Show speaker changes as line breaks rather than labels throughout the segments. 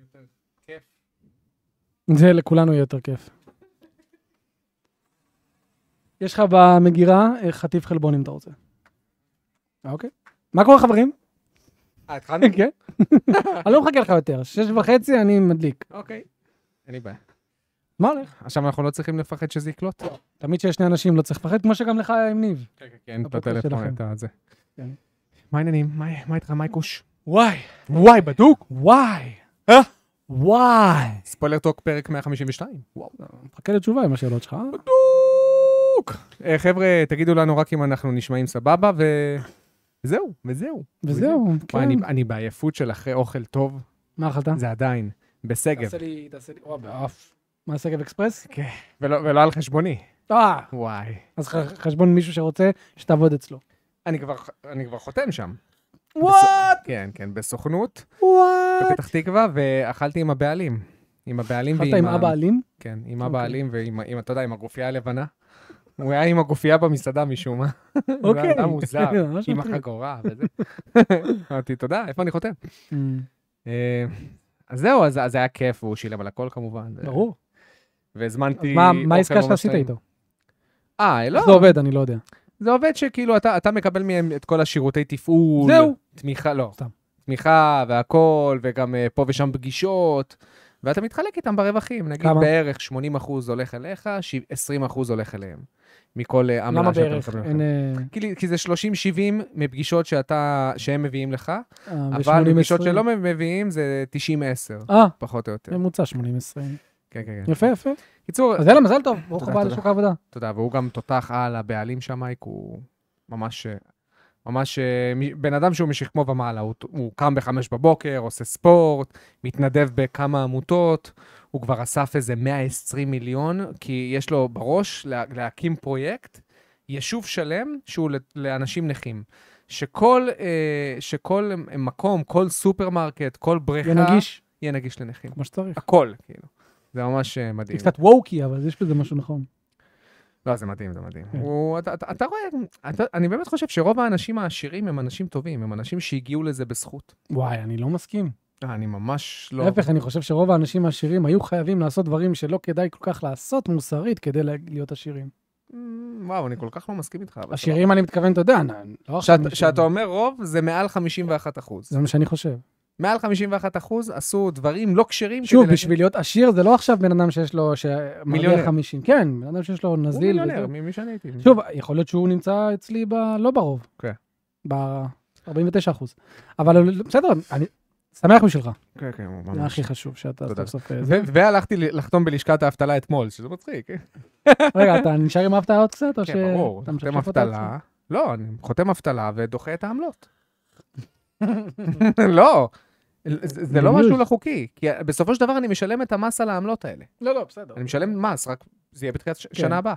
יותר כיף.
זה לכולנו יהיה יותר כיף. יש לך במגירה אה, חטיף חלבון אם אתה רוצה. אה, אוקיי. מה קורה חברים?
אה, התחלנו?
כן. אני לא מחכה לך יותר, שש וחצי אני מדליק.
אוקיי. אין לי בעיה.
מה הולך? לא.
עכשיו אנחנו לא צריכים לפחד שזה יקלוט?
תמיד שיש שני אנשים לא צריך לפחד, כמו שגם לך היה עם ניב.
כן, כן, כן, את
הפודקאסט
הטלפון,
שלכם.
את הזה.
כן.
מה העניינים? מה- מה איתך? מה הקוש?
וואי,
וואי, בדוק!
וואי,
אה?
וואי.
ספוילר טוק פרק 152. וואו.
מחכה לתשובה עם השאלות שלך. אה?
בדוק! אה, חבר'ה, תגידו לנו רק אם אנחנו נשמעים סבבה, ו... זהו, וזהו.
וזהו, כן.
וואי, אני- אני בעייפות של אחרי אוכל טוב,
מה אכלת?
זה עדיין. בשגב,
תעשה לי, תעשה לי, וואי, באף. מה, שגב אקספרס?
ולא ולא על חשבוני.
אה,
וואי.
אז ח- חשבון מישהו שרוצה שתעבוד אצלו.
אני כבר, אני כבר חותם שם.
וואט!
כן, כן, בסוכנות,
וואט!
בפתח תקווה, ואכלתי עם הבעלים. עם הבעלים
אכלת עם
ה-
אבא אלים?
כן, עם
אוקיי.
אבא אלים ועם, עם, אתה יודע, עם הגופייה הלבנה. הוא היה עם הגופייה במסעדה משום מה. הוא היה
אוקיי.
אדם מוזר,
ממש
עם
מטריד.
החגורה וזה. אמרתי, תודה, איפה אני חותם? אה, אז זהו, אז אז זה היה כיף, והוא שילם על הכל כמובן.
ברור. אז
והזמנתי...
מה- מה
אוכל
העסקה
ממש
שעשית
טעים.
איתו?
אה, אוקיי, לא,
איך זה עובד? אני לא יודע.
זה עובד שכאילו אתה, אתה מקבל מהם את כל השירותי תפעול.
זהו.
תמיכה, לא.
סתם.
תמיכה והכל, וגם אה, פה ושם פגישות, ואתה מתחלק איתם ברווחים. נגיד
כמה?
בערך 80 אחוז הולך אליך, ש- 20 אחוז הולך אליהם. מכל אה,
למה
עמלה שאתה
בערך?
מקבל.
אין... אה,
לכם. כי, לי- כי זה 30-70 מפגישות שאתה, שהם מביאים לך,
אה, אה,
אבל
ו-
מפגישות
80-20.
שלא מביאים זה 90-10,
אה,
פחות או יותר.
ממוצע 80-20.
כן, כן, כן.
יפה, יפה.
קיצור,
אז יאללה, מזל טוב, ברוך
תודה,
הבא
תודה.
לשוק העבודה.
תודה, והוא גם תותח על הבעלים שם, מייק, הוא ממש, אה, ממש אה, מ- בן אדם שהוא משכמו ומעלה, הוא, ת- הוא קם בחמש בבוקר, עושה ספורט, מתנדב בכמה עמותות, הוא כבר אסף איזה 120 מיליון, כי יש לו בראש לה, להקים פרויקט, יישוב שלם שהוא ל- לאנשים נכים. שכל, אה, שכל אה, מקום, כל סופרמרקט, כל בריכה,
יהיה נגיש,
יהיה נגיש לנכים.
כמו שצריך.
הכל, כאילו. זה ממש אה, מדהים.
זה קצת ווקי, אבל יש בזה משהו נכון.
לא, זה מדהים, זה מדהים.
כן.
הוא, אתה, אתה, אתה רואה, אתה, אני באמת חושב שרוב האנשים העשירים הם אנשים טובים, הם אנשים שהגיעו לזה בזכות.
וואי, אני לא מסכים.
אה, אני ממש לא...
להפך, אני חושב שרוב האנשים העשירים היו חייבים לעשות דברים שלא כדאי כל כך לעשות מוסרית כדי לה- להיות עשירים.
Mm, וואו, אני כל כך לא מסכים איתך. אבל
עשירים, אני מתכוון, אתה יודע, נ- לא
סבבה.
עכשיו...
שאת- שאתה אומר רוב, זה מעל 51 אחוז.
זה מה שאני חושב.
מעל 51 אחוז עשו דברים לא כשרים.
שוב,
כדי
בשביל להיות עשיר זה לא עכשיו בן אדם שיש לו, שמרוויח
מיליונר.
50. כן, בן אדם שיש לו
להגיד- הוא
נזיל.
מיליונר,
וזה.
ממי שאני הייתי.
שוב, יכול להיות שהוא נמצא אצלי ב... לא ברוב.
כן.
ב-49 אחוז. אבל בסדר, אני שמח בשבילך.
כן, כן, הוא
זה
ממש.
הכי חשוב שאתה
תודה.
סוף סוף... אה, זה.
ו- והלכתי ל- לחתום בלשכת האבטלה אתמול, שזה מצחיק.
רגע, אתה נשאר עם ההפתעה עוד קצת, או ש...
כן, ברור.
אתה
חותם
משפשף אותה
אבטלה. לא, אני חותם אבטלה ודוחה את העמלות. לא, זה זה לא
מדיניות.
משהו לא חוקי, כי בסופו של דבר אני משלם את המס על העמלות האלה.
עצמי? לא, לא, בסדר.
אני משלם מס, רק זה יהיה
כן.
בתחילת ש- שנה הבאה.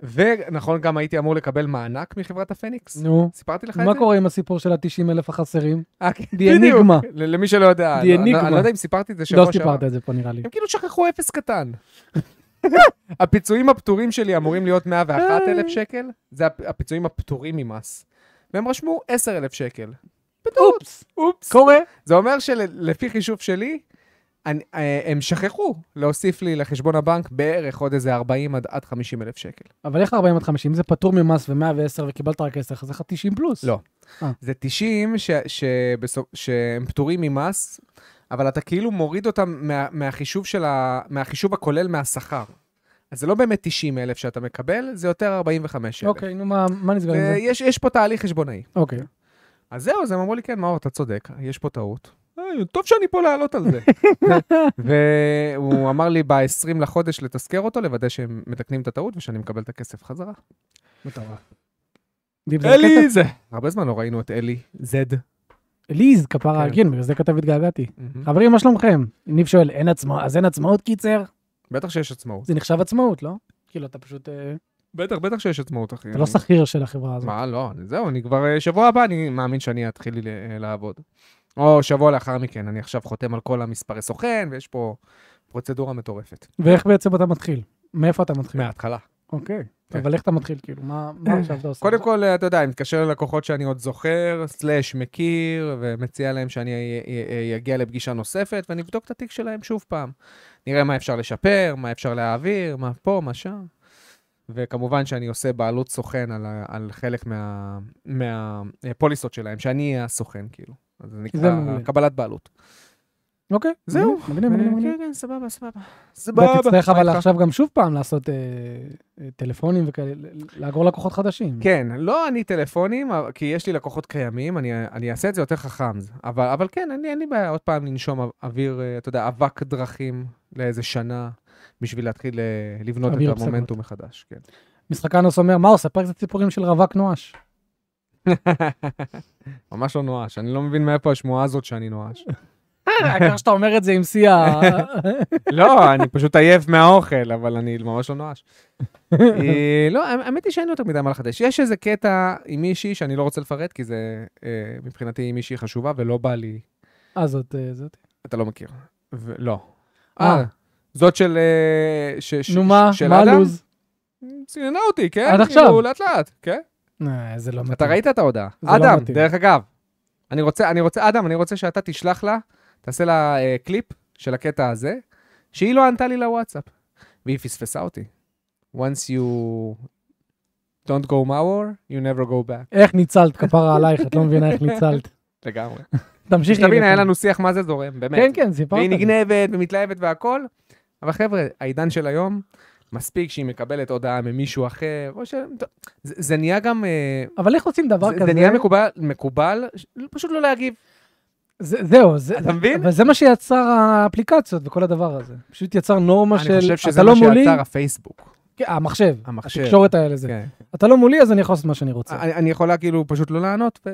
ונכון, גם הייתי אמור לקבל מענק מחברת הפניקס.
נו,
סיפרתי לך את זה?
מה קורה עם הסיפור של ה-90 אלף החסרים?
אה, כן,
די
בדיוק.
אניגמה.
ל- למי שלא יודע,
די
אני- אני-
אניגמה.
אני לא יודע אם סיפרתי את זה
לא
שבוע שעבר.
סיפרת את זה פה, נראה לי.
הם כאילו שכחו אפס קטן. הפיצויים הפטורים שלי אמורים להיות 101 אלף שקל, זה הפ- הפיצויים הפטורים ממס. והם רשמו 10 אלף שקל.
אופס,
אופס.
קורה.
זה אומר שלפי חישוב שלי, אני, אה, הם שכחו להוסיף לי לחשבון הבנק בערך עוד איזה 40 עד, עד 50 אלף שקל.
אבל איך 40 עד 50? אם זה פטור ממס ו-110 וקיבלת רק 10, אז איך 90 פלוס?
לא. זה 90 ש, שבסופ, שהם פטורים ממס, אבל אתה כאילו מוריד אותם מה, מהחישוב, של ה, מהחישוב הכולל מהשכר. אז זה לא באמת 90 אלף שאתה מקבל, זה יותר 45 אלף.
אוקיי, נו, מה מה נסגר עם זה?
יש, יש פה תהליך חשבונאי.
אוקיי.
אז זהו, אז הם אמרו לי, כן, מאור, אתה צודק, יש פה טעות. "אה, טוב שאני פה לעלות על זה. והוא אמר לי ב-20 לחודש לתזכר אותו, לוודא שהם מתקנים את הטעות ושאני מקבל את הכסף חזרה.
מטורף. דיפ זה הכסף?
אלי זה. הרבה זמן לא ראינו את אלי, זד.
ליז, כפרה,
כן.
כן, בגלל זה כתב התגעגעתי. חברים, מה שלומכם? ניב שואל, אין עצמאות, אז אין עצמאות קיצר?
בטח שיש עצמאות.
זה נחשב עצמאות, לא? כאילו, אתה פשוט, אה,
בטח, בטח שיש עצמאות, אחי.
אתה לא שכיר של החברה הזאת.
כן. מה, לא, אני- זהו, אני כבר, אה, שבוע הבא אני מאמין שאני אתחיל ל- אה, לעבוד. או שבוע לאחר מכן, אני עכשיו חותם על כל המספרי סוכן, ויש פה פרוצדורה מטורפת. כן.
ואיך בעצם אתה מתחיל? מאיפה אתה מתחיל?
מההתחלה.
אוקיי.
כן. אה,
אבל איך אתה מתחיל, כאילו? מה מה עכשיו אתה עושה?
קודם כל, אתה יודע, אני מתקשר ללקוחות שאני עוד זוכר, סלאש מכיר, ומציע להם שאני אגיע לפגישה נוספת, ואני אבדוק את התיק שלהם שוב פעם. נראה מה אפשר לשפר, מה אפשר להעביר, מה פה, מה שם. וכמובן שאני עושה בעלות סוכן על, ה- על חלק מה- מהפוליסות שלהם, שאני אהיה הסוכן, כאילו. אז זה
זה
נקרא
מעולה.
קבלת בעלות.
אוקיי.
זהו.
מגניב, מגניב, מגניב, מגניב.
כן, כן, סבבה, סבבה.
אתה תצטרך
מה
אבל
איתך?
עכשיו גם שוב פעם לעשות אה, אה, טלפונים וכאלה, ל- לאגור לקוחות חדשים.
כן, לא אני טלפונים, אבל- כי יש לי לקוחות קיימים, אני, אני אעשה את זה יותר חכם. אבל, אבל כן, אני, אין לי בעיה עוד פעם לנשום או- אוויר, אה, אתה יודע, אבק דרכים לאיזה שנה, בשביל להתחיל אה, לבנות
אוויר
את
פסגות.
המומנטום מחדש. כן.
משחק אנוס אומר, מאור, ספר קצת סיפורים של רווק נואש.
ממש לא נואש, אני לא מבין מאיפה השמועה הזאת שאני נואש.
העיקר שאתה אומר את זה עם שיא ה...
לא, אני פשוט עייף מהאוכל, אבל אני ממש לא נואש. אה, לא, האמת- האמת היא שאין לי יותר מדי מה לחדש. יש איזה קטע עם מישהי שאני לא רוצה לפרט, כי זה אה, מבחינתי היא מישהי חשובה, ולא בא לי
אה, זאת, אה, זאת.
אתה לא מכיר. ו- לא.
אה.
אה, זאת של... אה, ש- ש-
נו מה,
של
מה
אדם?
הלו"ז?
סיננה אותי, כן?
עד עכשיו.
כאילו, לאט לאט, כן?
אה, זה לא מתאים.
אתה ראית את ההודעה.
זה לא
אדם,
מתאים.
דרך אגב. אני רוצה, אני רוצה, אדם, אני רוצה שאתה תשלח לה, תעשה לה אה, קליפ של הקטע הזה, שהיא לא ענתה לי לוואטסאפ. והיא פספסה אותי. once you don't go my way, you never go back.
איך ניצלת, כפרה עלייך, את לא מבינה איך ניצלת.
לגמרי.
תמשיכי.
שתבין, היה
לכאן.
לנו שיח מה זה זורם, באמת.
כן, כן, סיפרת.
והיא
לי.
נגנבת ומתלהבת והכל. אבל חבר'ה, העידן של היום, מספיק שהיא מקבלת הודעה ממישהו אחר, או ש... טוב, זה, זה נהיה גם... אה,
אבל איך עושים דבר
זה,
כזה?
זה נהיה מקובל, מקובל, ש- פשוט לא להגיב.
זה- זהו, זה...
אתה מבין?
אבל זה מה שיצר האפליקציות וכל הדבר הזה. פשוט יצר נורמה
אני
של,
חושב
אתה
שזה
לא
מה
מולי,
שיצר הפייסבוק.
כן, המחשב,
המחשב.
התקשורת האלה זה.
כן.
אתה לא מולי, אז אני יכול לעשות מה שאני רוצה.
אני, אני יכולה כאילו פשוט לא לענות, ו...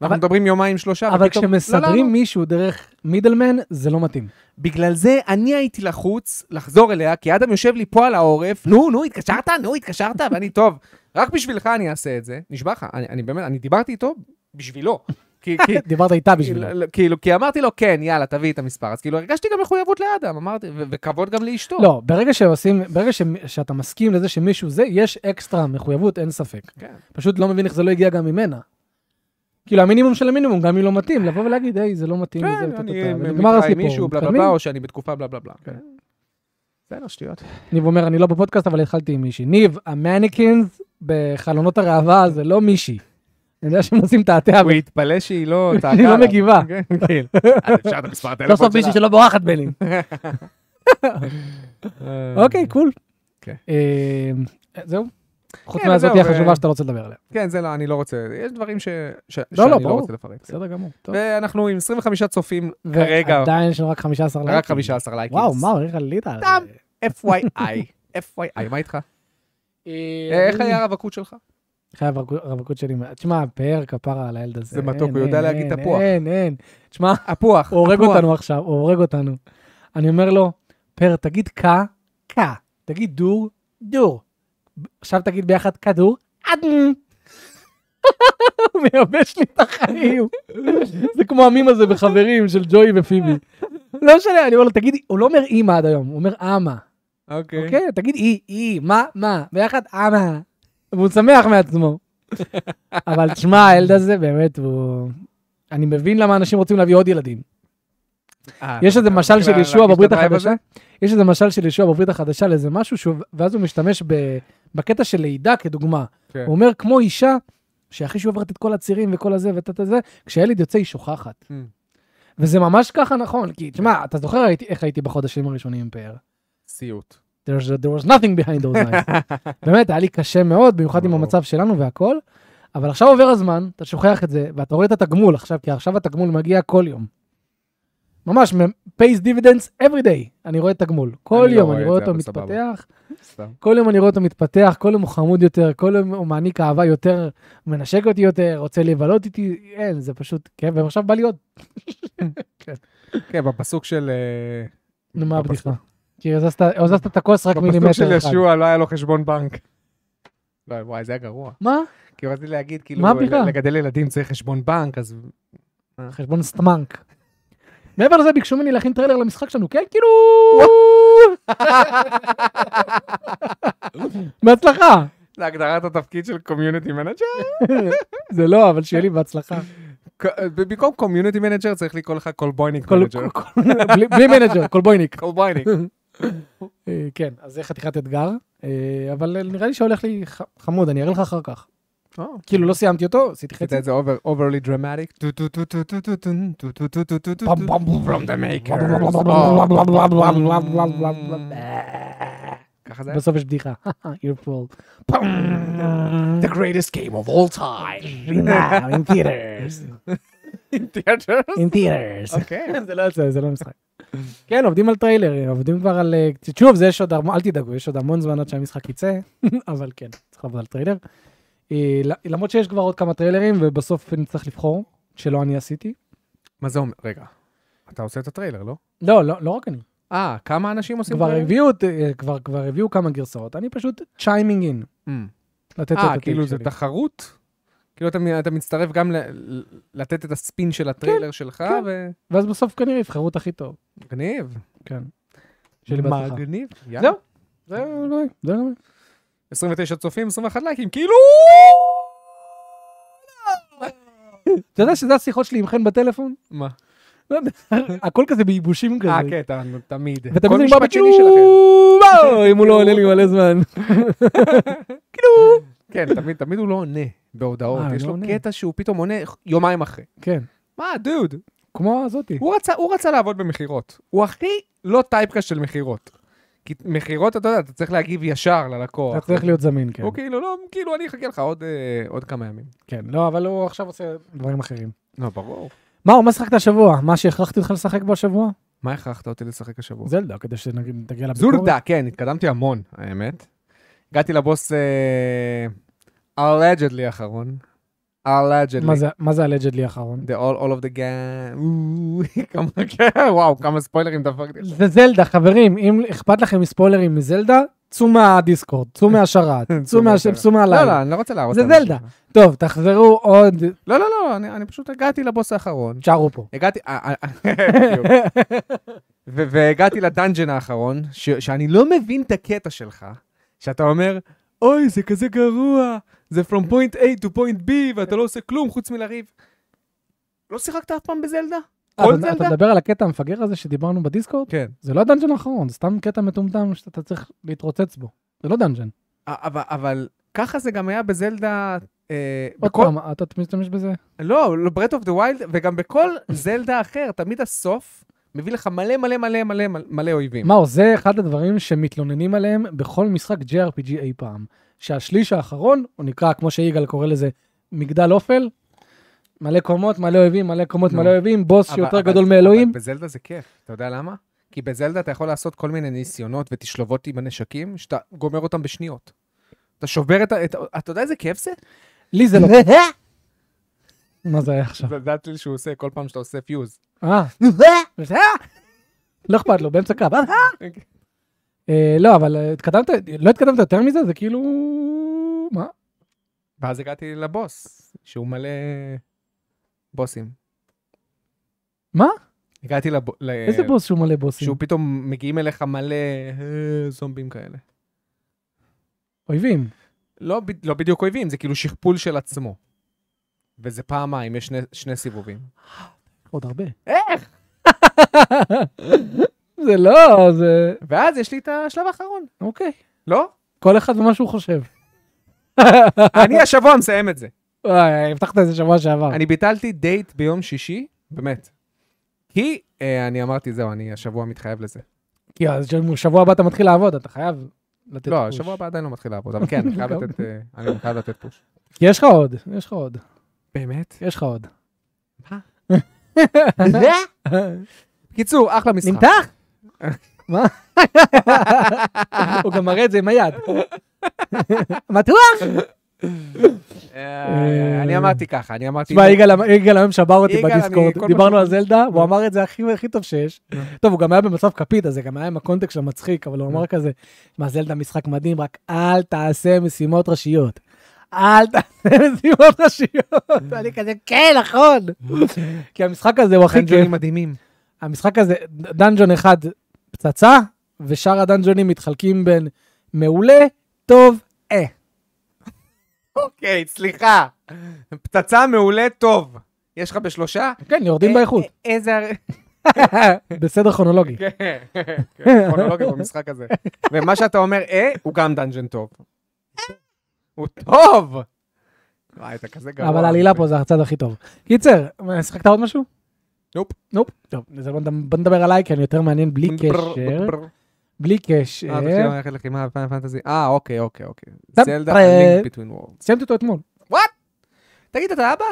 אבל-
אנחנו מדברים יומיים שלושה,
אבל
ופתאום לא
כשמסדרים
לענות.
מישהו דרך מידלמן, זה לא מתאים.
בגלל זה אני הייתי לחוץ לחזור אליה, כי אדם יושב לי פה על העורף, נו, נו, התקשרת? נו, התקשרת? ואני, טוב, רק בשבילך אני אעשה את זה. נשבע לך, אני, אני באמת, אני דיברתי איתו בשבילו. כי, כי,
דיברת איתה בשבילו.
כאילו, כאילו, כי אמרתי לו, כן, יאללה, תביא את המספר. אז כאילו, הרגשתי גם מחויבות לאדם, אמרתי, ו- וכבוד גם לאשתו.
לא, ברגע שעושים, ברגע ש- שאתה מסכים לזה שמישהו זה, יש אקסטרה מחויבות, אין ספק.
כן.
פשוט לא מבין איך זה לא הגיע גם ממנה. כאילו המינימום של המינימום, גם אם לא מתאים, לבוא ולהגיד, היי, זה לא מתאים, וזה,
כן,
טה, טה,
אני
טה, ונגמר
מתראה עם
הסיפור,
מישהו, בלה בלה
מתקדמים.
בלה, או שאני בתקופה בלה בלה בלה.
כן.
בסדר, שטויות.
ניב אומר, אני לא בפודקאסט, אבל התחלתי עם מישהי. ניב, המניקינס בחלונות הראווה זה לא מישהי. אני יודע שהם עושים תעתע,
הוא התפלא שהיא לא צעקה
היא לא
עליו.
מגיבה. לא
כן, כאילו. אז אפשר את המספר
סוף
הטלפון
סוף
שלה.
מישהי שלא בורחת בינינו.
כן. אה,
אוקיי, קול.
אוקיי.
אה, זהו. חוץ
כן,
מהזאתי
וזהו,
החשובה
ו-
שאתה לא רוצה לדבר עליה.
כן, זה לא, אני לא רוצה, יש דברים ש... ש...
לא,
שאני
לא,
לא,
ברור.
רוצה לפרט.
בסדר גמור. טוב.
ואנחנו עם 25 צופים כרגע,
ועדיין יש לנו רק 15 לייקים.
רק 15 לייקים.
וואו, מאור, איך עלית על
סתם.
זה?
FYI, FYI, מה איתך?
אה,
איך היה הרווקות שלך?
חייב רווק- רווקות שלי. תשמע, פאר כפרה על הילד הזה.
זה מתוק,
אין,
הוא יודע
אין,
להגיד
אין,
תפוח.
אין, אין. תשמע,
הפוח,
הוא הורג
הפוח.
אותנו עכשיו, הוא הורג אותנו. אני אומר לו, פר, תגיד קה, קה. תגיד דור, דור. עכשיו תגיד ביחד כדור, אדם. הוא מייבש לי את החיים. זה כמו המים הזה בחברים של ג'וי ופיבי. לא משנה, אני אומר לו, תגיד, הוא לא אומר אימא עד היום, הוא אומר אמה.
אוקיי.
אוקיי, תגיד אי, אי, מה, מה, ביחד אמה. והוא שמח מעצמו. אבל תשמע, הילד הזה באמת, הוא... אני מבין למה אנשים רוצים להביא עוד ילדים.
אה,
יש איזה
אתה
משל
מתחיל
של ישוע
להרגיש את
בברית
הדרייב
החדשה,
הזה?
יש איזה משל של ישוע בברית החדשה לאיזה משהו, שהוא- ואז הוא משתמש ב- בקטע של לידה כדוגמה.
כן.
הוא אומר, כמו אישה, שאחרי שהיא עוברת את כל הצירים וכל הזה וטה זה, כשהילד יוצא היא שוכחת.
Mm.
וזה ממש ככה נכון, כי תשמע, אתה זוכר הייתי- איך הייתי בחודשים הראשונים עם פאר?
סיוט.
There's, there was nothing behind those lines. באמת, היה לי קשה מאוד, במיוחד עם
ברור.
המצב שלנו והכל, אבל עכשיו עובר הזמן, אתה שוכח את זה, ואתה רואה את התגמול עכשיו, כי עכשיו התגמול מגיע כל יום. ממש, מ- pays dividends every day, אני רואה את התגמול. כל
לא
יום
רואה
אני
את
רואה
זה,
אותו
אבל סבבה.
מתפתח,
סתם.
כל יום אני רואה אותו מתפתח, כל יום הוא חמוד יותר, כל יום הוא מעניק אהבה יותר, הוא מנשק אותי יותר, רוצה לבלות איתי, אין, זה פשוט כיף, ועכשיו בא לי עוד.
כן, בפסוק של... אה,
נו, מה
בפסוק-
הבדיחה? כי הזזת הזזת את הכוס רק
בפסוק לא של
מילימטר אחד.
ישוע לא היה לו חשבון בנק. לא, וואי, זה היה גרוע.
מה?
כי רציתי להגיד, כאילו,
מה הבדיחה?
לגדל ילדים צריך חשבון בנק, אז
חשבון סטמנק. מעבר לזה ביקשו ממני להכין טריילר למשחק שלנו, כן? כאילו... בהצלחה.
להגדרת התפקיד של קומיוניטי מנג'ר?
זה לא, אבל שיהיה לי בהצלחה.
אה, במקום קומיוניטי מנג'ר צריך לקרוא לך קולבויניק
כל-
מנג'ר.
כל- כל- בלי- בלי מנג'ר, קולבויניק.
קולבויניק.
אה, כן, אז זה חתיכת אתגר, אה, אבל אה, נראה לי שהולך לי ח- חמוד, אני אראה לך אחר כך. כאילו, לא סיימתי אותו, עשיתי חצי.
עשית את זה אוברלי דרמטיק.
פם, פם, פם,
From the maker. Oh. ככה זה היה?
בסוף יש בדיחה. You're full.
The greatest game of all time.
Now in theaters. In theaters.
אוקיי.
זה לא יוצא, זה לא משחק. כן, עובדים על טריילר, עובדים כבר על... אה, שוב, זה יש עוד המון, אל תדאגו, יש עוד המון זמן עד שהמשחק יצא, אבל כן, צריך לעבוד על טריילר. אה, ל- למרות שיש כבר עוד כמה טריילרים, ובסוף נצטרך לבחור, שלא אני עשיתי.
מה זה אומר? רגע. אתה עושה את הטריילר, לא?
לא, לא לא רק אני.
אה, כמה אנשים עושים
כבר
טריילר?
הביאו, את- אה, כבר- כבר הביאו כמה גרסאות, אני פשוט צ'יימינג אין.
אה,
לתת את
אה,
הטייק
כאילו זה
שלי.
תחרות? כאילו אתה מ- אתה מצטרף גם ל- ל- לתת את הספין של הטריילר שלך,
כן.
ו...
ואז בסוף כנראה יבחרו את הכי טוב.
מגניב.
כן. שיהיה לי בהצלחה.
מגניב. יאללה.
זהו. זה לא, זה לא.
29 צופים, 21 לייקים, כאילו!
אתה יודע שזה השיחות שלי עם חן בטלפון?
מה?
לא יודע, הכל כזה בייבושים כזה.
אה, כן, אתה- תמיד.
ואתה
כל
מבין
משפט שני שלכם.
אם הוא לא עונה לי מלא זמן.
כן, תמיד, תמיד הוא לא עונה בהודעות.
אה, הוא
יש
לא
לו
עונה.
קטע שהוא פתאום עונה יומיים אחרי.
כן,
מה, דוד?
כמו הזאתי.
הוא רצה, הוא רצה לעבוד במכירות. הוא הכי לא טייפקאסט של מכירות. כי מכירות, אתה יודע, אתה צריך להגיב ישר ללקוח.
אתה צריך להיות זמין, כן.
הוא כאילו, לא, כאילו, אני אחכה לך עוד, אה, עוד כמה ימים.
כן, לא, אבל הוא עכשיו עושה דברים אחרים.
לא, ברור.
מאור, מה שחקת השבוע? מה שהכרחתי אותך לשחק בו השבוע?
מה הכרחת אותי לשחק השבוע?
זלדה, כדי שנגיע לביקורת.
זולדה, כן, התקדמתי המון, האמת. הגעתי לבוס אה, אלג'דלי האחרון. אלג'דלי.
מה זה- מה זה הלג'דלי האחרון?
The all, all of the gang. כמה, כן, וואו, כמה ספוילרים דפקתי.
זה זלדה, חברים, אם אכפת לכם מספוילרים מזלדה, צאו מהדיסקורד, צאו מהשרת, צאו
צאו
מהש-
מהשרת.
צאו
לא, לא,
מהלילה.
אני לא רוצה להראות.
זה
את האנשים
זלדה.
שלך.
טוב, תחזרו עוד,
לא, לא, לא, אני, אני פשוט הגעתי לבוס האחרון.
תשארו פה.
הגעתי, אה, אה, אה, בדיוק. ו- והגעתי לדאנג'ן האחרון, ש- שאני לא מבין את הקטע שלך, שאתה אומר, אוי, זה כזה גרוע, זה from point A to point B, ואתה לא עושה כלום חוץ מלריב. לא שיחקת אף פעם בזלדה?
אה,
כל
אתה- אתה
זלדה?
מדבר על הקטע המפגר הזה שדיברנו בדיסקורד?
כן.
זה לא הדאנג'ן האחרון, זה סתם קטע מטומטם שאתה צריך להתרוצץ בו. זה לא דאנג'ן.
אבל, אבל ככה זה גם היה בזלדה... אה,
עוד
בכל-
פעם, אתה משתמש בזה?
לא, לא, ברט אוף דה ווילד, וגם בכל זלדה אחר, תמיד הסוף מביא לך מלא מלא מלא מלא מלא אויבים.
מאור, זה אחד הדברים שמתלוננים עליהם בכל משחק JRPG אי פעם. שהשליש האחרון, הוא נקרא, כמו שיגאל קורא לזה, מגדל אופל. מלא קומות, מלא אויבים, מלא קומות,
נו.
מלא אויבים, בוס
אבל-
שיותר
אבל-
גדול מאלוהים.
אבל בזלדה זה כיף, אתה יודע למה? כי בזלדה אתה יכול לעשות כל מיני ניסיונות ותשלובות עם הנשקים, שאתה גומר אותם בשניות. אתה שובר את ה... את ה- אתה יודע איזה כיף זה?
לי זה לא... מה זה היה עכשיו?
זה הדאטל שהוא עושה כל פעם שאתה עושה פיוז.
אה, לא אכפת לו, באמצע קו. אה, אה, לא, אבל אה, התקדמת, לא התקדמת יותר מזה? זה כאילו... מה?
אה, ואז הגעתי לבוס, שהוא מלא בוסים.
מה?
הגעתי לבוס...
איזה בוס שהוא מלא בוסים?
שהוא פתאום מגיעים אליך מלא אה, זומבים כאלה.
אויבים.
לא, ב- לא בדיוק אויבים, זה כאילו שכפול של עצמו. וזה פעמיים, יש שני, שני סיבובים.
עוד הרבה. איך? זה לא, זה...
ואז יש לי את השלב האחרון,
אוקיי.
לא?
כל אחד ומה שהוא חושב.
אני השבוע מסיים את זה.
וואי, הבטחת את זה שבוע שעבר.
אני ביטלתי דייט ביום שישי, באמת. כי אה, אני אמרתי, זהו, אני השבוע מתחייב לזה.
כי אז שבוע הבא אתה מתחיל לעבוד, אתה חייב לתת
לא,
פוש.
השבוע הבא עדיין לא מתחיל לעבוד, אבל כן, אני חייב
גם.
לתת, אה, אני חייב לתת פוש.
כי יש לך עוד, יש לך עוד,
באמת?
יש לך עוד.
מה? בקיצור, אחלה משחק.
נמתח? מה? הוא גם מראה את זה עם היד. מתוח?
אה, אני אמרתי ככה, אני אמרתי... "לא,
תשמע, יגאל יגאל היום שבר אותי
יגאל, אני- כל
בדיסקורד,
מה
דיברנו
שהוא-
על זלדה, הוא אמר את זה הכי הכי טוב שיש. טוב, הוא גם היה במצב כפית, אז זה גם היה עם הקונטקסט של המצחיק, אבל הוא אמר כזה, מה, זלדה משחק מדהים, רק אל תעשה משימות ראשיות. אל תעשה משימות ראשיות. אני כזה, כן, נכון. כי המשחק הזה הוא הכי כיף.
חנג'ונים מדהימים.
המשחק הזה, דאנג'ון אחד פצצה, ושאר הדאנג'ונים מתחלקים בין מעולה, טוב, אה.
אוקיי, סליחה. פצצה מעולה טוב. יש לך בשלושה?
כן, יורדים
אה,
באיכות.
אה, איזה... הר-
בסדר כרונולוגי.
כן, כן, כרונולוגיה במשחק הזה. ומה שאתה אומר, אה, הוא גם דאנג'ן טוב. הוא טוב! וואי, אתה כזה גרוע.
אבל העלילה
אה.
פה זה הצד הכי טוב. קיצר, שיחקת עוד משהו?
נופ.
נופ. טוב, אז בוא נד- בוא נדבר עליי, כי אני יותר מעניין בלי קשר.
ברר.
בלי
אה, תתחיל
קשר.
ללכת לחימה בפעם הפנטזי. אה, אוקיי, אוקיי, אוקיי.
טוב,
זלדה,
אה,
לינק ביטווין וורד.
סיימתי אותו אתמול.
תגיד, אתה אבא?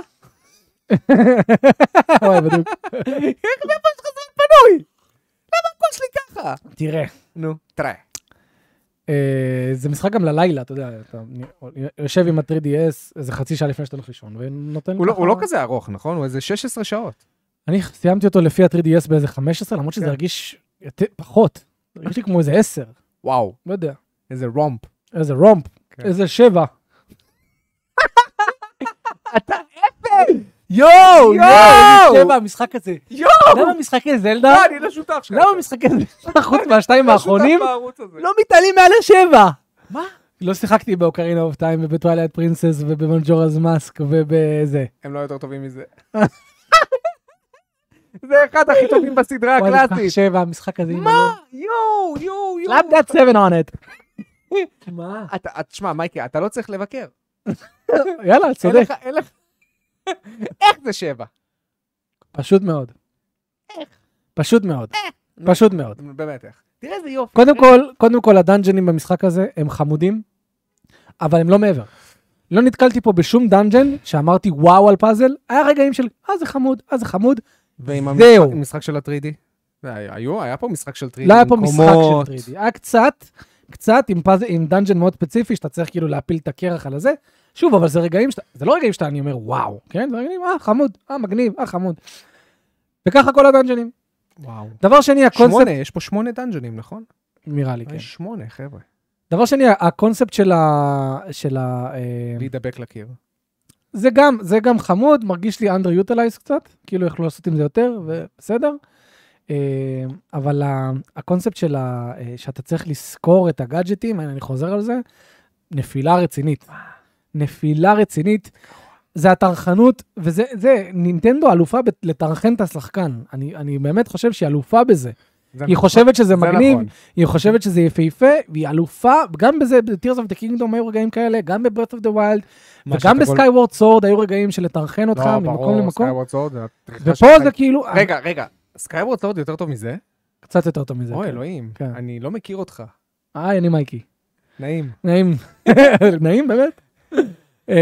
אוי, בדיוק.
איך לאבא שלך זה פנוי? למה הכל שלי ככה?
תראה,
נו, תראה.
אה, זה משחק גם ללילה, אתה יודע, אתה יושב עם ה-3DS איזה חצי שעה לפני שאתה הולך לישון, ונותן
הוא לא-
ככה-
הוא לא כזה ארוך, נכון? הוא איזה 16 שעות.
אני סיימתי אותו לפי ה-3DS באיזה 15, למרות שזה
כן.
הרגיש יותר- פחות. הרגיש לי כמו איזה 10,
וואו,
לא יודע.
איזה רומפ.
איזה רומפ,
כן.
איזה 7.
אתה
יואו,
יואו!
יואו, שבע, המשחק הזה.
יואו!
למה משחקי זלדה,
לא, אני לא שותף שלך.
למה משחקי זלדה, חוץ מהשתיים האחרונים,
לא,
לא מתעלים מעל השבע?
מה?
לא שיחקתי באוקרינה אוף טיים ובטווילייט פרינסס ובמנג'ורז מאסק ובזה.
הם לא יותר טובים מזה. זה אחד הכי טובים בסדרה
וואי, זה לא. כל כך
הקלאסית.
שבע, המשחק הזה.
מה? יואו, יואו, יואו.
לאפ דאט 7 on it. מה?
אתה, את- תשמע, מייקי, אתה לא צריך לבקר.
יאללה,
אין
צודק.
לך, אין לך. איך זה שבע?
פשוט מאוד. פשוט מאוד.
נו.
פשוט מאוד.
באמת איך. תראה איזה יופי.
קודם כל, קודם כל הדאנג'נים במשחק הזה הם חמודים, אבל הם לא מעבר. לא נתקלתי פה בשום דאנג'ן שאמרתי וואו על פאזל, היה רגעים של אה זה חמוד, אה זה חמוד,
ועם
זהו.
המשחק- משחק של הטרידי? היו, היה פה משחק של טרידי.
לא היה
עם
פה משחק
קומות.
של 3D, היה קצת, קצת עם, פאז, עם דאנג'ן מאוד ספציפי, שאתה צריך כאילו להפיל את הקרח על הזה. שוב, אבל זה רגעים שאתה, זה לא רגעים שאתה, אני אומר, וואו, כן? זה רגעים, אה, חמוד, אה, מגניב, אה, חמוד. וככה כל הדאנג'נים.
וואו.
דבר שני, הקונספט,
שמונה, יש פה שמונה דאנג'ונים, נכון?
נראה לי, כן.
יש שמונה, חבר'ה.
דבר שני, הקונספט של ה... של ה... אה,
להידבק לקיר.
זה גם, זה גם חמוד, מרגיש לי underutilized קצת, כאילו יכלו לעשות עם זה יותר, ובסדר. אה, אבל ה- הקונספט של ה... אה, שאתה צריך לזכור את הגאדג'טים, אני אני חוזר על זה, נפילה רצינית. נפילה רצינית. זה הטרחנות, וזה, זה, נינטנדו אלופה ב- לטרחן את השחקן. אני, אני באמת חושב שהיא אלופה בזה.
זה
היא
נכון.
חושבת שזה
זה
מגניב,
נכון.
היא חושבת שזה יפהפה, והיא אלופה, גם בזה, ב-Tears of the Kingdom היו רגעים כאלה, גם ב-Breath of the Wild,
מה
וגם
שאתה כל-
בסקייוורד סורד היו רגעים של לטרחן אותך
לא,
ממקום
ברור,
למקום,
Skyward Sword זה הטריחה
ופה
שלך.
זה כאילו,
רגע, רגע, סקייוורד סורד יותר טוב מזה?
קצת יותר טוב מזה.
אוי,
כן.
אלוהים,
כן.
אני לא מכיר אותך.
היי, אני מייקי.
נעים.
נעים. נעים, באמת. אמ,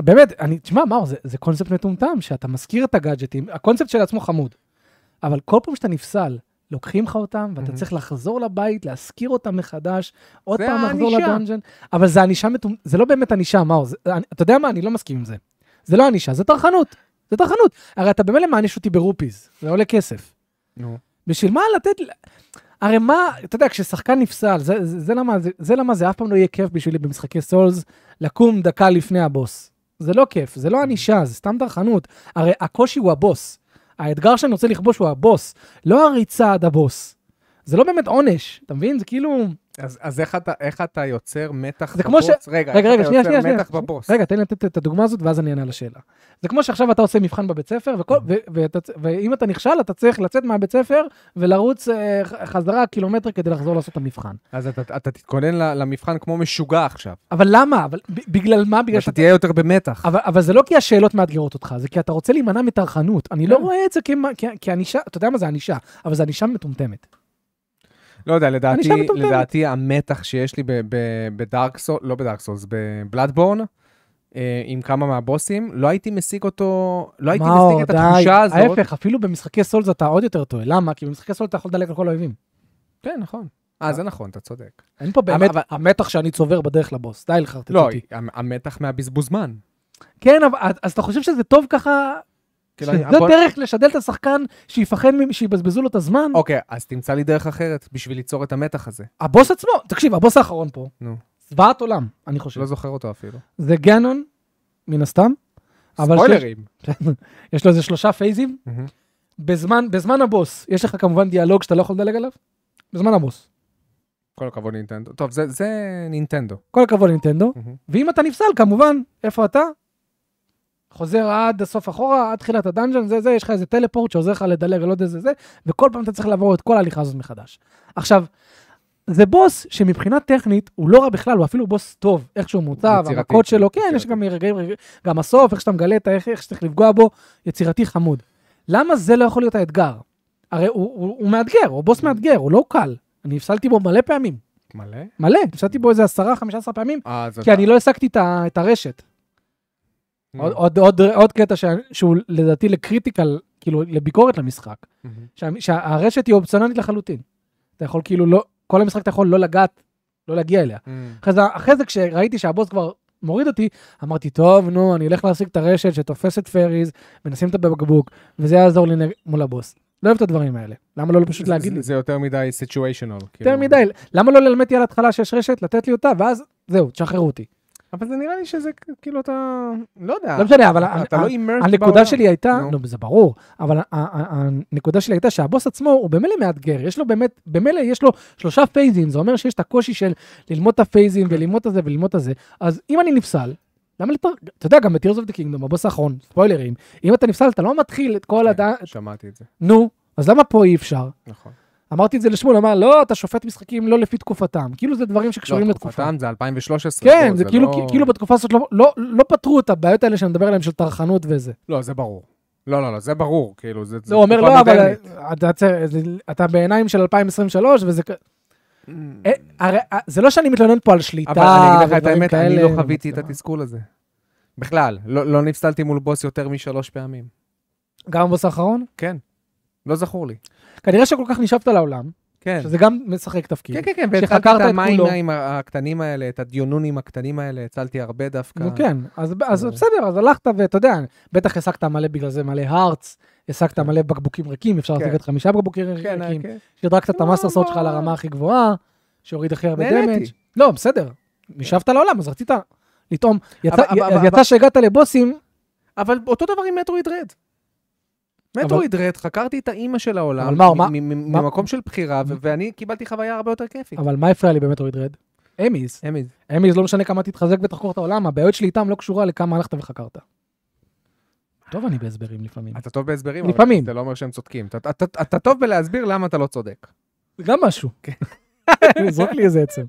באמת, אני, תשמע, מאור, זה- זה קונספט מטומטם, שאתה מזכיר את הגאדג'טים, הקונספט של עצמו חמוד, אבל כל פעם שאתה נפסל, לוקחים לך אותם, ואתה
מהמם.
צריך לחזור לבית, להשכיר אותם מחדש, עוד
זה
פעם לחזור
הענישה.
לדאנג'ן, אבל זה ענישה מטומ... זה לא באמת ענישה, מאור, זה- אני- אתה יודע מה, אני לא מסכים עם זה. זה לא ענישה, זה טרחנות, זה טרחנות. הרי אתה במילא מעניש אותי ברופיז, זה עולה כסף.
נו.
בשביל מה לתת... ל- הרי מה, אתה יודע, כששחקן נפסל, זה, זה, זה, למה, זה, זה למה זה אף פעם לא יהיה כיף בשבילי במשחקי סולס, לקום דקה לפני הבוס. זה לא כיף, זה לא ענישה, זה סתם טרחנות. הרי הקושי הוא הבוס. האתגר שאני רוצה לכבוש הוא הבוס, לא הריצה עד הבוס. זה לא באמת עונש, אתה מבין? זה כאילו...
אז אז איך אתה- איך אתה יוצר מתח
זה כמו ש-
בבוס? רגע,
רגע,
איך
רגע,
אתה
שנייה, שנייה,
יוצר
שנייה.
מתח בבוס?
רגע, תן לי לתת את הדוגמה הזאת, ואז אני אענה על השאלה. זה כמו שעכשיו אתה עושה מבחן בבית ספר, וכל, ו, ואתה, ואם אתה נכשל, אתה צריך לצאת מהבית ספר ולרוץ אה, ח- חזרה קילומטר כדי לחזור לעשות את המבחן.
אז אתה אתה תתכונן ל- למבחן כמו משוגע עכשיו.
אבל למה? אבל ב- בגלל מה? בגלל
ואתה
שאתה...
תהיה יותר במתח.
אבל, אבל זה לא כי השאלות מאתגרות אותך, זה כי אתה רוצה להימנע מטרחנות. אני לא
כן.
רואה את זה כמה- כ- כענישה, אתה יודע מה זה ענישה, אבל זה ענישה מטומטמת.
לא יודע, לדעתי,
שם מטומטמת.
לדעתי המתח שיש לי ב- ב- בדארק סולס, לא בדארק סולס, בבלאדבורן, אה, עם כמה מהבוסים, לא הייתי משיג אותו, לא הייתי
מאור,
משיג את
די.
התחושה הזאת.
ההפך, אפילו במשחקי סולס אתה עוד יותר טועה. למה? כי במשחקי סולס אתה יכול לדלג על כל האויבים.
כן, נכון. אה, זה נכון, אתה צודק.
אין פה באמת,
אבל-
המתח שאני צובר בדרך לבוס, די לחרטט
לא,
אותי.
המ- המתח מהבזבוז זמן.
כן, אבל אז- אז אתה חושב שזה טוב ככה,
כאילו, אני-
שזו
בוא-
דרך לשדל את השחקן שיפחד, ממ- שיבזבזו לו את הזמן?
אוקיי, אז תמצא לי דרך אחרת בשביל ליצור את המתח הזה.
הבוס עצמו, תקשיב, הבוס האחרון פה,
נו.
זוועת עולם, אני חושב.
לא זוכר אותו אפילו.
זה גנון, מן הסתם. אבל שיש-
ספוילרים. Mm-hmm.
יש לו איזה שלושה פייזים, בזמן, בזמן הבוס, יש לך כמובן דיאלוג שאתה לא יכול לדלג עליו? בזמן הבוס.
כל הכבוד נינטנדו. טוב, זה, זה נינטנדו.
כל הכבוד לנינטנדו,
מהמם.
ואם אתה נפסל, כמובן, איפה אתה? חוזר עד הסוף אחורה, עד תחילת הדאנג'ן, זה זה, יש לך איזה טלפורט שעוזר לך לדלג על עוד איזה זה, וכל פעם אתה צריך לעבור את כל ההליכה הזאת מחדש. עכשיו, זה בוס שמבחינה טכנית הוא לא רע בכלל, הוא אפילו בוס טוב, איך שהוא מוצב,
יצירתי.
המכות שלו, כן, יש
יצירתי.
גם רגעים, רגעים- גם הסוף, איך שאתה מגלה את ה- איך איך שצריך לפגוע בו, יצירתי חמוד. למה זה לא יכול להיות האתגר? הרי הוא- הוא הוא מאתגר, הוא בוס מאתגר, הוא לא קל. אני הפסלתי בו מלא פעמים,
מלא?
מלא, הפסלתי בו איזה עשרה, חמישה עשרה פעמים,
אה, זה...
כי אני לא העסקתי את ה- את הרשת.
Mm.
עוד- עוד- עוד- עוד קטע ש- שהוא לדעתי לקריטיקל, כאילו לביקורת למשחק,
מהמם.
שה- שהרשת היא אופציונלית לחלוטין. אתה יכול כאילו לא, כל המשחק אתה יכול לא לגעת, לא להגיע אליה.
מהמם.
אחרי זה, אחרי זה כשראיתי שהבוס כבר מוריד אותי, אמרתי, טוב, נו, אני אלך להשיג את הרשת שתופסת פריז, ונשים אותה בבקבוק, וזה יעזור לי נג- מול הבוס. לא אוהב את הדברים האלה. למה לא פשוט
זה-
להגיד
זה-
לי?
זה יותר מדי כאילו. סיטואשנל.
יותר מדי, למה לא ללמד אותי על ההתחלה שיש רשת, לתת לי אותה, ואז זהו, תשחררו אותי.
אבל זה נראה לי שזה כאילו אתה... לא יודע.
לא משנה, אבל...
אתה לא אימרסט
הנקודה שלי הייתה,
נו.
לא, זה ברור, אבל ה- ה- ה- הנקודה שלי הייתה שהבוס עצמו הוא במילא מאתגר, יש לו באמת, במילא יש לו שלושה פייזים, זה אומר שיש את הקושי של ללמוד את הפייזים וללמוד את זה וללמוד את זה, אז אם אני נפסל, למה לתר... אתה יודע, גם ב-Tears of the Kingdom, הבוס האחרון, ספוילרים, אם אתה נפסל, אתה לא מתחיל את כל
כן,
הדעה,
שמעתי את זה.
נו, אז למה פה אי אפשר?
נכון.
אמרתי את זה לשמואל, אמר, לא, אתה שופט משחקים לא לפי תקופתם, כאילו זה דברים שקשורים
לא,
לתקופה.
תקופתם זה 2013.
כן,
בוא,
זה כאילו,
לא-
כאילו בתקופה הזאת לא, לא, לא פתרו את הבעיות האלה שאני מדבר עליהן של טרחנות וזה.
לא, זה ברור. לא, לא, לא, זה ברור, כאילו, זה...
זה הוא אומר,
תקופה
לא, אבל
מודרנית."
אתה, צר- זה- אתה בעיניים של 2023, וזה... כ- אה, הרי, אה, זה לא שאני מתלונן פה על שליטה
אבל אני אגיד לך את
ודברים
האמת, אני
כאלה,
לא חוויתי את
ומצלמה.
התסכול הזה. בכלל, לא לא נפסלתי מול בוס יותר משלוש פעמים.
גם הבוס האחרון?
כן. לא זכור לי.
כנראה שכל כך נשאבת לעולם,
כן.
שזה גם משחק תפקיד.
כן, כן, כן,
שחקרת
והצלתי את
את
המים
כולו.
ה- הקטנים האלה, את הדיונונים הקטנים האלה, הצלתי הרבה דווקא.
נו כן, אז, אז
ברור.
בסדר, אז הלכת ואתה יודע, בטח השגת מלא בגלל זה מלא הארץ, השגת מלא בקבוקים ריקים, אפשר
כן.
להשיג את חמישה בקבוקים
כן,
ריקים,
כן.
שדרגת את
לא,
המאסטר סורד
לא.
שלך לרמה הכי גבוהה, שהוריד הכי הרבה
נהניתי.
דמג'. לא, בסדר, נשאבת לעולם, אז רצית לטעום. יצא-
אבל- אבל-
אז יצא שהגעת לבוסים,
אבל אותו דבר עם מטרואיד רד. מטרואיד רד, חקרתי את האימא של העולם,
אבל מה, מה-
מ- מ-
מה-
ממקום של בחירה, ו- ואני קיבלתי חוויה הרבה יותר כיפית.
אבל מה הפריע לי במטרואיד רד? אמיז.
אמיז.
אמיז לא משנה כמה תתחזק ותחקור את העולם, הבעיות שלי איתם לא קשורה לכמה הלכת וחקרת. טוב אני בהסברים לפעמים.
אתה טוב בהסברים, אבל
לפעמים.
זה לא אומר שהם צודקים. אתה- אתה- אתה אתה טוב בלהסביר למה אתה לא צודק.
זה גם משהו. זרוק לי איזה עצם.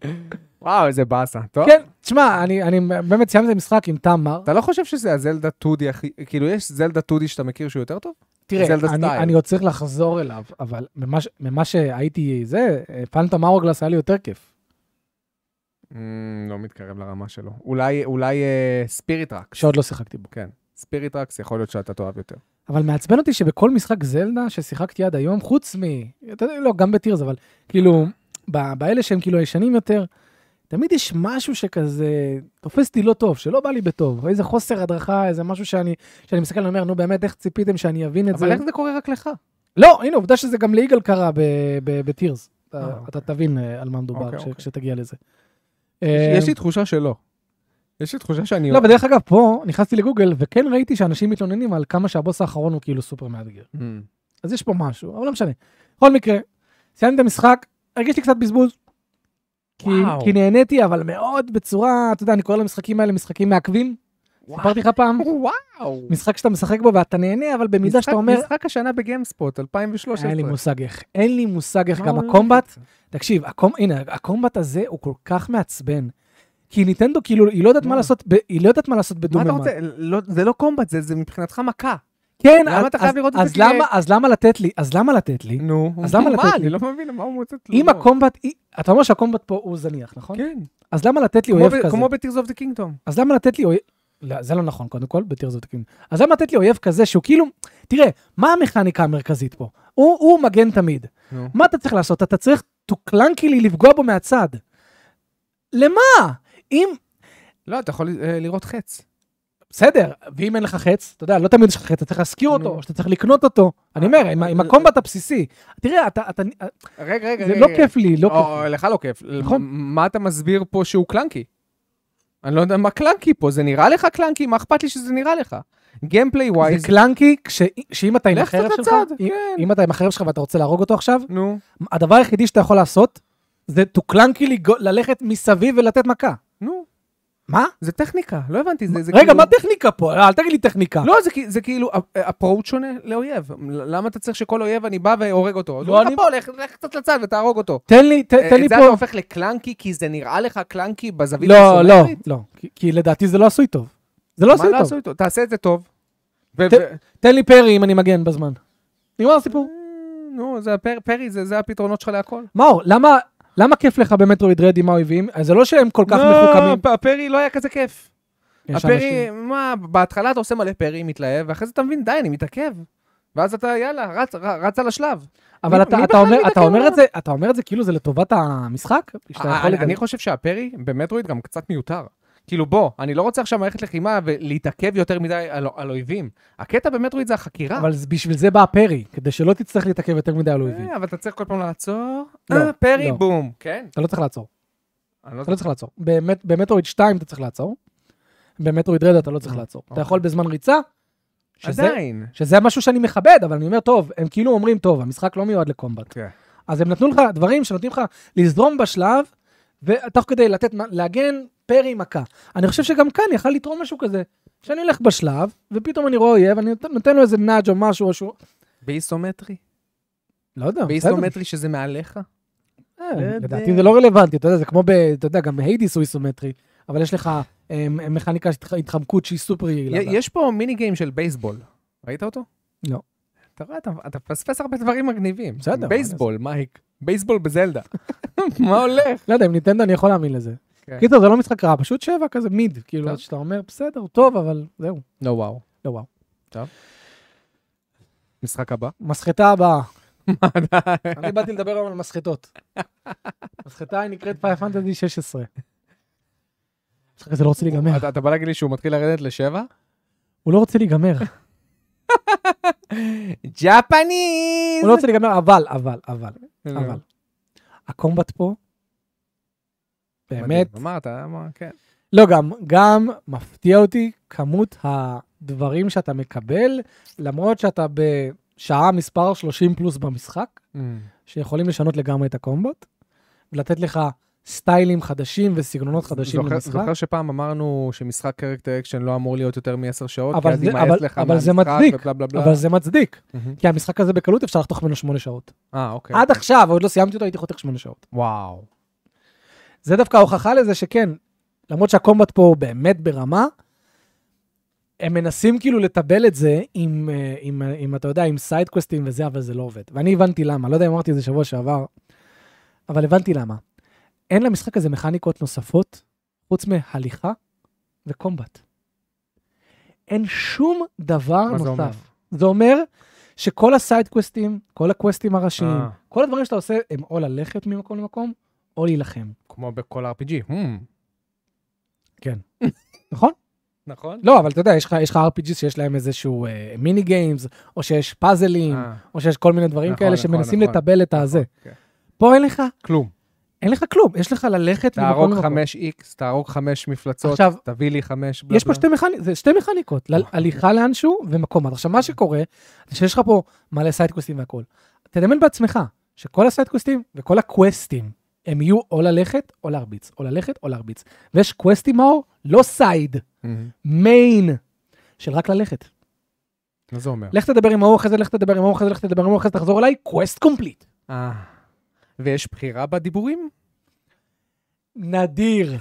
וואו, איזה באסה. טוב.
כן, תשמע, אני אני באמת סיימתי משחק עם טעם מר.
אתה לא חושב שזה הזלדה 2D הכי... כאילו, יש זלדה 2D שאתה מכיר שהוא יותר טוב?
תראה,
זלדה
אני-
סטייל.
אני עוד צריך לחזור אליו, אבל ממה ש- ממה שהייתי זה, פנטום אורגלס היה לי יותר כיף.
לא מתקרב לרמה שלו. אולי, אולי אה, ספיריט ראקס.
שעוד לא שיחקתי בו.
כן. ספיריט ראקס, יכול להיות שאתה תאהב יותר.
אבל מעצבן אותי שבכל משחק זלדה ששיחקתי עד היום, חוץ מ... אתה יודע, לא, גם בטירס, אבל כאילו, ב- באלה שהם כאילו הישנים יותר, תמיד יש משהו שכזה תופס אותי לא טוב, שלא בא לי בטוב, איזה חוסר הדרכה, איזה משהו שאני, שאני מסתכל ואומר, נו באמת, איך ציפיתם שאני אבין את
אבל
זה?
איך זה קורה רק לך?
לא, הנה, עובדה שזה גם ליגאל קרה ב- ב- בטירס. אתה-
אה,
אתה תבין אה, על מה מדובר
אוקיי,
כש-
אוקיי.
כשתגיע לזה.
יש
אה,
לי תחושה שלא. יש לי תחושה שאני...
לא, ודרך אגב, פה נכנסתי לגוגל וכן ראיתי שאנשים מתלוננים על כמה שהבוס האחרון הוא כאילו סופר מאתגר.
Mm.
אז יש פה משהו, אבל לא משנה. בכל מקרה, סיימתי את המשחק, הרגיש לי קצת בזבוז. כי,
וואו.
כי נהניתי, אבל מאוד בצורה, אתה יודע, אני קורא למשחקים האלה משחקים מעכבים. סיפרתי לך פעם,
וואו.
משחק שאתה משחק בו ואתה נהנה, אבל במידה שאתה
משחק-
אומר,
משחק השנה בגיימספוט, 2013.
אין לי מושג איך, אין לי מושג איך,
מה
גם
הולך
הקומבט,
איתך?
תקשיב, הקומ- הנה, הקומבט הזה הוא כל כך מעצבן. כי ניטנדו כאילו, היא לא יודעת
מה?
מה לעשות, ב- היא לא יודעת מה לעשות
מה אתה
בדו-ממד.
רוצה? לא- זה לא קומבט, זה- זה מבחינתך מכה.
כן,
למה
אז-
אתה חייב
אז-
לראות את זה לא.
אז
כאילו-
למה- אז למה לתת לי, אז למה לתת לי?
נו.
אז למה
מה?
לתת לי?
אני לא מבין מה הוא מוצא תלונות.
אם הקומבט, אתה אומר שהקומבט פה הוא זניח, נכון?
כן.
אז למה לתת לי
כמו
אויב
ב-
כזה?
כמו ב-Tears of the Kingdom.
אז למה לתת לי אויב... לא, זה לא נכון, קודם כל, בטיר זאת כאילו. אז למה לתת לי אויב כזה שהוא כאילו... תראה, מה המכניקה המרכזית פה? הוא, הוא מגן תמיד.
נו.
מה אתה צריך לעשות? אתה צריך to clunkily לפגוע בו מהצד. למה? אם...
לא, אתה יכול אה, לראות חץ.
בסדר, ואם אין לך חץ, אתה יודע, לא תמיד יש לך חץ, אתה צריך להשכיר אותו,
נו.
או שאתה צריך לקנות אותו. אני אומר, עם, ה- עם הקומבט הבסיסי. תראה, אתה... אתה
רגע, רגע,
זה
רגע.
לא
רגע.
כיף לי, לא
או,
כיף לי.
לך לא כיף.
נכון.
מה אתה מסביר פה שהוא קלנקי? אני לא יודע מה קלנקי פה, זה נראה לך קלנקי? מה אכפת לי שזה נראה לך? גיימפליי
זה
ווייז,
קלנקי, כש- שאם אתה עם
לך
החרב
קצת
שלך,
לצד,
אם-
כן.
אם אתה עם החרב שלך ואתה רוצה להרוג אותו עכשיו,
נו,
הדבר היחידי שאתה יכול לעשות, זה to קלנקי לגו- ללכת מסביב ולתת מכה.
נו,
מה?
זה טכניקה, לא הבנתי, זה זה
רגע,
כאילו...
מה טכניקה פה? אל תגיד לי טכניקה.
לא, זה, כי- זה כאילו אפרוט שונה לאויב. למה אתה צריך שכל אויב אני בא והורג אותו?
לא,
לא,
אני-
אני... פה, לך, לך קצת לצד ותהרוג אותו.
תן לי, ת-
אה,
תן לי
את זה
פה...
אתה הופך לקלנקי כי זה נראה לך קלנקי בזווית
לא, לא,
הסומטרית?
לא. כי- כי לדעתי זה לא עשוי טוב. זה לא עשוי
מה לא עשו
טוב.
איתו? תעשה את זה טוב. ו-
ת-
ו-
תן לי פרי אם אני מגן בזמן. נגמר הסיפור.
אה, נו, זה הפר- פרי, זה זה הפתרונות שלך להכל.
מאור, למה... למה כיף לך במטרויד רד עם האויבים? אז זה לא שהם כל כך
לא,
מחוכמים.
הפ- הפרי לא היה כזה כיף.
יש אנשים-
הפרי, מה, בהתחלה אתה עושה מלא פרי, מתלהב, ואחרי זה אתה מבין, די, אני מתעכב. ואז אתה, יאללה, רץ- ר- רץ על השלב.
אבל
מי-
אתה,
מי
אתה,
בכלל
אומר, אתה,
מתעכב
אומר
עליו?
את זה, אתה אומר את זה כאילו זה לטובת המשחק? שאתה
אה,
יכול
אני-
לגלות.
אני חושב שהפרי במטרואיד גם קצת מיותר. כאילו בוא, אני לא רוצה עכשיו מערכת לחימה ולהתעכב יותר מדי על, על אויבים. הקטע במטרואיד זה החקירה.
אבל זה- בשביל זה בא הפרי, כדי שלא תצטרך להתעכב יותר מדי על אויבים.
אה, אבל אתה צריך כל פעם לעצור.
לא,
אה, פרי,
לא.
בום. כן?
אתה לא צריך לעצור.
אני לא
אתה לא צריך לעצור. באמת- במטרויד 2 אתה צריך לעצור. במטרויד רד אתה לא צריך
אה,
לעצור. אתה
אוקיי.
יכול בזמן ריצה, שזה-
עדיין.
שזה משהו שאני מכבד, אבל אני אומר, טוב, הם כאילו אומרים, טוב, המשחק לא מיועד לקומבט.
כן.
אז הם נתנו לך דברים שנותנים לך לזרום בשלב, ותוך כדי לתת, מה- להגן פרי מכה. אני חושב שגם כאן יכל לתרום משהו כזה, שאני הולך בשלב, ופתאום אני רואה אויב, אני נותן- נותן לו איזה נאג' או משהו, או שהוא...
באיסומטרי?
לא יודע, בסדר.
באיסומטרי שזה מעליך? לא
אה,
יודע.
לדעתי זה לא רלוונטי, אתה יודע, זה כמו, ב, אתה יודע, גם היידיס הוא איסומטרי, אבל יש לך אה, מכניקה של התחמקות שהיא סופר יעילה.
י- יש פה מיני גיים של בייסבול. ראית אותו?
לא.
אתה רואה, אתה- אתה מפספס הרבה דברים מגניבים.
בסדר, מה
בייסבול, מייק. בייסבול בזלדה. מה הולך?
לא יודע, עם ניטנדו אני יכול להאמין לזה.
כן.
קיצר, זה לא משחק רע, פשוט שבע כזה מיד, כאילו,
טוב.
שאתה אומר, בסדר, טוב, אבל זהו,
לא וואו.
לא וואו.
משחק הבא.
מסחטה הבאה. אני באתי לדבר היום על מסחטות. מסחטה היא נקראת פייל פנטזי 16. המשחק הזה לא רוצה להיגמר,
אתה- אתה בא להגיד לי שהוא מתחיל לרדת לשבע?
הוא לא רוצה להיגמר,
ג'פניז!
הוא לא רוצה להיגמר, אבל, אבל, אבל,
כן.
אבל. הקומבט פה, באמת,
אמרת, אמרת, כן.
לא, גם, גם מפתיע אותי כמות הדברים שאתה מקבל, למרות שאתה בשעה מספר 30 פלוס במשחק, שיכולים לשנות לגמרי את הקומבוט, ולתת לך סטיילים חדשים וסגנונות חדשים
זוכר-
למשחק.
זוכר שפעם אמרנו שמשחק קרקטר אקשן לא אמור להיות יותר מ-10 שעות,
אבל
כי אז
זה-
יימאס
אבל-
לך
אבל זה
מהמשחק
מצדיק,
ובלה בלה בלה.
אבל זה מצדיק,
מהמם.
כי המשחק הזה בקלות אפשר לחתוך ממנו 8 שעות.
אה, אוקיי.
עד עכשיו, עוד לא סיימתי אותו, הייתי חותך 8 שעות.
וואו.
זה דווקא ההוכחה לזה שכן, למרות שהקומבט פה הוא באמת ברמה, הם מנסים כאילו לטבל את זה עם, אה, עם, אה, עם אתה יודע, עם סיידקווסטים וזה, אבל זה לא עובד. ואני הבנתי למה, לא יודע אם אמרתי את זה שבוע שעבר, אבל הבנתי למה. אין למשחק הזה מכניקות נוספות, חוץ מהליכה וקומבט. אין שום דבר
מה
נוסף.
זה אומר? אה.
זה אומר שכל הסיידקווסטים, כל הקווסטים הראשיים,
אה.
כל הדברים שאתה עושה הם או ללכת ממקום למקום, או להילחם.
כמו בכל RPG. Hmm.
נכון?
נכון?
לא, אבל אתה יודע, יש לך, יש לך RPG שיש להם איזשהו אה, מיני גיימס, או שיש פאזלים,
אה,
או שיש כל מיני דברים
נכון,
כאלה
נכון,
שמנסים
נכון.
לטבל את הזה.
אוקיי.
פה אין לך,
כלום.
אין לך כלום, יש לך ללכת
תהרוג
ממקום למקום.
5x, תהרוג 5 מפלצות,
עכשיו,
תביא לי 5 בלה
יש פה
בלה.
שתי, מכני... זה שתי מכניקות, ל...
נכון.
הליכה לאנשהו ומקום. אז עכשיו, מה שקורה, זה שיש לך פה מלא סיידקווסטים והכול. תדמיין בעצמך שכל הסיידקווסטים וכל הקווסטים, הם יהיו או ללכת או להרביץ, או ללכת או להרביץ. ויש קווסטים מאור, לא סייד,
מהמם.
מיין, של רק ללכת.
מה זה אומר?
לך תדבר עם ההוא אחרי זה, לך תדבר עם ההוא אחרי זה, לך תדבר עם ההוא אחרי זה, תחזור אליי, קווסט קומפליט.
אה. ויש בחירה בדיבורים?
נדיר,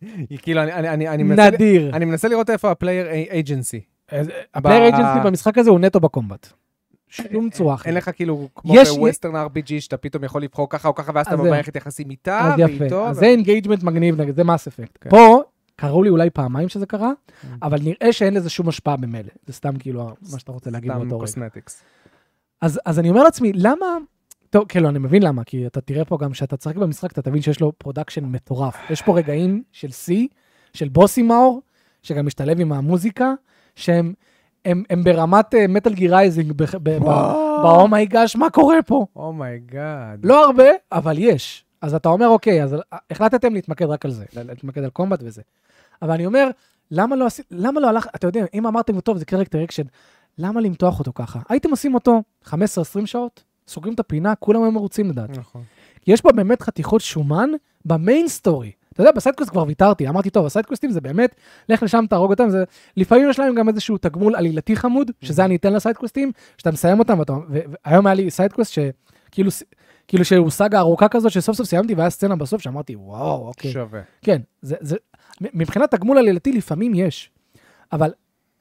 היא כאילו, אני- אני- אני- אני מנסה-
נדיר.
אני מנסה לראות איפה הפלייר אייג'נסי.
הפלייר
ב- אה,
אייג'נסי במשחק הזה הוא נטו בקומבט. שום צורה אחרת.
אין לך כאילו, כמו
יש-
בווסטרן RPG, שאתה פתאום יכול לבחור ככה או ככה, ואז אתה
אז זהו.
במערכת יחסים איתה,
אז
אה, ואיתו.
יפה, אז
ו-
זה אינגייג'מנט מגניב, נגיד, זה מס אפקט.
כן.
פה, קראו לי אולי פעמיים שזה קרה,
Mm.
אבל נראה שאין לזה שום השפעה במילא. זה סתם כאילו מה שאתה רוצה להגיד
סתם
באותו רגע.
קוסמטיקס.
אז, אז אני אומר לעצמי, למה... טוב, כאילו, אני מבין למה, כי אתה תראה פה גם שאתה תשחק במשחק, אתה תבין שיש לו פרודקשן מטורף. יש פה רגעים של שיא, של בוסי מאור, שגם משתלב עם המוזיקה, שהם הם, הם ברמת אה, מטאל גירייזינג, באומייגאש, Oh מה קורה פה?
Oh אומייגאד.
לא הרבה, אבל יש. אז אתה אומר, אוקיי, אז החלטתם להתמקד רק על זה, להתמקד על קומבט וזה. אבל אני אומר, למה לא, עשי- למה לא הלך, אתה יודע, אם אמרתם, טוב, זה קרקטר אקשן, למה למתוח אותו ככה? הייתם עושים אותו 15-20 שעות, סוגרים את הפינה, כולם היו מרוצים לדעתי.
נכון.
יש בה באמת חתיכות שומן במיין סטורי. אתה יודע, בסיידקווסט כבר ויתרתי, אמרתי, טוב, הסיידקווסטים זה באמת, לך לשם, תהרוג אותם, זה... לפעמים יש להם גם איזשהו תגמול עלילתי חמוד, שזה אני אתן לסיידקווסטים, שאתה מסיים אותם, ואתה... ו- והיום היה לי סיידקווסט שכאילו, ס- כאילו שהוא סאגה ארוכה כזאת, שסוף סוף סיימתי, והיה סצנה בסוף שאמרתי, וואו, אוקיי.
שווה.
כן, זה, זה, מ- מבחינת תגמול עלילתי לפעמים יש, אבל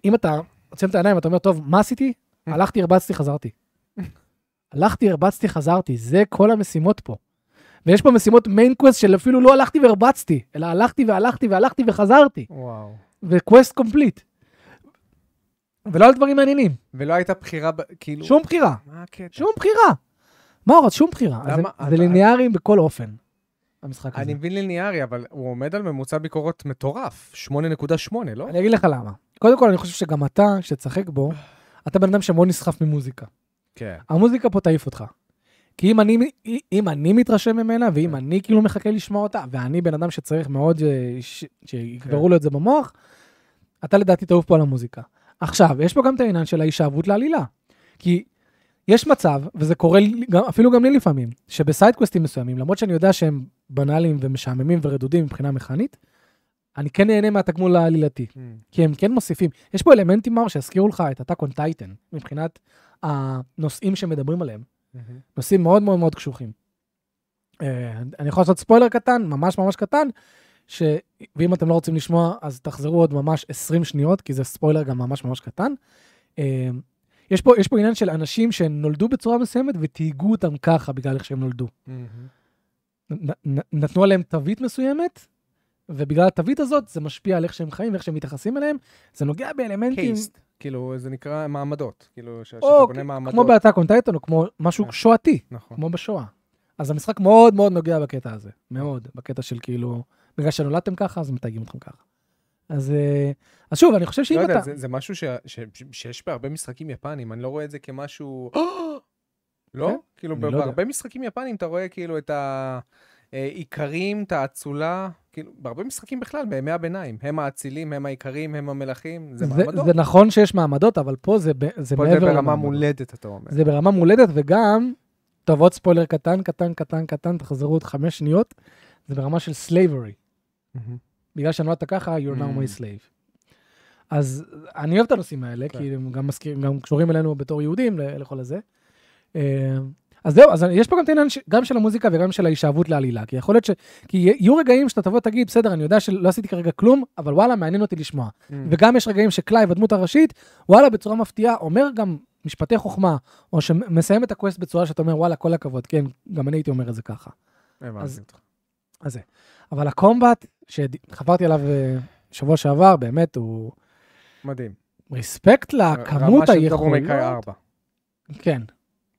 אם אתה עוצם את העיניים, אתה אומר, טוב, מה עשיתי?
אה.
הלכתי, הרבצתי, חזרתי. הלכתי, הרבצתי, חזרתי, זה כל המשימות פה. ויש פה משימות מיין קווסט של אפילו לא הלכתי והרבצתי, אלא הלכתי והלכתי והלכתי וחזרתי,
וואו.
וקווסט קומפליט. ולא על דברים מעניינים,
ולא הייתה בחירה, ב- כאילו...
שום בחירה,
מה הקטע?
שום בחירה. מה עוד, שום בחירה. אז
למה-
זה, זה
אתה-
ליניארי בכל אופן, המשחק הזה.
אני מבין ליניארי, אבל הוא עומד על ממוצע ביקורות מטורף. 8.8, לא?
אני אגיד לך למה. קודם כל, אני חושב שגם אתה, שתשחק בו, אתה בן אדם שמאוד נסחף ממוזיקה.
כן.
המוזיקה פה תעיף אותך. כי אם אני, אם אני מתרשם ממנה, ואם
כן.
אני כאילו מחכה לשמוע אותה, ואני בן אדם שצריך מאוד אה, ש- שיקברו
כן.
לו את זה במוח, אתה לדעתי תעוף פה על המוזיקה. עכשיו, יש פה גם את העניין של ההישאבות לעלילה. כי יש מצב, וזה קורה לי גם, אפילו גם לי לפעמים, שבסיידקווסטים מסוימים, למרות שאני יודע שהם בנאליים ומשעממים ורדודים מבחינה מכנית, אני כן נהנה מהתגמול העלילתי. כי הם כן מוסיפים. יש פה אלמנטים, מאור, שיזכירו לך את הטאק און טייטן, מבחינת הנושאים שמדברים עליהם. נושאים מאוד מאוד מאוד קשוחים. אה, אני יכול לעשות ספוילר קטן, ממש ממש קטן, ש... ואם אתם לא רוצים לשמוע, אז תחזרו עוד ממש 20 שניות, כי זה ספוילר גם ממש ממש קטן. אה, יש פה, יש פה עניין של אנשים שנולדו בצורה מסוימת ותהיגו אותם ככה בגלל איך שהם נולדו. Mm-hmm. נ- נ- נתנו עליהם תווית מסוימת, ובגלל התווית הזאת זה משפיע על איך שהם חיים ואיך שהם מתייחסים אליהם. זה נוגע באלמנטים...
קייסט. כאילו, זה נקרא מעמדות. כאילו, ש- שאתה
או,
קונה מעמדות.
Mm-hmm. אוקיי, כמו באתק און טייטן, או כמו משהו
כן.
שואתי,
נכון.
כמו בשואה. אז המשחק מאוד מאוד נוגע בקטע הזה, מאוד, בקטע של כאילו, בגלל שנולדתם ככה, אז מתייגים אתכם ככה. אז, אה, אז שוב, אני חושב שאם
לא
אתה...
יודע, זה- זה משהו ש- ש- ש- שיש בהרבה משחקים יפנים, אני לא רואה את זה כמשהו... לא?
כן?
כאילו,
אני לא יודע.
בהרבה משחקים יפנים אתה רואה כאילו את האיכרים, את האצולה, כאילו, בהרבה משחקים בכלל, בימי הביניים. הם האצילים, הם האיכרים, הם המלכים, זה מעמדות.
זה נכון שיש מעמדות, אבל פה זה, ב- זה
פה
מעבר
זה ברמה
למעמדות.
מולדת, אתה אומר.
זה ברמה מולדת, וגם, טוב, עוד ספוילר קטן, קטן, קטן, קטן, תחזרו עוד חמש שניות, זה ברמה של slavery. Mm-hmm.
מהמם.
בגלל שנולדת ככה, you're now
Mm.
my slave. אז אני אוהב את הנושאים האלה,
כן.
כי הם גם, מזכירים, גם קשורים אלינו בתור יהודים ל- לכל הזה. אה, אז זהו, אז יש פה גם את העניין ש- גם של המוזיקה וגם של ההישאבות לעלילה, כי יכול להיות ש... כי יהיו רגעים שאתה תבוא תגיד, בסדר, אני יודע שלא עשיתי כרגע כלום, אבל וואלה, מעניין אותי לשמוע.
מהמם.
וגם יש רגעים שקלייב, הדמות הראשית, וואלה, בצורה מפתיעה, אומר גם משפטי חוכמה, או שמסיים את הקווסט בצורה שאתה אומר, וואלה, כל הכבוד, כן, גם אני הייתי אומר את זה ככה.
הבנתי
אז-
אותך.
אז זה. אבל הקומבט, שחברתי עליו אה, שבוע שעבר, באמת, הוא
מדהים.
רספקט לכמות
רמה של דרום
היכולות.
4,
כן,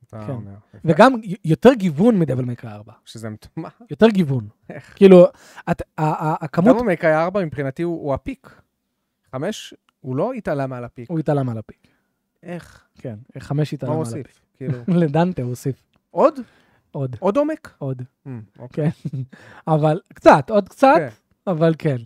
אתה
כן.
אומר.
וגם י- יותר גיוון מדבל מייקר 4.
שזה מת- מה?
יותר גיוון. כאילו, את- ה- ה- הכמות,
דרום מקאי 4 מבחינתי הוא הוא הפיק. חמש, הוא לא התעלה מעל הפיק.
הוא התעלם על הפיק.
איך?
כן, חמש
מה
התעלם
הוא
על הפיק.
הוסיף? כאילו,
לדנטה הוא הוסיף
עוד?
עוד,
עוד עומק?
עוד. כן.
אמ, אוקיי.
אבל קצת, עוד קצת,
כן.
אבל כן.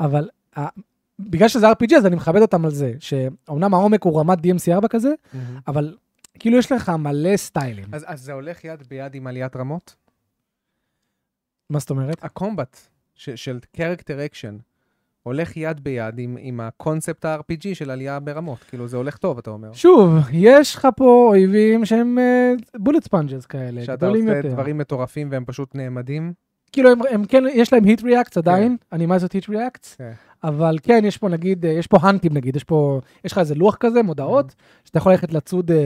אבל ה- בגלל שזה RPG, אז אני מכבד אותם על זה, שאומנם העומק הוא רמת DMC 4 כזה,
Mm-hmm.
אבל כאילו יש לך מלא סטיילים.
אז אז זה הולך יד ביד עם עליית רמות?
מה זאת אומרת?
הקומבט ש- של קרקטר אקשן הולך יד ביד עם- עם הקונספט ה-RPG של עלייה ברמות. כאילו, זה הולך טוב, אתה אומר.
שוב, יש לך פה אויבים שהם בולט ספונג'ס כאלה,
שאתה
גדולים
עושה
יותר.
דברים מטורפים והם פשוט נעמדים.
כאילו הם, הם כן, יש להם היט ריאקט עדיין, אנימציות היט ריאקט,
כן.
אבל כן, יש פה נגיד, אה, יש פה האנטים נגיד, יש פה, יש לך איזה לוח כזה, מודעות, שאתה יכול ללכת לצוד אה,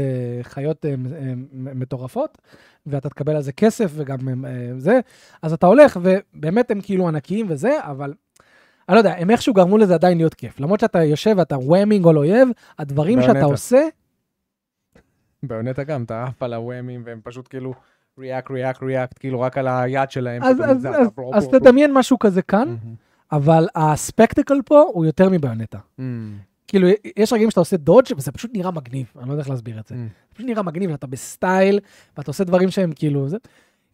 חיות אה, מ- אה, מ- מטורפות, ואתה תקבל על זה כסף וגם אה, זה, אז אתה הולך, ובאמת הם כאילו ענקיים וזה, אבל... אני לא יודע, הם איכשהו גרמו לזה עדיין להיות כיף. למרות שאתה יושב ואתה וואמינג על אויב, הדברים שאתה
ביונטה.
עושה,
ביונטה גם, אתה עף על הוואמים והם פשוט כאילו ריאק, ריאק, ריאק, כאילו רק על היד שלהם.
אז,
פתאום
אז,
זה,
אז,
אתה בור,
אז
בור, בור.
תדמיין משהו כזה כאן,
מהמם.
אבל הספקטקל פה הוא יותר מביונטה.
מהמם.
כאילו, יש רגעים שאתה עושה דודג' וזה פשוט נראה מגניב, אני לא יודע איך להסביר את זה.
מהמם.
זה פשוט נראה מגניב, אתה בסטייל, ואתה עושה דברים שהם כאילו... זה...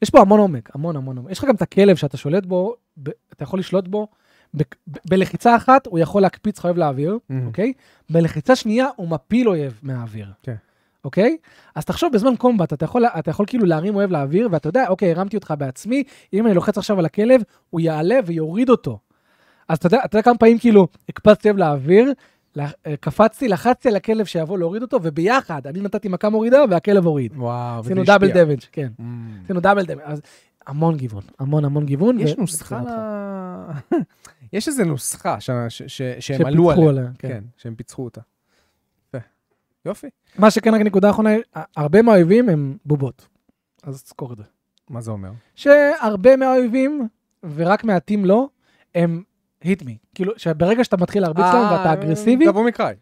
יש פה המון עומק, המון המון עומק. יש לך גם את הכלב שאתה שולט בו, ב... אתה יכול לשלוט בו בק- ב- בלחיצה אחת הוא יכול להקפיץ חייב לאוויר,
Mhm.
אוקיי? בלחיצה שנייה הוא מפיל אויב מהאוויר.
כן.
אוקיי? אז תחשוב, בזמן קומבט אתה יכול, אתה יכול כאילו להרים אוהב לאוויר, ואתה יודע, אוקיי, הרמתי אותך בעצמי, אם אני לוחץ עכשיו על הכלב, הוא יעלה ויוריד אותו. אז אתה יודע, אתה יודע כמה פעמים כאילו הקפצתי אוהב לאוויר, לח- אה, קפצתי, לחצתי על הכלב שיבוא להוריד אותו, וביחד, אני נתתי מכה מורידה והכלב הוריד.
וואו, וזה
עשינו
השפיע.
דאבל דמג', כן.
Mm.
עשינו דאבל דמג', אז המון גיוון, המון המון גיוון.
יש
ו-
נוסחה ל...
אותך.
כן, יש איזו נוסחה ש- ש- ש- שהם עלו
שפיצחו
עליה.
עליה, כן.
כן, שהם פיצחו אותה. יפה. יופי.
מה שכן, רק נקודה אחרונה, הרבה מהאויבים הם בובות. אז תזכור את זה.
מה זה אומר?
שהרבה מהאויבים, ורק מעטים לא, הם hit me. כאילו, שברגע שאתה מתחיל להרביץ להם ואתה
אה,
אגרסיבי,
דבור מקראי.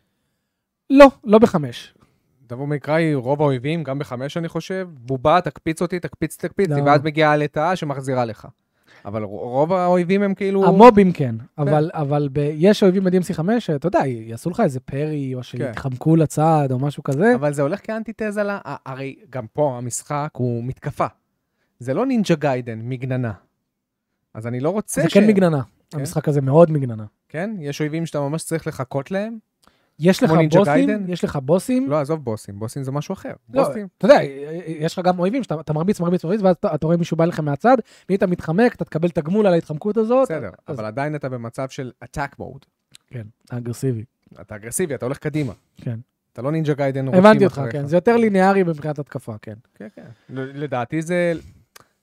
לא, לא בחמש.
דבור מקראי, רוב האויבים, גם בחמש אני חושב, בובה, תקפיץ אותי, תקפיץ, תקפיץ,
לא.
ואז מגיעה הלטאה שמחזירה לך. אבל ר- רוב האויבים הם כאילו...
המובים כן, אבל, אבל ב... יש אויבים ב-DMC5 שאתה יודע, יעשו לך איזה פרי, או שיתחמקו לצד, או משהו כזה.
כן. אבל זה הולך כאנטיתזה ל... ה- הרי גם פה המשחק הוא מתקפה. זה לא נינג'ה גיידן, מגננה. אז אני לא רוצה
זה
ש...
כן מגננה. המשחק הזה מאוד מגננה.
כן? יש אויבים שאתה ממש צריך לחכות להם?
יש לך
כמו נינג'ה
בוסים,
גיידן?
יש לך בוסים,
לא, עזוב בוסים, בוסים זה משהו אחר.
לא,
בוסים.
אתה יודע, יש לך גם אויבים שאתה אתה מרביץ, מרביץ, מרביץ, ואז אתה אתה רואה מישהו בא לך מהצד, ואם אתה מתחמק, אתה תקבל תגמול על ההתחמקות הזאת.
בסדר,
אז-
אבל עדיין אתה במצב של attack mode.
כן, אתה אגרסיבי.
אתה אגרסיבי, אתה הולך קדימה.
כן.
אתה לא נינג'ה גיידן, רודפים
הבנתי אותך,
אחריך.
כן, זה יותר ליניארי מבחינת התקפה, כן.
כן, כן. ל- לדעתי זה...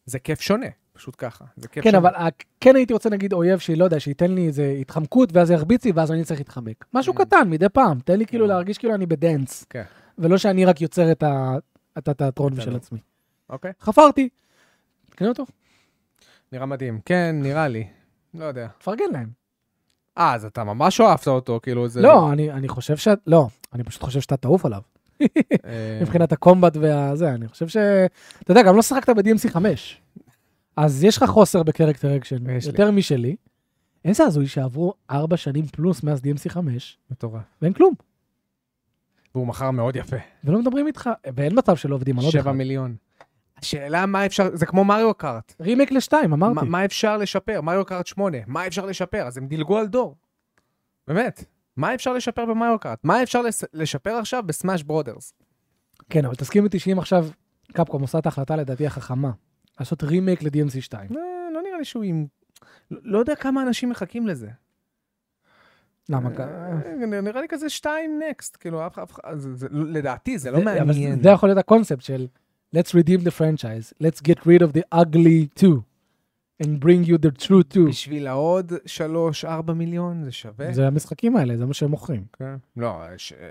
זה כיף שונה, פשוט ככה. זה כיף
כן,
שונה.
אבל ה- כן הייתי רוצה נגיד אויב שהיא, לא יודע, שייתן לי איזה התחמקות, ואז ירביץ לי, ואז אני צריך להתחמק. משהו
Mm.
קטן, מדי פעם. תן לי כאילו
Mm.
להרגיש כאילו אני בדנס.
כן.
ולא שאני רק יוצר את ה- את התיאטרון
אתה
של
לא.
עצמי.
אוקיי,
חפרתי. כן, תקנה אותו,
נראה מדהים. כן, נראה לי. לא יודע.
תפרגן להם.
אה, אז אתה ממש אהבת אותו, כאילו זה...
לא, אני- אני חושב ש... לא, אני פשוט חושב שאתה תעוף עליו.
אה,
כן. מבחינת הקומבט והזה, אני חושב ש... אתה יודע, גם לא שיחקת ב-DMC 5. אז יש לך חוסר בקרקטר אקשן,
יש לי.
יותר משלי. איזה הזוי שעברו ארבע שנים פלוס מאז DMC 5,
מטורף.
ואין כלום.
והוא מכר מאוד יפה.
ולא מדברים איתך, ואין מצב שלא עובדים לא על עוד
שבע
אחד.
מיליון. השאלה מה אפשר, זה כמו מריו קארט.
רימייק לשתיים, אמרתי.
מה- מה אפשר לשפר? מריו קארט 8, מה אפשר לשפר? אז הם דילגו על דור. באמת. מה אפשר לשפר במריו קארט? מה אפשר לס- לשפר עכשיו בסמאש ברודרס?
כן, אבל תסכים איתי שאם עכשיו קפקום עושה את ההחלטה לדעתי החכמה, לעשות רימייק ל-DMC 2.
לא, לא נראה לי שהוא עם... לא לא יודע כמה אנשים מחכים לזה.
למה? כ-
אה, נראה לי כזה 2 נקסט, כאילו אף אחד, אף אחד- זה- זה- לדעתי זה לא
זה- אבל
מעניין.
זה יכול להיות הקונספט של let's redeem the franchise, let's get rid of the ugly 2, and bring you the true 2.
בשביל העוד 3-4 מיליון זה שווה?
זה המשחקים האלה, זה מה שהם מוכרים.
כן. לא, יש, אה,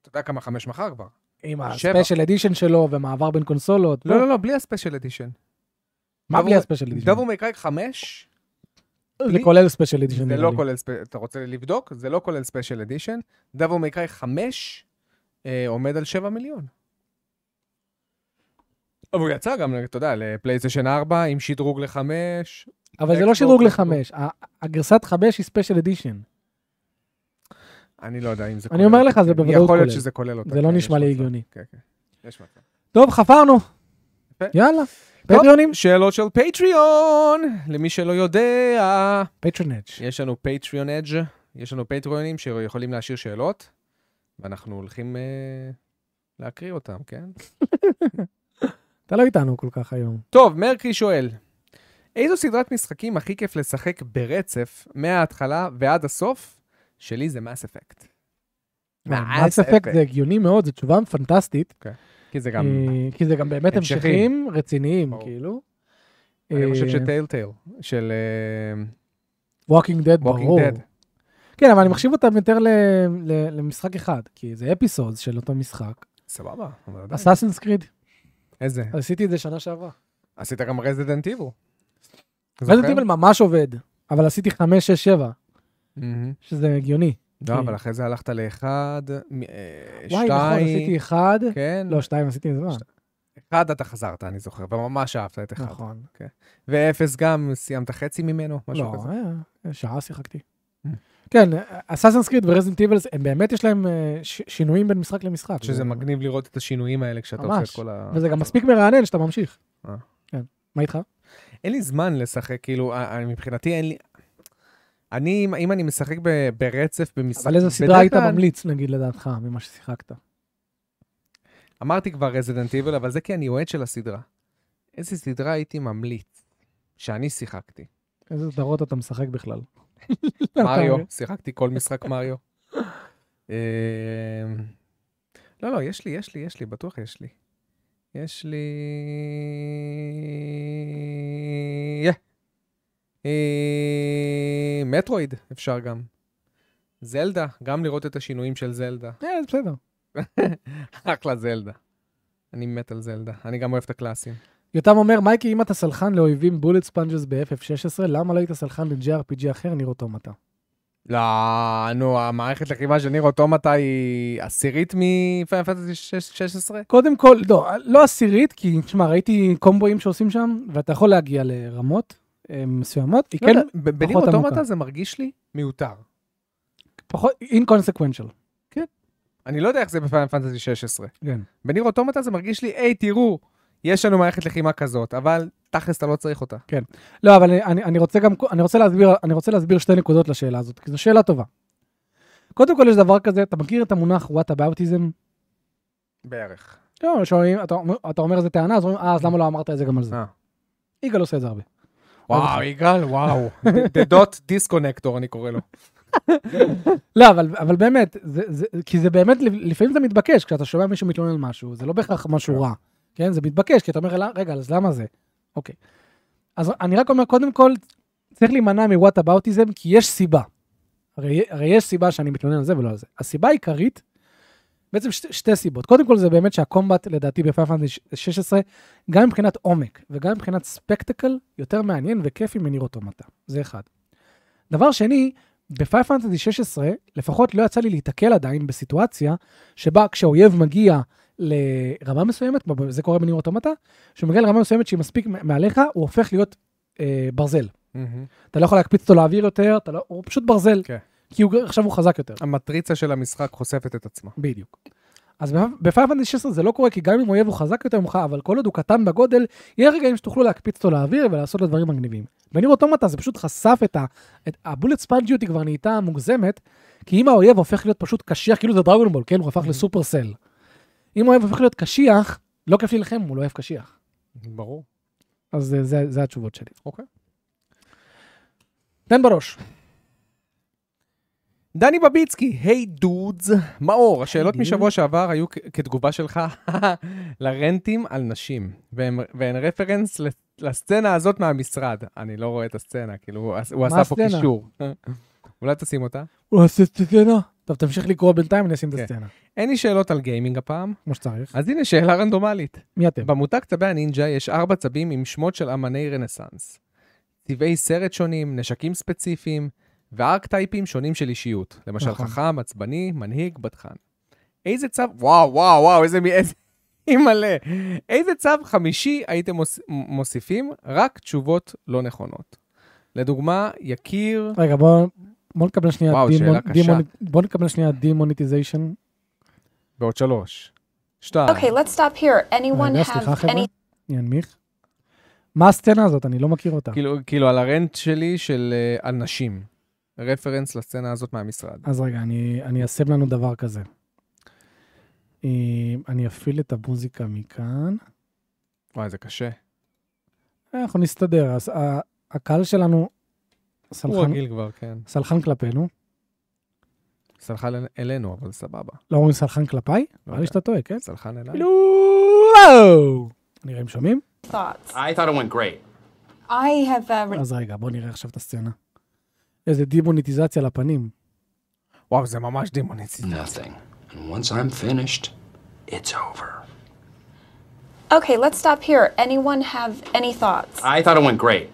אתה יודע כמה חמש מחר כבר.
עם
שבע.
הספיישל אדישן שלו ומעבר בין קונסולות.
לא, לא, לא, בלי הספיישל אדישן.
מה
דבור-
בלי הספיישל אדישן?
דבור מקראי 5,
זה כולל ספיישל אדישן.
זה לא כולל, ספ- אתה רוצה לבדוק? זה לא כולל ספיישל אדישן. דבור מקראי 5 אה, עומד על 7 מיליון. אבל הוא יצא גם, אתה יודע, לפלייסטיישן 4 עם שדרוג ל-5.
אבל זה לא
Xbox,
שדרוג
Xbox.
לחמש. ה- הגרסת חמש היא ספיישל אדישן.
אני לא יודע אם זה
אני אומר לך,
אותה,
זה
כן.
בוודאות
יכול להיות
כולל.
שזה כולל אותה.
זה לא
כן,
נשמע
יש
לי
מצב.
הגיוני.
כן, כן. יש מצב.
טוב, חפרנו.
יפה.
יאללה.
טוב.
פטריונים?
שאלות של פטריון, למי שלא יודע.
פטריונג'.
יש לנו פטריון אדג', יש לנו פטריונים שיכולים להשאיר שאלות, ואנחנו הולכים אה, להקריא אותם, כן?
אתה לא איתנו כל כך היום.
טוב, מרקרי שואל, איזו סדרת משחקים הכי כיף לשחק ברצף מההתחלה ועד הסוף? שלי זה מס אפקט. אה,
מס אפקט זה הגיוני מאוד, זו תשובה פנטסטית.
כי זה גם,
אה, כי זה גם באמת
המשכים.
המשכים רציניים,
ברור.
כאילו.
אני חושב
אה,
שטייל טייל של אה,
Walking Dead, ברור.
ווקינג דד.
כן, אבל אני מחשיב אותם יותר ל- ל- למשחק אחד, כי זה אפיסודס של אותו משחק.
סבבה, אבל עדיין.
אסאסינס קריד,
איזה?
עשיתי את זה שנה שעברה.
עשית גם רזידנט איבו.
רזנט איבל ממש עובד, אבל עשיתי 5, 6, 7, שזה הגיוני.
לא, אבל אחרי זה הלכת לאחד, מ- אה,
אה. וואי, נכון,
שתיים,
עשיתי 1,
כן.
לא, 2 עשיתי מזמן.
אחד אתה חזרת, אני זוכר, וממש אהבת את אחד.
נכון.
ואפס גם, סיימת חצי ממנו, משהו
לא,
כזה.
אה, שעה שיחקתי.
Mm.
כן, אסאסינס קריד ורזנט איבלס, הם באמת יש להם אה, ש- שינויים בין משחק למשחק.
שזה מגניב לראות את השינויים האלה כשאתה עושה את
ממש,
כל ה...
וזה גם מספיק מרענן שאתה ממשיך.
אה.
כן. מה איתך?
אין לי זמן לשחק, כאילו, אה, אה, מבחינתי אין לי... אני, אם- אם אני משחק ב- ברצף במשחק...
אבל איזו סדרה
בדרך
היית
כלל-
ממליץ, נגיד, לדעתך, ממה ששיחקת?
אמרתי כבר רזידנט איבל, אבל זה כי אני אוהד של הסדרה. איזה סדרה הייתי ממליץ שאני שיחקתי?
איזה סדרות אתה משחק בכלל?
מריו,
אתה-
שיחקתי כל משחק מריו. אמ, לא, לא, יש לי, יש לי, יש לי, בטוח יש לי. יש לי... יה. אה, מטרואיד אפשר גם. זלדה, גם לראות את השינויים של זלדה.
אה, זה בסדר.
אחלה זלדה. אני מת על זלדה, אני גם אוהב את הקלאסים.
יותם אומר, מייקי, אם אתה סלחן לאויבים בולט ספונג'ס ב-FF16, למה לא היית סלחן ל-JRPG אחר, ניר אוטומטה?
לא, נו, המערכת לחימה של ניר אוטומטה היא עשירית מפיינל פנטסי 16?
קודם כל, לא, לא עשירית, כי, תשמע, ראיתי קומבואים שעושים שם, ואתה יכול להגיע לרמות אה, מסוימות. היא
כן,
כן
בניר
פחות
אוטומטה
עמוקה.
זה מרגיש לי מיותר.
פחות אינקונסקוונשל.
אני לא יודע איך זה בפיינל פנטסי 16.
כן.
בניר אוטומטה זה מרגיש לי, היי, תראו, יש לנו מערכת לחימה כזאת, אבל תכלס אתה לא צריך אותה.
לא, אבל אני, אני רוצה גם, אני רוצה, להסביר, אני רוצה להסביר שתי נקודות לשאלה הזאת, כי זו שאלה טובה. קודם כל, יש דבר כזה, אתה מכיר את המונח what aboutism?
בערך.
לא, שואלים, אתה, אומר- אתה אומר איזה טענה, אז אומרים, אה, אז למה לא אמרת את זה גם על זה?
אה. לא
יגאל עושה את זה הרבה.
וואו, יגאל, וואו. The dot disconnector, אני קורא לו.
לא, אבל, אבל באמת, זה, זה, כי זה באמת, לפעמים זה מתבקש, כשאתה שומע מישהו מתלונן על משהו, זה לא בהכרח משהו רע, כן? זה מתבקש, כי אתה אומר, "אלא, רגע, אז למה זה? אוקיי. אז אני רק אומר, קודם כל, צריך להימנע מ-what aboutism, כי יש סיבה. הרי, הרי יש סיבה שאני מתלונן על זה ולא על זה. הסיבה העיקרית, בעצם שתי, שתי סיבות. קודם כל, זה באמת שהקומבט, לדעתי, ב-516, גם מבחינת עומק וגם מבחינת ספקטקל, יותר מעניין וכיפי מניר אוטומטה. זה אחד. דבר שני, בפייל פנטסי 16, לפחות לא יצא לי להיתקל עדיין בסיטואציה שבה כשאויב מגיע לרמה מסוימת, זה קורה בניר אוטומטה, כשהוא מגיע לרמה מסוימת שהיא מספיק מעליך, הוא הופך להיות אה, ברזל.
מהמם.
אתה לא יכול להקפיץ אותו לאוויר יותר, אתה לא, הוא פשוט ברזל,
כן.
כי הוא, עכשיו הוא חזק יותר.
המטריצה של המשחק חושפת את עצמה.
בדיוק. אז בפייל פנטסי 16 זה לא קורה, כי גם אם אויב הוא חזק יותר ממך, אבל כל עוד הוא קטן בגודל, יהיה רגעים שתוכלו להקפיץ אותו לאוויר ולעשות לו דברים מגניבים. בניר אוטומטה זה פשוט חשף את ה... את הבולט ספנג'יות היא כבר נהייתה מוגזמת, כי אם האויב הופך להיות פשוט קשיח, כאילו זה דרגונבול, כן? הוא הפך
Mhm.
לסופרסל. אם האויב הופך להיות קשיח, לא כיף להילחם, הוא לא אוהב קשיח.
ברור.
אז זה, זה, זה התשובות שלי.
אוקיי.
תן בראש.
דני בביצקי, היי דודס, מאור, השאלות
היי, דודס.
משבוע שעבר היו כ- כתגובה שלך לרנטים על נשים, והן והן רפרנס לס- לסצנה הזאת מהמשרד. אני לא רואה את הסצנה, כאילו, הוא עש- הוא
מה
עשה פה
הסצנה?
קישור. אולי תשים אותה?
הוא עושה את הסצנה. טוב, תמשיך לקרוא בינתיים, אני אשים את
כן.
הסצנה.
אין לי שאלות על גיימינג הפעם,
כמו שצריך.
אז הנה שאלה רנדומלית.
מי אתם?
במותג צבי הנינג'ה יש ארבע צבים עם שמות של אמני רנסאנס. צבעי סרט שונים, נשקים ספציפיים, וארקטייפים שונים של אישיות. למשל
נכון.
חכם, עצבני, מנהיג, בטחן. איזה צו... וואו, וואו, וואו, איזה... מ- איזה... אימא'לה. איזה צו חמישי הייתם מוס... מ- מוסיפים? רק תשובות לא נכונות. לדוגמה, יקיר...
רגע, בוא... בוא נקבל שנייה
וואו,
demon-
שאלה קשה.
demon- בוא נקבל שנייה דימוניטיזיישן.
ועוד שלוש. שתיים.
Okay, let's stop here. Anyone
רגע, אה, סליחה
have
חבר'ה,
any
אני אנמיך. מה הסצנה הזאת? אני לא מכיר אותה.
כאילו, כאילו, על הרנט שלי של... אה, על נשים. רפרנס לסצנה הזאת מהמשרד.
אז רגע, אני, אני אסב לנו דבר כזה. אה, אני אפעיל את המוזיקה מכאן.
וואי, זה קשה.
אה, אנחנו נסתדר. אז ה- הקהל שלנו
הוא
סלחן,
רגיל כבר, כן.
סלחן כלפינו.
סלחן אל- אלינו, אבל סבבה.
לא אומרים סלחן כלפיי?
לא
נראה לי
יודע. לא.
שאתה טועה, כן?
סלחן אליי.
כאילו... וואו! נראה אם שומעים.
thoughts?
I thought it went great.
I have uh, written
אז רגע, בוא נראה עכשיו את הסצנה. איזה דימוניטיזציה לפנים.
וואו, זה ממש דימוניצי.
Nothing. And once I'm finished, it's over.
Okay, let's stop here. Anyone have any thoughts?
I thought it went great.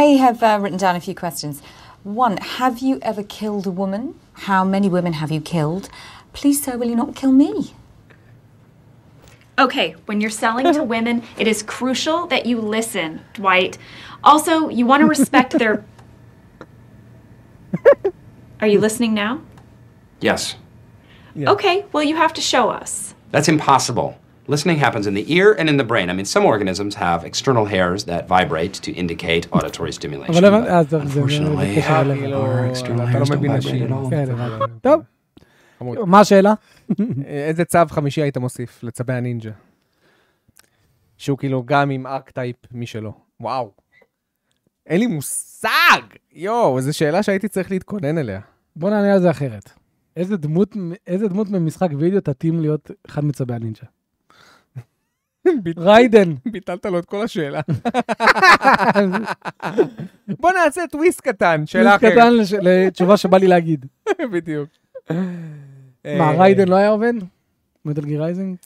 I have uh, written down a few questions. One, have you ever killed a woman? How many women have you killed? Please, sir, will you not kill me?
Okay, when you're selling to women, it is crucial that you listen, Dwight. Also, you want to respect their. Are you listening now?
Yes.
Okay, well, you have to show us.
That's impossible. Listening happens in the ear and in the brain. I mean, some organisms have external hairs that vibrate to indicate auditory stimulation.
אבל הבנ-
but
אה, טוב, זה
unfortunately,
בקשר
our
אליך.
external
אתה לא
hairs don't
מבין
vibrate
נשים.
at all.
כן, הבנתי. טוב,
אה, חמוד.
מה השאלה?
אה, איזה צו חמישי היית מוסיף לצבי הנינג'ה? שהוא כאילו גם עם ארק טייפ משלו. וואו. אין לי מושג! יואו, איזו שאלה שהייתי צריך להתכונן אליה.
בוא נענה על זה אחרת. איזה דמות, איזה דמות ממשחק וידאו תתאים להיות אחד מצבי הנינג'ה? ריידן.
ביטלת לו את כל השאלה. בוא נעשה טוויסט קטן, שאלה
טוויסט
אחרת.
קטן לש- לתשובה שבא לי להגיד.
בדיוק. אה,
מה, ריידן לא היה עובד? מטל גיר רייזינג?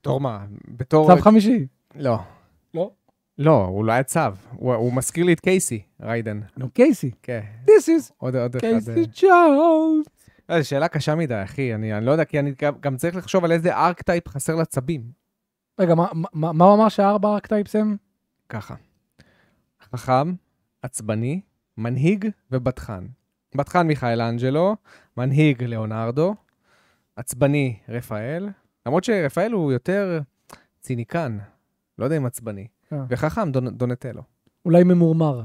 בתור מה? בתור...
צו חמישי.
לא.
לא?
לא, הוא לא היה צו. הוא הוא מזכיר לי את קייסי, ריידן.
נו, קייסי.
כן.
This is
עוד עוד אחד. אה,
קייסי צ'ארלס.
לא, זו שאלה קשה מדי, אחי. אני אני לא יודע, כי אני גם- גם צריך לחשוב על איזה ארק טייפ חסר לצבים.
רגע, מה- מה מה הוא אמר שהארבע רק טייפסם?
ככה. חכם, עצבני, מנהיג ובטחן. בטחן מיכאל אנג'לו, מנהיג ליאונרדו, עצבני רפאל, למרות שרפאל הוא יותר ציניקן, לא יודע אם עצבני,
אה.
וחכם דונ, דונטלו.
אולי ממורמר.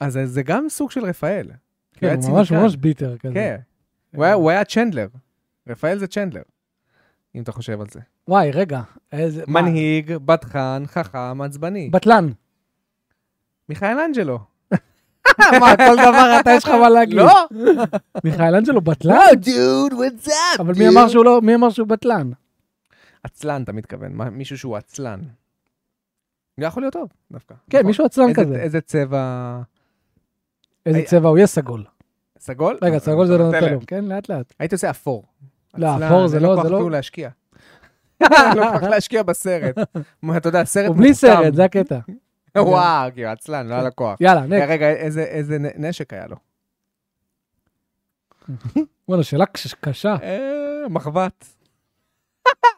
אז זה- זה גם סוג של רפאל. כי
כן,
היה
הוא ממש
ציניקן.
ממש ביטר כזה.
כן. הוא היה, הוא היה צ'נדלר. רפאל זה צ'נדלר, אם אתה חושב על זה.
וואי, רגע. איזה... מה?
מנהיג, בטחן, חכם, עצבני.
בטלן.
מיכאל אנג'לו.
מה, כל דבר אתה יש לך מה להגיד.
לא!
מיכאל אנג'לו בטלן?
דוד, what's up,
אבל מי אמר שהוא לא, מי אמר שהוא בטלן?
עצלן, אתה מתכוון, מה- מישהו שהוא עצלן. זה יכול להיות טוב, דווקא.
כן,
נכון.
מישהו עצלן
איזה-
כזה.
איזה צבע...
איזה
אה,
צבע הוא? יהיה סגול.
סגול?
רגע, סגול זה לא
נותן
נותן
להם.
לו. כן, לאט לאט.
הייתי עושה אפור.
לא,
עצלן,
אפור זה לא-
אין לו
זה
כוח
לא-
אפילו להשקיע. אין לו כוח להשקיע בסרט. מה, אתה יודע, סרט
הוא בלי
אה,
סרט, זה הקטע.
וואו, כאילו, עצלן, לא היה לו כוח.
יאללה, נקסט.
רגע, איזה- איזה נ- נשק היה לו?
וואלה, שאלה קש- קשה.
אה, מחבת.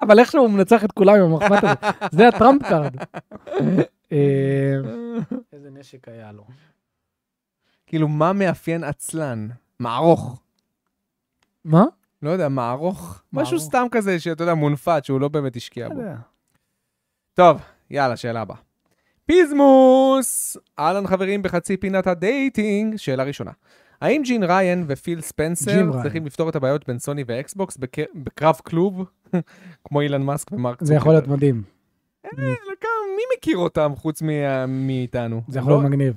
אבל איכשהו הוא מנצח את כולם עם המחבת הזה. זה הטראמפ קארד. אה, איזה נשק היה לו.
כאילו, מה מאפיין עצלן? מערוך.
מה?
לא יודע, מערוך? משהו
מערוך.
סתם כזה שאתה יודע, מונפט, שהוא לא באמת השקיע
לא
בו.
יודע.
טוב, יאללה, שאלה הבאה. פיזמוס! אהלן חברים בחצי פינת הדייטינג. שאלה ראשונה. האם ג'ין ריין ופיל
ג'ין
ספנסר
ריין.
צריכים לפתור את הבעיות בין סוני ואקסבוקס בק- בקרב כלוב, כמו אילן מאסק ומרק
זה יכול להיות מדהים.
אה, כמה- מי מכיר אותם חוץ מה- מאיתנו?
זה יכול להיות
לא-
מגניב.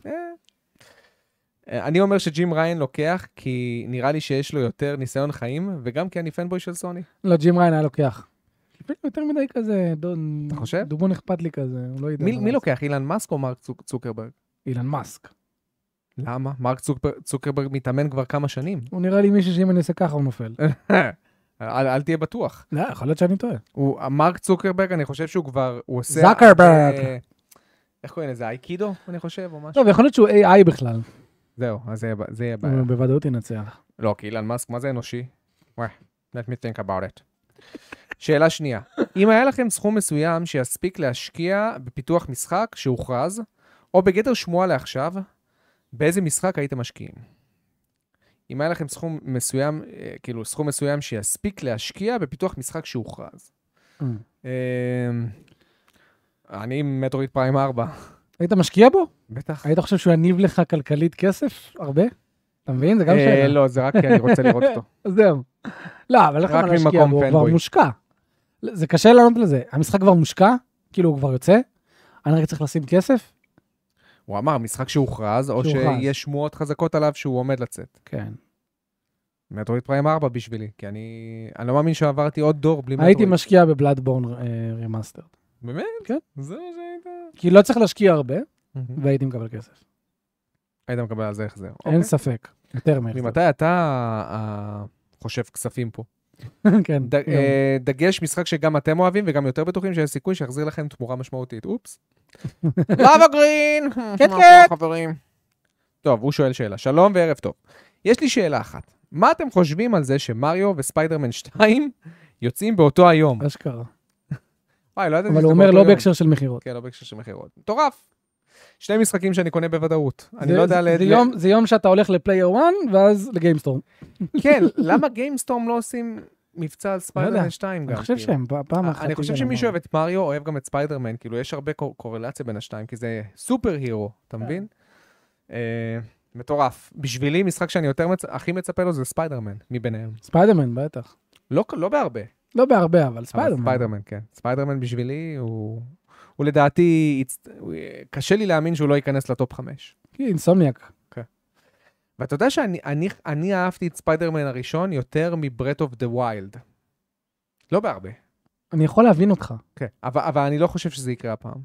אה, אני אומר שג'ים ריין לוקח, כי נראה לי שיש לו יותר ניסיון חיים, וגם כי אני פנבוי של סוני.
לא, ג'ים ריין היה לוקח. כאילו, יותר מדי כזה, דון...
אתה חושב?
דובון אכפת לי כזה, הוא לא יודע.
מי
מה
מי
זה.
לוקח, אילן מאסק או מרק צוק- צוקרברג?
אילן מאסק.
למה? מרק צוקבר- צוקרברג מתאמן כבר כמה שנים. אה,
הוא נראה לי מישהו שאם אני אעשה ככה הוא נופל.
אל אל תהיה בטוח.
לא, יכול להיות שאני טועה.
הוא- מרק צוקרברג, אני חושב שהוא כבר, הוא עושה...
זקרברג.
אה, איך קוראים לזה? אייקידו, אני חושב, או משהו?
טוב, יכול להיות שהוא AI בכלל.
זהו, אז זה יהיה ב- זה יהיה בעיה.
הוא בוודאות ינצח.
לא, כי אילן מאסק, מה זה אנושי? וואי, let me think about it. שאלה שנייה, אם היה לכם סכום מסוים שיספיק להשקיע בפיתוח משחק שהוכרז, או בגדר שמועה לעכשיו, באיזה משחק הייתם משקיעים? אם היה לכם סכום מסוים, אה, כאילו סכום מסוים שיספיק להשקיע בפיתוח משחק שהוכרז.
אה.
אה, אני עם מטרואיד פריים 4,
היית משקיע בו?
בטח.
היית חושב שהוא יניב לך כלכלית כסף? הרבה? אתה מבין? זה גם
אה,
שאלה.
לא, זה רק כי אני רוצה לראות אותו.
זהו. לא, אבל איך
רק
אתה משקיע
ממקום
בו? הוא כבר
פנבוי.
מושקע. זה קשה לענות לזה. המשחק כבר מושקע? כאילו הוא כבר יוצא? אני רק צריך לשים כסף?
הוא אמר, משחק שהוכרז, או
שהוכרז.
שיש שמועות חזקות עליו שהוא עומד לצאת.
כן.
מטרואיד פריים 4 בשבילי, כי אני... אני לא מאמין שעברתי עוד דור בלי מטרואיד.
הייתי משקיע בבלאדבורן רימאסטר.
באמת?
כן.
זה מה שהיית...
כי לא צריך להשקיע הרבה, והייתי מקבל כסף.
היית מקבל על זה החזר. אוקיי.
אין ספק. יותר מהחזר.
ממתי אתה אה, חושב כספים פה?
כן.
ד-
גם.
אה, דגש משחק שגם אתם אוהבים וגם יותר בטוחים שיש סיכוי שיחזיר לכם תמורה משמעותית. אופס. לאבה גרין!
קט,
קט! חברים. טוב, הוא שואל שאלה. שלום וערב טוב. יש לי שאלה אחת. מה אתם חושבים על זה שמריו וספיידרמן 2 יוצאים באותו היום?
אשכרה.
וואי, לא ידעתי
אבל
שזה
הוא אומר
באותו
לא
יום.
בהקשר של מכירות.
כן, לא בהקשר של מכירות. מטורף. שני משחקים שאני קונה בוודאות. אני
זה-
לא יודע...
זה-
ל-
זה
ל-
יום- זה יום שאתה הולך לפלייר 1 ואז לגיימסטורם.
כן, למה גיימסטורם לא עושים... מבצע על
לא יודע.
ספיידרמן 2 גם.
אני חושב
כאילו.
שהם פ- פעם אחת...
אני חושב
הגיעו
שמי
למעלה.
שאוהב את מריו אוהב גם את ספיידרמן, כאילו יש הרבה קור- קורלציה בין השתיים, כי זה סופר הירו, אתה מבין? אה, מטורף. בשבילי משחק שאני יותר מצ- הכי מצפה לו זה ספיידרמן, מביניהם.
ספיידרמן, בטח.
לא לא בהרבה,
לא בהרבה, אבל
אבל
ספיידרמן.
ספיידרמן, כן. ספיידרמן בשבילי הוא... הוא לדעתי, הצ- הוא- אה, קשה לי להאמין שהוא לא ייכנס לטופ חמש.
כי אינסומניאק.
ואתה יודע שאני אני, אני אהבתי את ספיידרמן הראשון יותר מברט אוף דה ויילד. לא בהרבה.
אני יכול להבין אותך.
כן, אבל, אבל אני לא חושב שזה יקרה הפעם.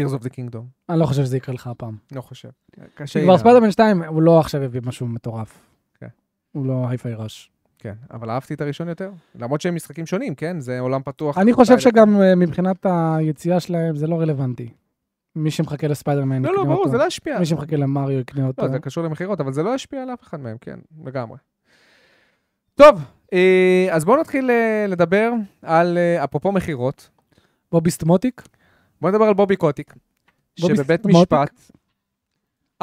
Tears of the Kingdom,
אני לא חושב שזה יקרה לך הפעם.
לא חושב. קשה לי
כבר
לה-
ספיידרמן 2, הוא לא עכשיו הביא משהו מטורף.
כן.
הוא לא הייפיי ראש.
כן, אבל אהבתי את הראשון יותר. למרות שהם משחקים שונים, כן? זה עולם פתוח.
אני חושב
ספיידר-
שגם אה, מבחינת היציאה שלהם זה לא רלוונטי. מי שמחכה לספיידרמן
לא, לא,
יקנה
ברור,
אותו.
זה לא ישפיע.
מי שמחכה למריו יקנה אותו.
לא, זה קשור למכירות, אבל זה לא ישפיע על אף אחד מהם, כן, לגמרי. טוב, אה, אז בואו נתחיל אה, לדבר על, אה, אפרופו מכירות,
בובי סטמוטיק?
בואו נדבר על בובי קוטיק,
בובי
שבבית
סטמוטיק?
משפט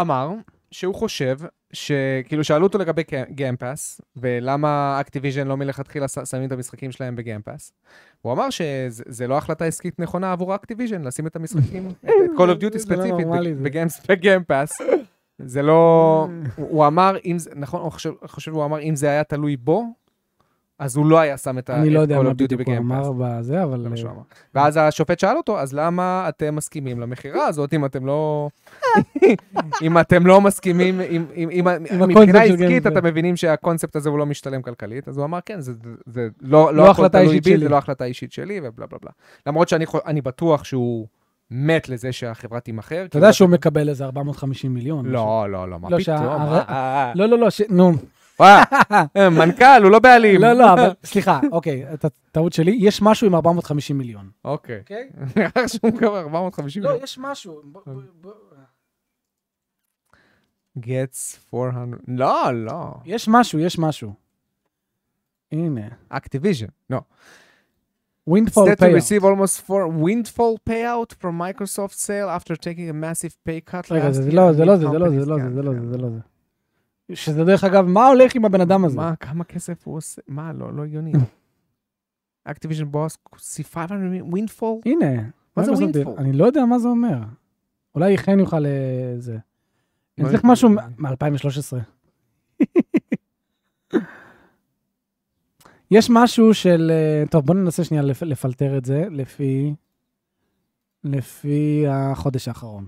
אמר שהוא חושב, שכאילו שאלו אותו לגבי גיימפאס, ולמה אקטיביז'ן לא מלכתחילה ש- שמים את המשחקים שלהם בגיימפאס. הוא אמר שזה זה לא החלטה עסקית נכונה עבור אקטיביז'ן, לשים את המשחקים, את Call of Duty
זה לא
ספציפית,
נורמלי, זה.
בגיימפאס. זה לא... הוא הוא אמר, אם זה... נכון, אני חושב- אני חושב שהוא אמר, אם זה היה תלוי בו, אז הוא לא היה שם את ה-
אני לא
את
יודע
Call
מה
of Duty
בדיוק הוא
ב-Game Pass.
אמר בזה, אבל...
זה מה שהוא
אה,
אמר. ואז השופט שאל אותו, אז למה אתם מסכימים למכירה הזאת, אם אתם לא... אם אתם לא מסכימים, אם- אם אם-
הקונספט
מבחינה
של כן.
עסקית
גיימפלד.
אתם מבינים שהקונספט הזה הוא לא משתלם כלכלית, אז הוא אמר, כן, זה- זה- זה לא
לא
לא הכל
החלטה
תלוי
אישית
בי,
שלי."
זה לא החלטה אישית שלי, ובלה בלה בלה. למרות שאני חו- אני בטוח שהוא מת לזה שהחברה תימכר.
אתה יודע שהוא מקבל איזה 450 מיליון. משהו.
כן, לא, לא, לא, מה
לא,
פתאום?
שה-
אה, אה,
לא, לא, לא, ש- נו.
אה. אה, מנכ"ל, הוא לא בעלים.
לא, לא, אבל סליחה, אוקיי, את הטעות שלי, יש משהו עם 450 מיליון.
אוקיי.
אוקיי? לא,
נראה שהוא מקבל 450 מיליון.
יש משהו. לא.
gets 400... לא, לא.
יש משהו, יש משהו. הנה.
Activision. No.
ווינדפול
Instead to
פייר.
receive almost four windfall payout from Microsoft sale after taking a massive pay cut
רגע,
last
זה
year.
לא, זה לא
Many
זה, זה לא זה, זה לא
companies
זה, זה לא זה,
can-
זה לא זה. שזה דרך אגב, מה הולך עם הבן אדם הזה?
מה, כמה כסף הוא עושה? מה, לא, לא הגיוני. Activision בוס, see 500 windfall?
הנה.
מה זה
מייקרוסופט,
ווינדפול?
אני לא יודע מה זה אומר. אולי חן יוכל אה, זה. אני
לא
צריך
יודע.
משהו מ-2013. יש משהו של... אה, טוב, בוא ננסה שנייה לפ- לפלטר את זה לפי... לפי החודש האחרון.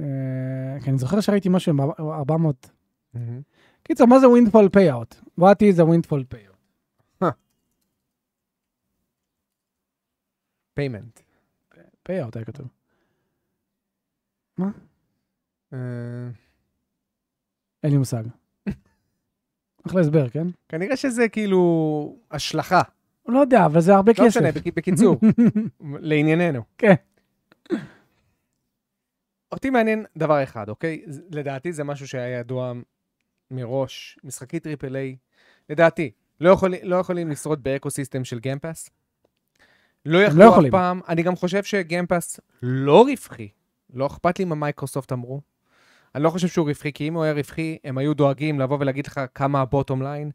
אה, כי אני זוכר שראיתי משהו עם 400...
מהמם.
קיצר, מה זה ווינדפול פייאאוט? What is a windfall payout?
payment.
פייאאוט היה כתוב.
אה,
אין לי מושג. אחלה הסבר, כן?
כנראה שזה כאילו השלכה.
לא יודע, אבל זה הרבה
לא
כסף.
משנה, בק- בקיצור, לענייננו.
כן.
אותי מעניין דבר אחד, אוקיי? ז- לדעתי זה משהו שהיה ידוע מראש, משחקי טריפל איי, לדעתי, לא, יכול, לא יכולים לשרוד באקוסיסטם של גיימפאס. לא
לא
יכלו אף
יכולים.
פעם, אני גם חושב שגיימפאס לא רווחי, לא אכפת לי מה מייקרוסופט אמרו. אני לא חושב שהוא רווחי, כי אם הוא היה רווחי, הם היו דואגים לבוא ולהגיד לך כמה הבוטום ליין.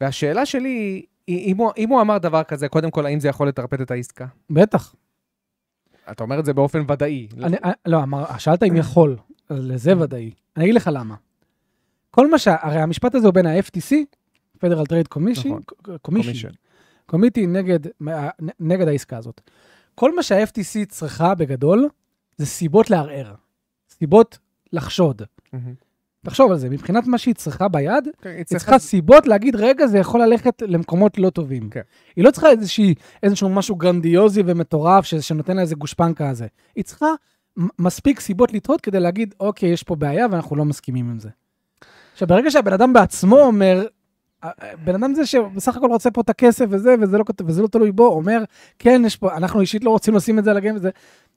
והשאלה שלי היא, אם הוא, אם הוא אמר דבר כזה, קודם כל, האם זה יכול לטרפד את העסקה?
בטח.
אתה אומר את זה באופן ודאי.
אני- אה, לא, אמר- שאלת אם יכול, אז
כן.
לזה ודאי. אני אגיד לך למה. כל מה שה... הרי המשפט הזה הוא בין ה-FTC, Federal Trade
נכון. Commission.
Commission, Commission, קומיטי נגד, אה, נגד העסקה הזאת. כל מה שה-FTC צריכה בגדול, זה סיבות לערער. סיבות לחשוד.
מהמם.
תחשוב על זה, מבחינת מה שהיא צריכה ביד,
כן, היא
היא
צריכה-
צריכה סיבות להגיד, רגע, זה יכול ללכת למקומות לא טובים.
כן.
היא לא צריכה איזושהי, איזשהו משהו גרנדיוזי ומטורף ש, שנותן לה איזה גושפנקה הזה. היא צריכה מ- מספיק סיבות לתהות כדי להגיד, אוקיי, יש פה בעיה ואנחנו לא מסכימים עם זה. עכשיו, ברגע שהבן אדם בעצמו אומר, ה- ה- בן אדם זה שבסך הכל רוצה פה את הכסף וזה, וזה לא, כת- וזה לא תלוי בו, אומר, כן, יש פה, אנחנו אישית לא רוצים לשים את זה על הגיים וזה.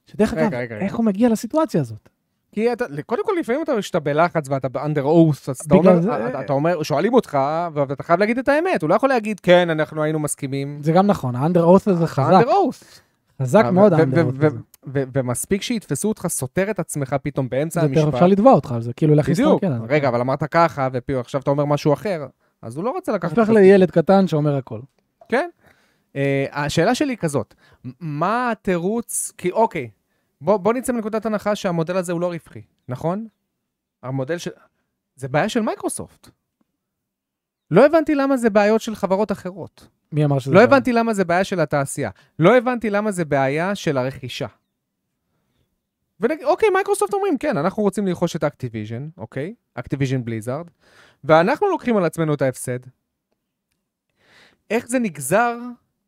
שדרך
רגע,
אגב,
רגע, רגע.
איך הוא מגיע לסיטואציה הזאת?
כי אתה, קודם כל לפעמים אתה, כשאתה בלחץ ואתה under oath, אז אתה
בגלל
אומר,
זה-
אתה, אתה אומר, שואלים אותך, ואתה חייב להגיד את האמת, הוא לא יכול להגיד, כן, אנחנו היינו מסכימים.
זה גם נכון, האנדר אורת הזה חזק,
under oath.
חזק מאוד
אה, ו- ו-
האנדר
ו-
אורת
ו-
הזה.
ו- ומספיק שיתפסו אותך סותר את עצמך פתאום באמצע
זה יותר
המשפט.
אפשר לתבוע אותך על זה, כאילו להכניס
בדיוק,
אותך לכלא.
רגע, אבל אמרת ככה, ועכשיו אתה אומר משהו אחר. אז הוא לא רוצה לקחת...
הופך לילד קטן שאומר הכל.
כן. אה, השאלה שלי היא כזאת, מ- מה התירוץ, כי אוקיי, בוא, בוא נצא מנקודת הנחה שהמודל הזה הוא לא רווחי, נכון? המודל של... זה בעיה של מייקרוסופט. לא הבנתי למה זה בעיות של חברות אחרות.
מי אמר שזה...
לא
בעיה?
הבנתי למה זה בעיה של התעשייה. לא הבנתי למה זה בעיה של הרכישה. ונגיד, אוקיי, מייקרוסופט אומרים, כן, אנחנו רוצים לרכוש את אקטיביז'ן, אוקיי? אקטיביז'ן בליזארד, ואנחנו לוקחים על עצמנו את ההפסד. איך זה נגזר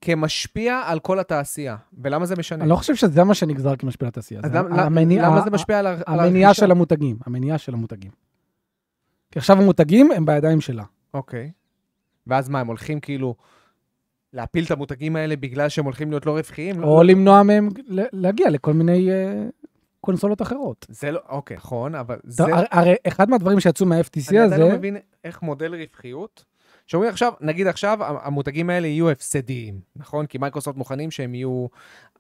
כמשפיע על כל התעשייה? ולמה זה משנה?
אני לא חושב שזה מה שנגזר כמשפיע לתעשייה.
אז
זה
למ- למ-
המניע-
למה זה משפיע על הר- על הרכישה?
המניעה של המותגים, המניעה של המותגים. כי עכשיו המותגים הם בידיים שלה.
אוקיי. ואז מה, הם הולכים כאילו להפיל את המותגים האלה בגלל שהם הולכים להיות לא רווחיים?
או למנוע מהם ל- להגיע לכל מיני אה, קונסולות אחרות.
זה לא, אוקיי, נכון, אבל זה...
טוב, הר- הרי אחד מהדברים שיצאו מה-FTC
אני עדיין לא
הזה,
מבין איך מודל רווחיות, שאומרים עכשיו, נגיד עכשיו, המ- המותגים האלה יהיו הפסדיים, נכון? כי מייקרוסופט מוכנים שהם יהיו...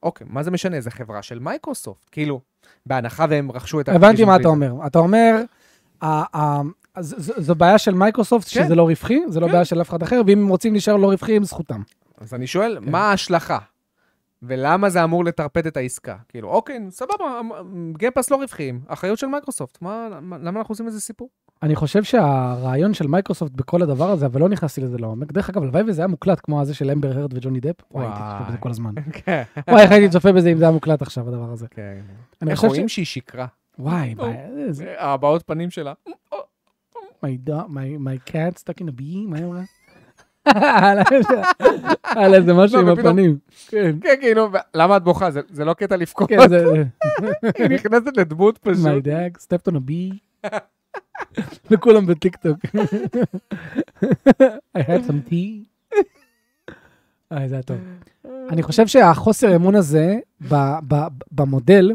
אוקיי, מה זה משנה? זו חברה של מייקרוסופט, כאילו, בהנחה והם רכשו את...
הבנתי
Activision
מה
Blizzard.
אתה אומר. אתה אומר, ה- ה- ז- ז- זו בעיה של מייקרוסופט
כן.
שזה לא רווחי, זה לא
כן.
בעיה של אף אחד אחר, ואם הם רוצים להישאר לא רווחיים, זכותם.
אז אני שואל,
כן.
מה ההשלכה? ולמה זה אמור לטרפד את העסקה? כאילו, אוקיי, סבבה, גיימפאס לא רווחיים, אחריות של מייקרוסופט, מה, מה- למה אנחנו עושים איזה סיפור?
אני חושב שהרעיון של מייקרוסופט בכל הדבר הזה, אבל לא נכנסתי לזה לעומק. דרך אגב, הלוואי וזה היה מוקלט כמו הזה של אמבר הרד וג'וני דפ. וואי, הייתי צופה בזה
וואי.
כל הזמן.
כן.
וואי, איך הייתי צופה בזה אם זה היה מוקלט עכשיו, הדבר הזה. אני
איך
חושב
רואים
ש...
שהיא שיקרה?
וואי, מה- איזה-
זה הבעות פנים שלה.
My dog, my, my cat stuck in a bee, מה היא אמרה? על איזה משהו
לא,
עם
ופתאום-
הפנים. כן,
כן, כאילו, למה את בוכה? זה- זה לא קטע לבכות.
כן, זה...
היא נכנסת לדמות
My
פשוט.
dog stepped on a bee. וכולם בטיקטוק. I had some tea. אה, זה היה טוב. אני חושב שהחוסר אמון הזה ב- ב- במודל,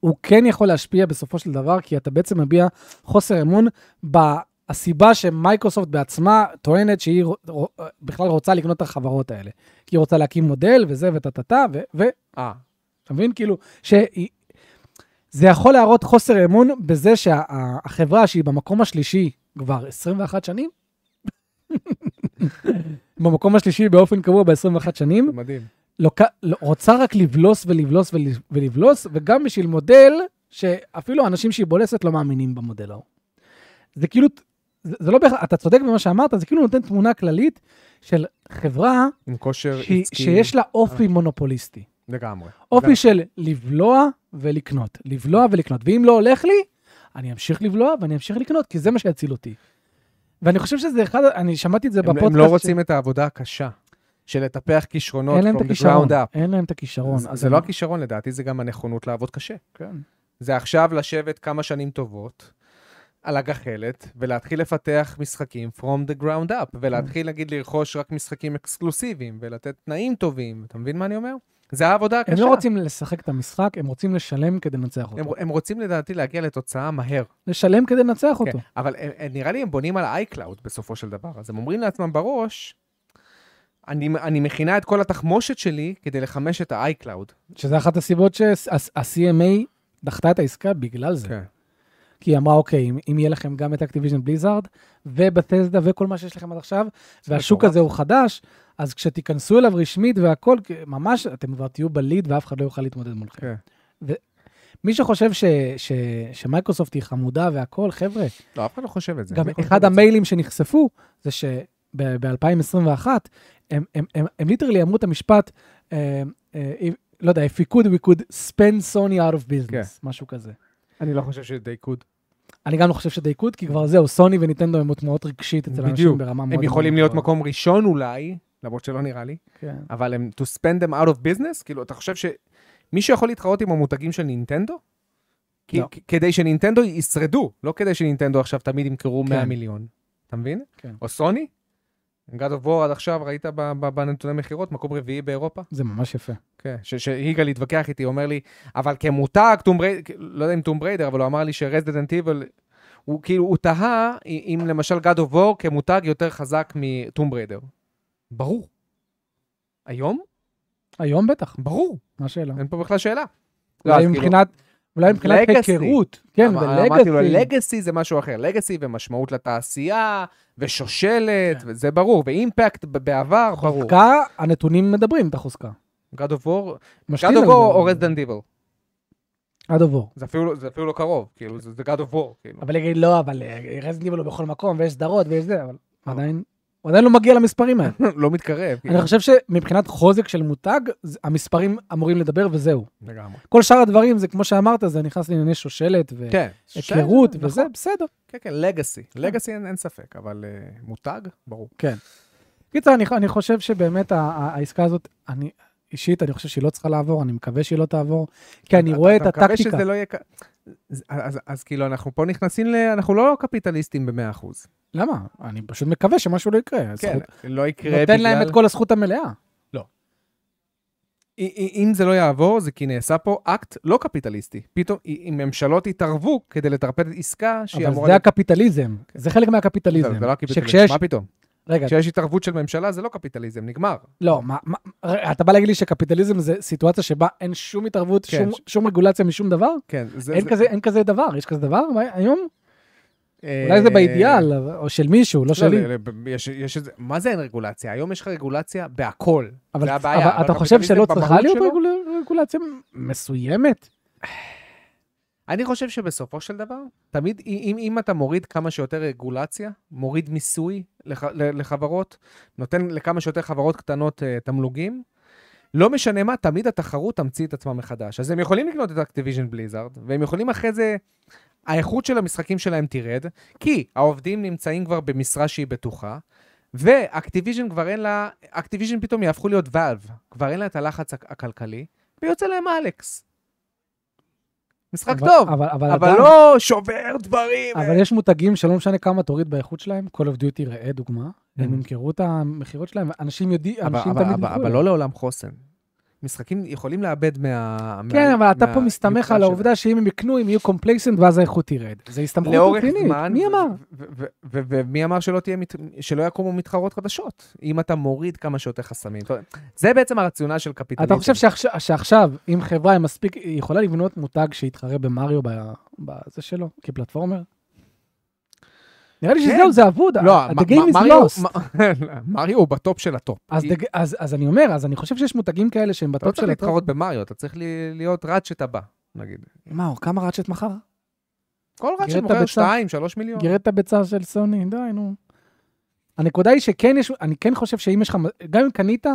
הוא כן יכול להשפיע בסופו של דבר, כי אתה בעצם מביע חוסר אמון בסיבה שמייקרוסופט בעצמה טוענת שהיא רו- רו- בכלל רוצה לקנות את החברות האלה. כי היא רוצה להקים מודל וזה וטה טה טה, ו- ו-
אה,
אתה מבין? כאילו, שהיא... זה יכול להראות חוסר אמון בזה שהחברה שהיא במקום השלישי כבר 21 שנים, במקום השלישי באופן קבוע ב-21 שנים,
זה מדהים.
לוק... לא- רוצה רק לבלוס ולבלוס ול- ולבלוס, וגם בשביל מודל שאפילו האנשים שהיא בולסת לא מאמינים במודל ההוא. זה כאילו, זה, זה לא בהכרח, אתה צודק במה שאמרת, זה כאילו נותן תמונה כללית של חברה
עם כושר
ש...
עסקי.
שיש לה אופי מונופוליסטי.
לגמרי.
אופי
זה-
של לבלוע ולקנות, לבלוע ולקנות. ואם לא הולך לי, אני אמשיך לבלוע ואני אמשיך לקנות, כי זה מה שיציל אותי. ואני חושב שזה אחד, אני שמעתי את זה
הם-
בפודקאסט.
הם לא
ש-
רוצים את העבודה הקשה של לטפח כישרונות
אין להם את
from the ground
הכישרון,
up.
אין להם את הכישרון.
זה-
אז
זה
אני-
לא הכישרון לדעתי, זה גם הנכונות לעבוד קשה.
כן.
זה עכשיו לשבת כמה שנים טובות על הגחלת, ולהתחיל לפתח משחקים from the ground up, ולהתחיל
Mm.
נגיד לרכוש רק משחקים אקסקלוסיביים, ולתת תנאים טובים, אתה מבין מה אני אומר? זה העבודה הקשה.
הם לא רוצים לשחק את המשחק, הם רוצים לשלם כדי לנצח
הם-
אותו.
הם רוצים לדעתי להגיע לתוצאה מהר.
לשלם כדי לנצח אותו.
כן, אבל הם, הם, נראה לי הם בונים על iCloud בסופו של דבר, אז הם אומרים לעצמם בראש, אני, אני מכינה את כל התחמושת שלי כדי לחמש את ה-iCloud.
שזה אחת הסיבות שה-CMA דחתה את העסקה בגלל זה.
כן.
כי היא אמרה, אוקיי, אם, אם יהיה לכם גם את אקטיביז'ן בליזארד, ובתסדה וכל מה שיש לכם עד עכשיו, והשוק
מטורף.
הזה הוא חדש, אז כשתיכנסו אליו רשמית והכל, כ- ממש, אתם כבר תהיו בליד ואף אחד לא יוכל להתמודד מולכם.
כן.
מי שחושב ש, ש, שמייקרוסופט היא חמודה והכל, חבר'ה,
לא, אף אחד לא חושב את זה.
גם
אני חושב
אחד
את זה.
המיילים שנחשפו, זה שב-2021, הם, הם, הם, הם ליטרלי אמרו את המשפט, אה, אה, if- לא יודע, if we could, we could spend Sony out of
כן.
business, משהו כזה.
אני לא חושב שזה דייקוד.
אני גם לא חושב שדייקות, כי כבר זהו, סוני ונינטנדו הם מוטמעות רגשית אצל אנשים
בדיוק.
ברמה מאוד...
הם
מאוד
יכולים להיות
גבוהה.
מקום ראשון אולי, למרות שלא נראה לי,
כן.
אבל הם to spend them out of business? כאילו, אתה חושב שמישהו יכול להתחרות עם המותגים של נינטנדו? כי-
לא.
כ- כדי שנינטנדו ישרדו, לא כדי שנינטנדו עכשיו תמיד ימכרו 100
כן.
מיליון. אתה מבין?
כן.
או סוני? God of War עד עכשיו, ראית ב- ב- בנתוני מכירות, מקום רביעי באירופה?
זה ממש יפה.
כן. ש- שיגאל התווכח איתי, אומר לי, אבל כמותג, טום בריידר, לא יודע אם טום בריידר, אבל הוא אמר לי שרזדנט איבל, הוא כאילו, הוא תהה אם למשל God of War כמותג יותר חזק מטום בריידר. ברור. היום?
היום בטח,
ברור.
מה השאלה?
אין פה בכלל שאלה.
אולי
לא, אז כאילו,
מבחינת, אולי מבחינת
Legacy.
היכרות. כן,
אבל אמרתי לו,
ולגאסי.
לגאסי זה משהו אחר, לגאסי ומשמעות לתעשייה, ושושלת, וזה ברור, ואימפקט ב- בעבר, ברור.
חוזקה, הנתונים מדברים את החוזקה.
God of War, God
משתין
of
על
War
זה.
או Resident Evil,
עד עבור.
זה אפילו- זה אפילו לא קרוב, כאילו, זה זה God of War, כאילו.
אבל יגיד, לא, אבל רזניבל הוא בכל מקום, ויש סדרות, ויש זה, אבל עדיין, הוא עדיין לא מגיע למספרים האלה.
לא מתקרב, כאילו.
אני חושב שמבחינת חוזק של מותג, זה- המספרים אמורים לדבר וזהו.
לגמרי.
כל שאר הדברים, זה כמו שאמרת, זה נכנס לענייני שושלת
כן.
והיכרות
שושלת,
וזה,
נכון.
בסדר.
כן, כן, לגאסי. לגאסי אין אין ספק, אבל אה, מותג, ברור.
כן. קיצר, אני, אני חושב שבאמת ה- ה- העסקה הזאת, אני אישית, אני חושב שהיא לא צריכה לעבור, אני מקווה שהיא לא תעבור, כי אני
אתה-
רואה את
אתה מקווה
הטקטיקה.
שזה לא יהיה... ק- אז- אז אז כאילו, אנחנו פה נכנסים ל... אנחנו לא קפיטליסטים ב-100%.
למה? אני פשוט מקווה שמשהו לא יקרה.
כן,
הזכות-
לא יקרה בגלל...
נותן להם את כל הזכות המלאה.
אם- אם זה לא יעבור, זה כי נעשה פה אקט לא קפיטליסטי. פתאום, אם ממשלות יתערבו כדי לטרפד עסקה שהיא
אבל
אמורה...
זה
להיות- כן.
הקפיטליזם, זה חלק מהקפיטליזם.
זה זה לא הקפיטליסט,
שכשיש- כן.
מה פתאום?
רגע,
כשיש התערבות של ממשלה, זה לא קפיטליזם, נגמר.
לא, מה- מה- ר- אתה בא להגיד לי שקפיטליזם זה סיטואציה שבה אין שום התערבות,
כן,
שום-
ש-
שום רגולציה משום דבר?
כן, זה...
אין
זה-
כזה- אין כזה דבר, יש כזה דבר מה- היום?
אה,
אולי זה באידיאל, אבל- או של מישהו, לא
לא,
שלי.
לא, לא, יש- יש את זה- מה זה אין רגולציה? היום יש לך רגולציה בהכל.
אבל
זה הבעיה.
אבל אתה חושב
הקפיטליזם
שלא
במהות
צריכה להיות
שלו-
רגול- רגולציה מסוימת?
אני חושב שבסופו של דבר, תמיד, אם, אם אתה מוריד כמה שיותר רגולציה, מוריד מיסוי לח, ל- לחברות, נותן לכמה שיותר חברות קטנות uh, תמלוגים, לא משנה מה, תמיד התחרות תמציא את עצמה מחדש. אז הם יכולים לקנות את אקטיביז'ן בליזארד, והם יכולים אחרי זה... האיכות של המשחקים שלהם תרד, כי העובדים נמצאים כבר במשרה שהיא בטוחה, ואקטיביז'ן כבר אין לה, אקטיביז'ן פתאום יהפכו להיות ואלב, כבר אין לה את הלחץ הכ- הכלכלי, ויוצא להם אלכס. משחק
אבל-
טוב.
אבל- אבל
אבל
עדיין-
לא שובר דברים.
אבל יש מותגים שלא משנה כמה תוריד באיכות שלהם, Call of Duty ראה דוגמה, הם
Mm.
ימכרו את המכירות שלהם, אנשים יודעים,
אבל-
אנשים
אבל-
תמיד
אבל-
ימכרו.
אבל
להם.
לא לעולם חוסן. משחקים יכולים לאבד מה...
כן,
מה-
אבל אתה
מה-
פה מסתמך
מהיוקרה
על
שלהם.
העובדה שאם הם יקנו, הם יהיו קומפלייסנט ואז האיכות תרד. זה הסתמכות
לאורך
רצינית.
זמן,
מי
ו-
אמר?
ו- ו- ו- ומי אמר שלא תהיה, מת- שלא יקומו מתחרות חדשות? אם אתה מוריד כמה שיותר חסמים. אתה- זה בעצם הרציונל של קפיטליזם.
אתה חושב שעכשיו, שעכשיו, אם חברה היא מספיק, היא יכולה לבנות מותג שיתחרה במריו ב- בזה שלו, כפלטפורמר? נראה לי
כן.
שזהו, זה אבוד.
לא,
ה-
מ-
the game
מ-
is
מריו-
lost.
מ- מריו הוא בטופ של הטופ.
אז
היא-
the- אז אז אני אומר, אז אני חושב שיש מותגים כאלה שהם
אתה לא
בטופ
צריך
של הטופ.
להתחרות במריו, אתה צריך ל- להיות ראצ'ט הבא, נגיד.
מה, או כמה רצ'ט מכר?
כל ראצ'ט
גרטה
מוכר
בצד.
2-3 מיליון.
גירד את הביצה של סוני, די, נו. הנקודה היא שכן יש, אני כן חושב שאם יש לך, גם אם קנית,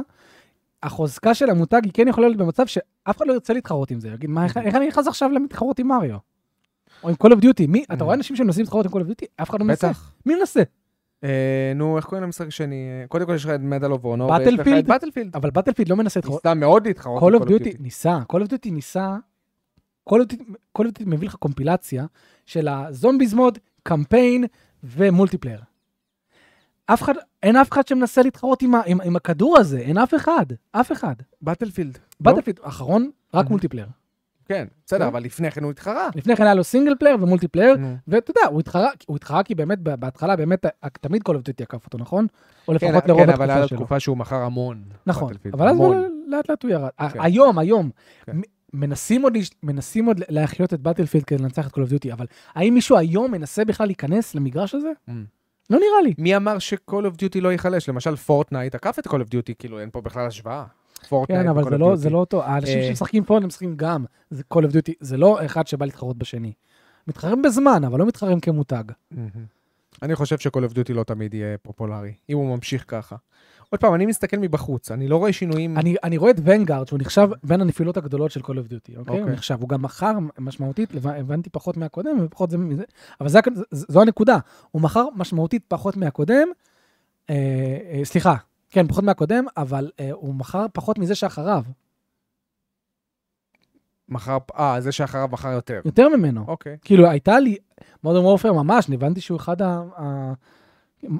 החוזקה של המותג היא כן יכולה להיות במצב שאף אחד לא ירצה להתחרות עם זה. יגיד, מה, איך, איך אני נכנס עכשיו למתחרות עם מריו? או עם Call of Duty, מי, אתה
Mm.
רואה אנשים שמנסים להתחרות עם Call of Duty? אף אחד לא מנסה.
בטח.
מי מנסה?
אה, נו, איך קוראים למשחק השני? אה, קודם כל יש לך את מדל אוף אונור.
Battlefield?
באטלפילד.
אבל בטלפיד לא מנסה להתחרות.
ניסתה מאוד להתחרות.
Call
עם
of Duty ניסה, Call of Duty ניסה, Call of Duty Call of Duty מביא לך קומפילציה של הזומביז מוד, קמפיין ומולטיפלייר. אף אחד, אין אף אחד שמנסה להתחרות עם, ה, עם, עם הכדור הזה, אין אף אחד, אף אחד.
באטלפילד. לא?
בטלפיד האחרון, רק
Mhm.
מולטיפלייר.
כן,
כן.
בסדר, אבל לפני כן הוא התחרה.
לפני כן היה לו סינגל פלייר ומולטיפלייר,
נו.
ואתה יודע, הוא התחרה, הוא התחרה כי באמת, ב- בהתחלה באמת, ה- תמיד Call of Duty עקף אותו, נכון? או
כן,
לפחות לרוב
כן, אבל היה
התקופה
לו
שלו.
תקופה שהוא מכר המון.
נכון,
Battlefield,
אבל אז
המון.
ל- לאט לאט הוא ירד. ה-
כן.
היום, היום,
כן.
מ- מנסים עוד להש- מנסים עוד להחיות את באטלפילד כדי לנצח את Call of Duty, אבל האם מישהו היום מנסה בכלל להיכנס למגרש הזה?
Mm.
לא נראה לי.
מי אמר ש-call of duty לא ייחלש? למשל פורטנייט עקף את call of duty, כאילו אין פה בכלל השוואה. פורטנייט
כן, אבל
ו-Call
זה
אוקיי, of
לא-
Duty.
זה לא אותו, האנשים
אה.
שמשחקים פה, הם משחקים גם, זה Call of Duty, זה לא אחד שבא להתחרות בשני. מתחרים בזמן, אבל לא מתחרים כמותג.
מהמם. Mm-hmm. אני חושב ש-call of duty לא תמיד יהיה פופולרי, אם הוא ממשיך ככה. עוד פעם, אני מסתכל מבחוץ, אני לא רואה שינויים.
אני אני רואה את ונגארד, שהוא נחשב בין הנפילות הגדולות של Call of Duty, אוקיי? הוא
אוקיי.
נחשב, הוא גם מכר משמעותית, לב- הבנתי פחות מהקודם ופחות זה מזה, אבל זה הכ- ז- זו הנקודה, הוא מכר משמעותית פחות מהקודם, אה, אה, סליחה, כן, פחות מהקודם, אבל אה, הוא מכר פחות מזה שאחריו,
מכר, אה, זה שאחריו מכר יותר.
יותר ממנו.
אוקיי.
כאילו, הייתה לי, מודרן וורפר ממש, אני הבנתי שהוא אחד ה... ה-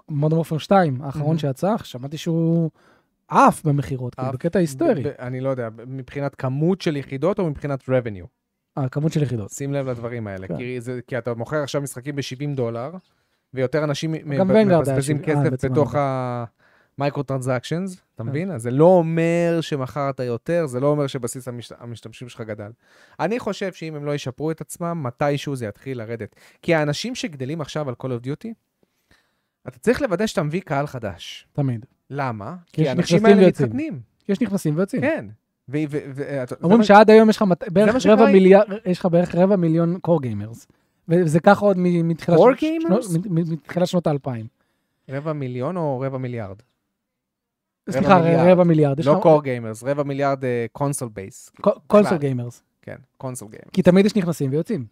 מודרן וורפר 2, האחרון
מהמם.
שיצא, שמעתי שהוא עף במכירות, כאילו,
Mhm. עף
בקטע היסטורי,
ב- ב- אני לא יודע, מבחינת כמות של יחידות או מבחינת revenue.
הכמות של יחידות.
שים לב לדברים האלה,
כן.
כי, זה, כי אתה מוכר עכשיו משחקים ב-70 דולר, ויותר אנשים מ-
גם
מ-
ונגרד היה
מבזבזים
שבעים, אה,
כסף
בעצם כן.
בתוך
היה.
ה... מייקרו-טרנזקשנס, אתה מבין? אז זה לא אומר שמכרת יותר, זה לא אומר שבסיס המשת... המשתמשים שלך גדל. אני חושב שאם הם לא ישפרו את עצמם, מתישהו זה יתחיל לרדת. כי האנשים שגדלים עכשיו על Call of Duty, אתה צריך לוודא שאתה מביא קהל חדש.
תמיד.
למה?
כי יש
כי האנשים
נכנסים
האלה
ויוצאים.
מתחתנים.
יש נכנסים ויוצאים.
כן. ו- ו- ו- אתה- זה
אומרים
מה-
שעד היום יש לך מת-
מה
בערך
שקרה
רבע
עם-
מיליארד, יש לך בערך רבע מיליון קור גיימרס. וזה ככה עוד מ- מתחילת
Core
שנות-
gamers?
שנות- מ- מ- מתחילת שנות האלפיים.
רבע מיליון או רבע מיליארד? רבע
סליחה,
מיליארד.
רבע מיליארד. יש
לא
לך-
קור גיימרס, רבע מיליארד קונסול בייס.
ק- קונסול
בכלל.
גיימרס.
כן, קונסול גיימרס.
כי תמיד יש נכנסים ויוצאים.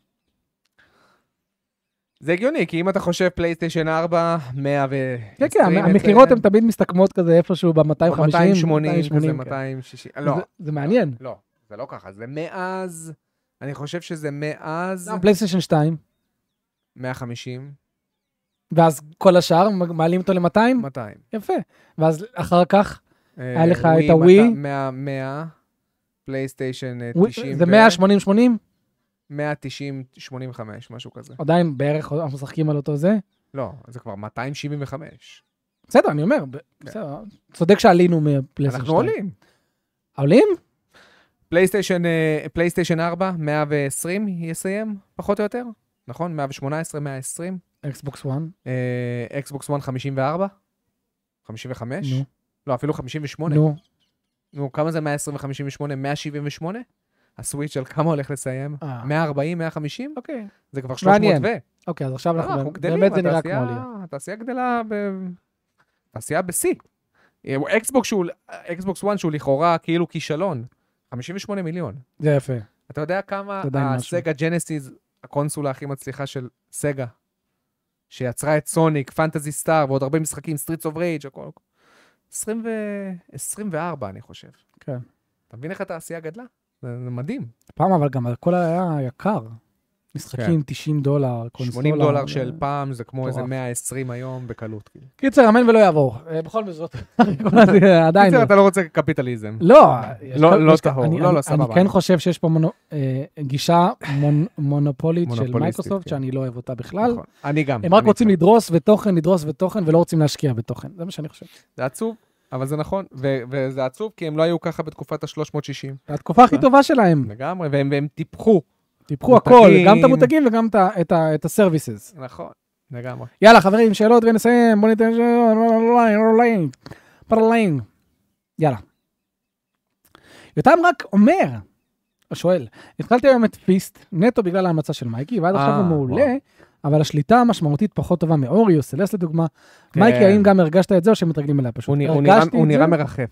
זה הגיוני, כי אם אתה חושב פלייסטיישן 4, 100 ו...
כן, כן, המ- המכירות הן תמיד מסתכמות כזה איפשהו ב-250,
280, כזה
280, כן.
260. לא,
זה- זה מעניין.
לא, זה לא ככה. זה מאז, אני חושב שזה מאז
גם פלייסטיישן 2,
150,
ואז כל השאר מ- מעלים אותו ל-200,
200.
יפה. ואז אחר כך,
אה,
היה לך את
ווי,
הווי?
100, 100, פלייסטיישן אה,
ווי-
90.
זה
ו-
180, 80,
190, 85, משהו כזה.
עדיין בערך אנחנו משחקים על אותו זה.
לא, זה כבר 275.
בסדר, אני אומר, ב- בסדר, צודק שעלינו מפלייסטיישן 2.
כן. אנחנו עולים.
עולים?
פלייסטיישן, אה, פלייסטיישן 4, 120 יסיים, פחות או יותר, נכון? 118, 120.
אקסבוקס 1,
אה, אקסבוקס 1 54? 55?
נו.
לא, אפילו 58.
נו,
נו, כמה זה 120 ו-58? 178? הסוויץ' על כמה הולך לסיים?
אה.
140, 150?
אוקיי.
זה כבר 300
מעניין.
ו...
אוקיי, אז עכשיו
לא, אנחנו
אנחנו,
גדלים,
באמת זה נראה כמו
התעשייה-
עלייה.
התעשייה גדלה ב... התעשייה בשיא. אה, אקסבוקס שהוא, אקסבוקס 1 שהוא לכאורה כאילו כישלון, 58 מיליון.
זה יפה.
אתה יודע כמה
זה עדיין משהו.
הסגה ג'נסיס, הקונסולה הכי מצליחה של סגה, שיצרה את סוניק, פנטזי סטאר ועוד הרבה משחקים, סטריטס אוף רייג', הכל. 20 ו... 24, אני חושב.
כן.
אתה מבין איך התעשייה גדלה? זה, זה מדהים.
פעם אבל גם הכל היה יקר. משחקים 90 דולר, קונסולה.
80 כן. דולר
ו-
של פעם, זה כמו איזה
מטורף.
120 היום בקלות. כאילו.
קיצר, אמן ולא יעבור. אה, בכל זאת, עדיין.
קיצר,
לא.
אתה לא רוצה קפיטליזם.
לא, יש
לא-
כל-
לא
יש-
טהור.
אני-
לא,
אני-
לא, סבבה.
אני כן חושב שיש פה מונו- אה, גישה מונ- מונופולית של
מונופוליסטית,
מייקרוסופט,
כן.
שאני לא אוהב אותה בכלל.
נכון. אני גם.
הם רק
אני
רוצים
איתך.
לדרוס ותוכן, לדרוס ותוכן, ולא רוצים להשקיע בתוכן. זה מה שאני חושב.
זה עצוב, אבל זה נכון. ו- וזה עצוב כי הם לא היו ככה בתקופת ה-360.
התקופה הכי טובה שלהם,
לגמרי, והם והם טיפחו.
טיפחו הכל,
אה? מותגים.
גם את המותגים וגם את ה- את ה- את הסרוויסס.
נכון, לגמרי.
יאללה, חברים, שאלות ונסיים, בוא ניתן שאלות. פרליין. יאללה. יותם רק אומר, או שואל, התחלתי היום את פיסט, נטו בגלל ההמלצה של מייקי, ועד עכשיו
אה,
הוא מעולה,
וואו.
אבל השליטה המשמעותית פחות טובה מאורי או סלס לדוגמה.
כן.
מייקי, האם גם הרגשת את זה או שמתרגלים אליה פשוט?
הוא נראה- הוא נראה-
הרגשתי
הוא
את
נראה
זה-
מרחף.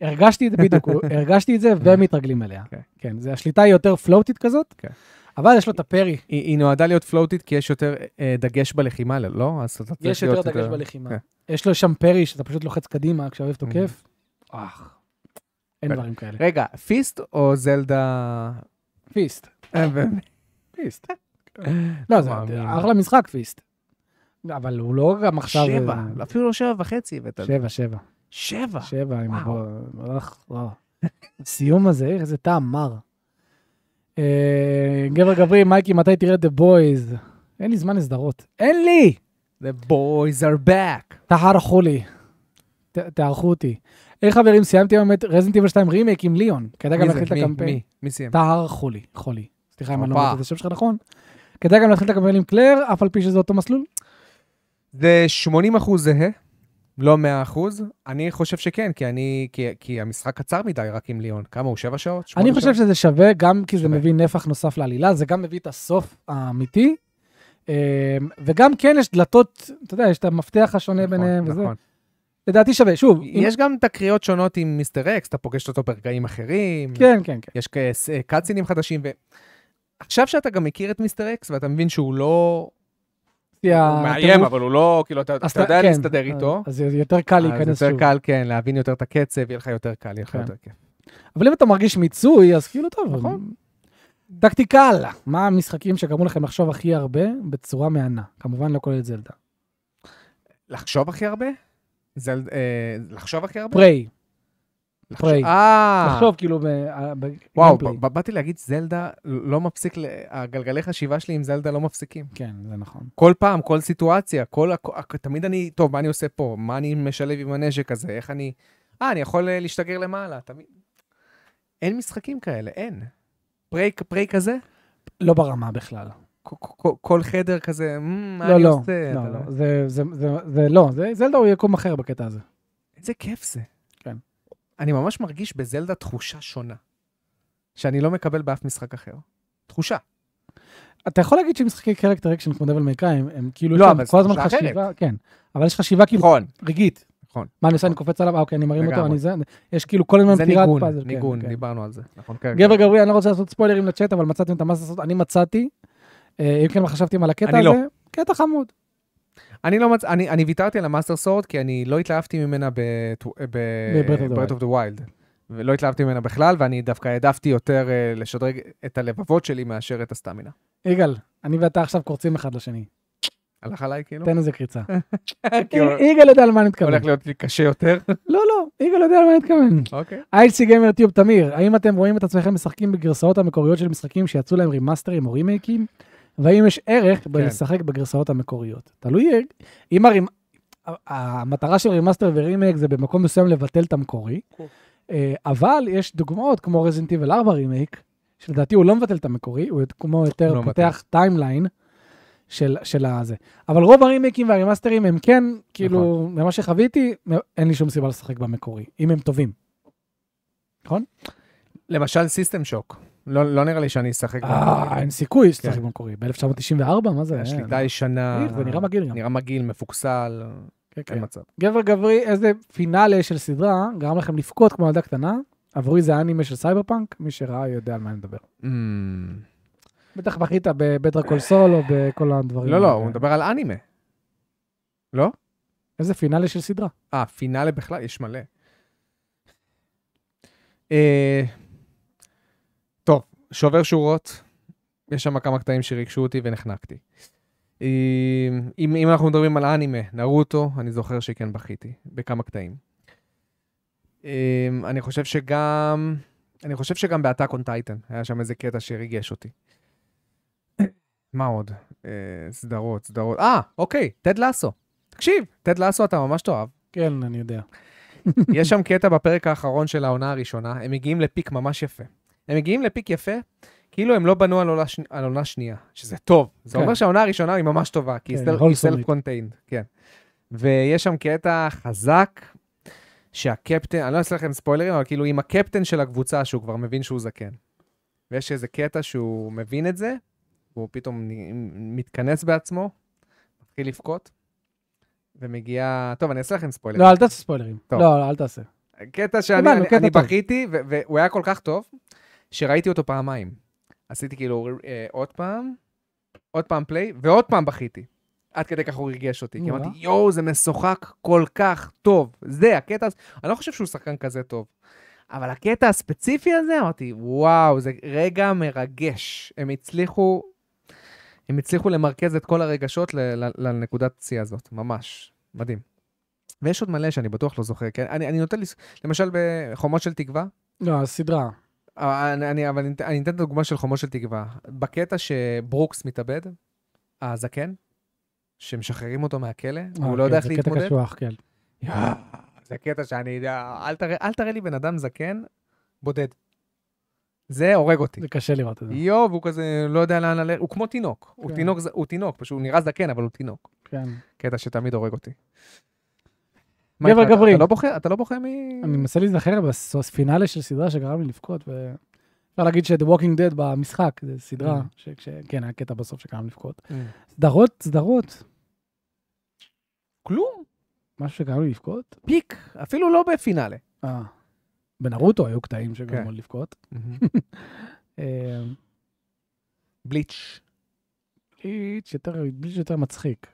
הרגשתי את זה, בדיוק, הוא- הרגשתי את זה ומתרגלים אליה.
כן.
כן, זה השליטה היא יותר פלוטית כזאת,
כן.
אבל יש לו את הפרי,
היא, היא נועדה להיות פלוטית כי יש יותר אה, דגש בלחימה, לא? אז אתה צריך
יש
להיות
יותר דגש בלחימה.
כן. Mm-hmm.
יש לו שם פרי שאתה פשוט לוחץ קדימה כשהאויב תוקף.
אה.
אין
כן.
דברים כאלה.
רגע, פיסט או זלדה?
אה, פיסט.
אה, באמת?
פיסט. לא, זה
מאמין.
אחלה משחק פיסט. אבל הוא לא גם עכשיו...
שבע,
אה,
אפילו לא שבע וחצי הבאת.
שבע, שבע.
שבע.
שבע, עם
וואו.
הבוא... הלך, וואו. אה, לא. הסיום הזה, איך איזה טעם מר. אה, גבר גברי, מייקי, מתי תראה את The Boys? אין לי זמן לסדרות. אין לי!
The boys are back.
תערכו לי. ת- תערכו אותי. היי חברים, סיימתי היום את רזנט איבל 2 רימייק עם ליאון. כדאי גם
מי זה?
להתחיל את
מי-
הקמפיין.
מי? מי סיים?
טהר חולי, חולי. סליחה אם אני לא
הופה.
אמרתי את השם שלך נכון. כדאי גם להתחיל את הקמפיין עם קלר, אף על פי שזה אותו מסלול.
זה 80 אחוז זהה, לא 100 אחוז. אני חושב שכן, כי אני, כי, כי המשחק קצר מדי רק עם ליאון. כמה הוא? שבע שעות?
אני
שמונה
חושב
שעות?
שזה שווה, גם כי זה
שווה.
מביא נפח נוסף לעלילה, זה גם מביא את הסוף האמיתי. אמ, וגם כן יש דלתות, אתה יודע, יש את המפתח השונה
נכון,
ביניהם וזה.
נכון.
לדעתי שווה, שוב. אם-
יש גם תקריות שונות עם מיסטר אקס, אתה פוגש אותו ברגעים אחרים.
כן, כן, כן.
יש כאלה ס- קאצינים חדשים, ועכשיו שאתה גם מכיר את מיסטר אקס, ואתה מבין שהוא לא...
כי
הוא מאיים,
הטירוף-
אבל הוא לא, כאילו, אתה
אה, אז
אתה יודע
כן,
להסתדר איתו. אה,
אז זה יותר קל להיכנס
אז יותר
שוב.
קל, כן, להבין יותר את הקצב, יהיה לך יותר קל, יהיה לך
כן.
יותר כיף.
אבל אם אתה מרגיש מיצוי, אז כאילו טוב,
נכון.
טקטיקל, מה המשחקים שגרמו לכם לחשוב הכי הרבה בצורה מהנה? כמובן לא כולל את זלדה.
לחשוב הכי הרבה? זה- אה, לחשוב הכי הרבה?
פריי. פריי.
אה,
תחשוב, כאילו, ב... ב-
וואו,
gameplay.
ב- ב- באתי להגיד זלדה, לא מפסיק, ל- הגלגלי חשיבה שלי עם זלדה לא מפסיקים.
כן, זה נכון.
כל פעם, כל סיטואציה, כל, הכ- תמיד אני, טוב, מה אני עושה פה? מה אני משלב עם הנשק הזה? איך אני... אה, אני יכול אה, להשתגר למעלה, תמיד. אין משחקים כאלה, אין. פריי, פריי כזה?
לא ברמה בכלל.
כל- כל- כל חדר כזה, "מ, מה
לא,
אני
לא.
עושה?
לא,
אתה
לא.
לא-
זה- זה- זה- זה לא, זה- זלדה הוא יקום אחר בקטע הזה.
איזה כיף זה.
כן.
אני ממש מרגיש בזלדה תחושה שונה, שאני לא מקבל באף משחק אחר. תחושה.
כן. אתה יכול להגיד שמשחקי קרקטר אקשן כמו דבל מייקאים, הם כאילו,
לא,
יש להם
אבל זו
כל הזמן
תחושה
חשיבה, כן, אבל יש חשיבה כאילו
נכון,
רגעית.
נכון.
מה אני עושה, אני קופץ עליו, אה, אוקיי, אני מרים אותו,
לגמרי.
אני זה, יש כאילו כל הזמן
זה
בחירת
ניגון,
פאזל, כן,
ניגון,
כן.
דיברנו על זה. נכון, כן.
גבר גברי, אני לא רוצה לעשות ספוילרים לצ'אט, אבל מצאתם את המס לעשות, אני מצאתי, אה, אם כן, מה חשבתם על הקטע
אני לא.
הזה? קטע חמוד.
אני לא מצ... אני, אני ויתרתי על המאסטר סורד כי אני לא התלהבתי ממנה
ב-Breath of the
ב-Breath of the Wild. ולא התלהבתי ממנה בכלל, ואני דווקא העדפתי יותר אה, לשדרג את הלבבות שלי מאשר את הסטמינה.
יגאל, אני ואתה עכשיו קורצים אחד לשני,
הלך עליי כאילו?
תן איזה קריצה.
כי הוא-
יגאל יודע על מה אני מתכוון.
אוקיי. הולך להיות לי קשה יותר.
לא, לא, יגאל יודע על מה אני מתכוון.
אוקיי.
אייסי גיימר טיוב תמיר, האם אתם רואים את עצמכם משחקים בגרסאות המקוריות של משחקים שיצאו להם רימאסטרים או רימייקים? והאם יש
כן.
ערך בלשחק בגרסאות המקוריות? תלוי, אם הרימ... המטרה של רימאסטר ורימייק זה במקום מסוים לבטל את המקורי,
כן.
אה, אבל יש דוגמאות כמו רזינט איבל 4 רימייק, שלדעתי הוא לא מבטל את המקורי, הוא כמו יותר
לא מבטל.
פותח טיימליין של, של הזה. אבל רוב הרימייקים והרימאסטרים הם כן, כאילו,
נכון.
ממה שחוויתי, אין לי שום סיבה לשחק במקורי, אם הם טובים.
למשל סיסטם שוק. לא, לא נראה לי שאני אשחק.
אה, אין סיכוי שצריך
כן.
במקורי. ב-1994, מה זה?
השליטה ישנה.
איך, זה נראה מגעיל גם.
נראה מגעיל, מפוקסל,
כן, כן.
אין מצב.
גבר גברי, איזה פינאלה של סדרה גרם לכם לבכות כמו ילדה קטנה? עבורי זה האנימה של סייבר פאנק, מי שראה יודע על מה אני מדבר.
אמ,
בטח בכית בבטרה קול סול או בכל הדברים.
לא, לא,
האלה.
הוא מדבר על אנימה.
איזה פינאלה של סדרה.
אה, פינאלה בכלל, יש מלא. אה, טוב, שובר שורות, יש שם כמה קטעים שריגשו אותי ונחנקתי. אה, אם, אם אנחנו מדברים על אנימה, נרוטו, אני זוכר שכן בכיתי, בכמה קטעים. אה, אני חושב שגם, אני חושב שגם באטאק און טייטן, היה שם איזה קטע שריגש אותי. מה עוד? אה, סדרות, סדרות. אה, אוקיי, טד לסו. תקשיב, טד לסו אתה ממש תאהב.
כן, אני יודע.
יש שם קטע בפרק האחרון של העונה הראשונה, הם מגיעים לפיק ממש יפה. הם מגיעים לפיק יפה, כאילו הם לא בנו על עונה, שני, על עונה שנייה, שזה טוב. זה
כן.
אומר שהעונה הראשונה היא ממש טובה, כי
כן,
היא
wholesome.
סלף קונטיינד, כן. ויש שם קטע חזק, שהקפטן, אני לא אעשה לכם ספוילרים, אבל כאילו עם הקפטן של הקבוצה, שהוא כבר מבין שהוא זקן. ויש איזה קטע שהוא מבין את זה, והוא פתאום נ- מתכנס בעצמו, מתחיל לבכות, ומגיע... טוב, אני אעשה לכם ספוילרים.
לא, אל תעשה ספוילרים.
טוב.
לא, אל תעשה.
קטע שאני
הבנו,
אני,
קטע
אני
טוב.
בכיתי, ו- והוא היה כל כך טוב, שראיתי אותו פעמיים. עשיתי כאילו אה, עוד פעם, עוד פעם פליי, ועוד פעם בכיתי. עד כדי כך הוא ריגש אותי. כי
נו,
אמרתי, יואו, זה משוחק כל כך טוב. זה הקטע, הזה." אני לא חושב שהוא שחקן כזה טוב. אבל הקטע הספציפי הזה, אמרתי, וואו, זה רגע מרגש. הם הצליחו, הם הצליחו למרכז את כל הרגשות ל- ל- לנקודת שיא הזאת, ממש. מדהים. ויש עוד מלא שאני בטוח לא זוכר, כן? אני, אני נותן לי, ס- למשל בחומות של תקווה,
לא, הסדרה.
אה, אני, אני, אבל אני, אתן- אני אתן את הדוגמה של חומות של תקווה. בקטע שברוקס מתאבד, הזקן, שמשחררים אותו מהכלא,
אה,
הוא לא יודע
כן,
איך
זה קטע
להתמודד.
קשוח, כן.
יאה, זה קטע שאני, אה, אל תראה, אל תראה לי בן אדם זקן בודד. זה הורג אותי.
זה קשה לראות את זה.
יואו, והוא כזה לא יודע לאן ללכת, הוא כמו תינוק. הוא
כן.
תינוק, ז- הוא תינוק, פשוט הוא נראה זקן, אבל הוא תינוק.
כן.
קטע שתמיד הורג אותי.
גבר
מה איתך, אתה-
גברי.
אתה לא בוחר, אתה לא בוחר מ...
אני מנסה להיזכר בפינאלה של סדרה שגרם לי לבכות, ו... אפשר להגיד ש-The Walking Dead במשחק, זו סדרה,
Mm.
ש- ש- כן, היה קטע בסוף שגרם לי לבכות.
Mm.
סדרות, סדרות,
כלום,
משהו שגרם לי לבכות?
פיק, אפילו לא בפינאלה.
אה, בנרוטו היו קטעים שגרמו
כן.
לי לבכות. אה,
בליץ'.
בליץ' יותר, בליץ' יותר מצחיק.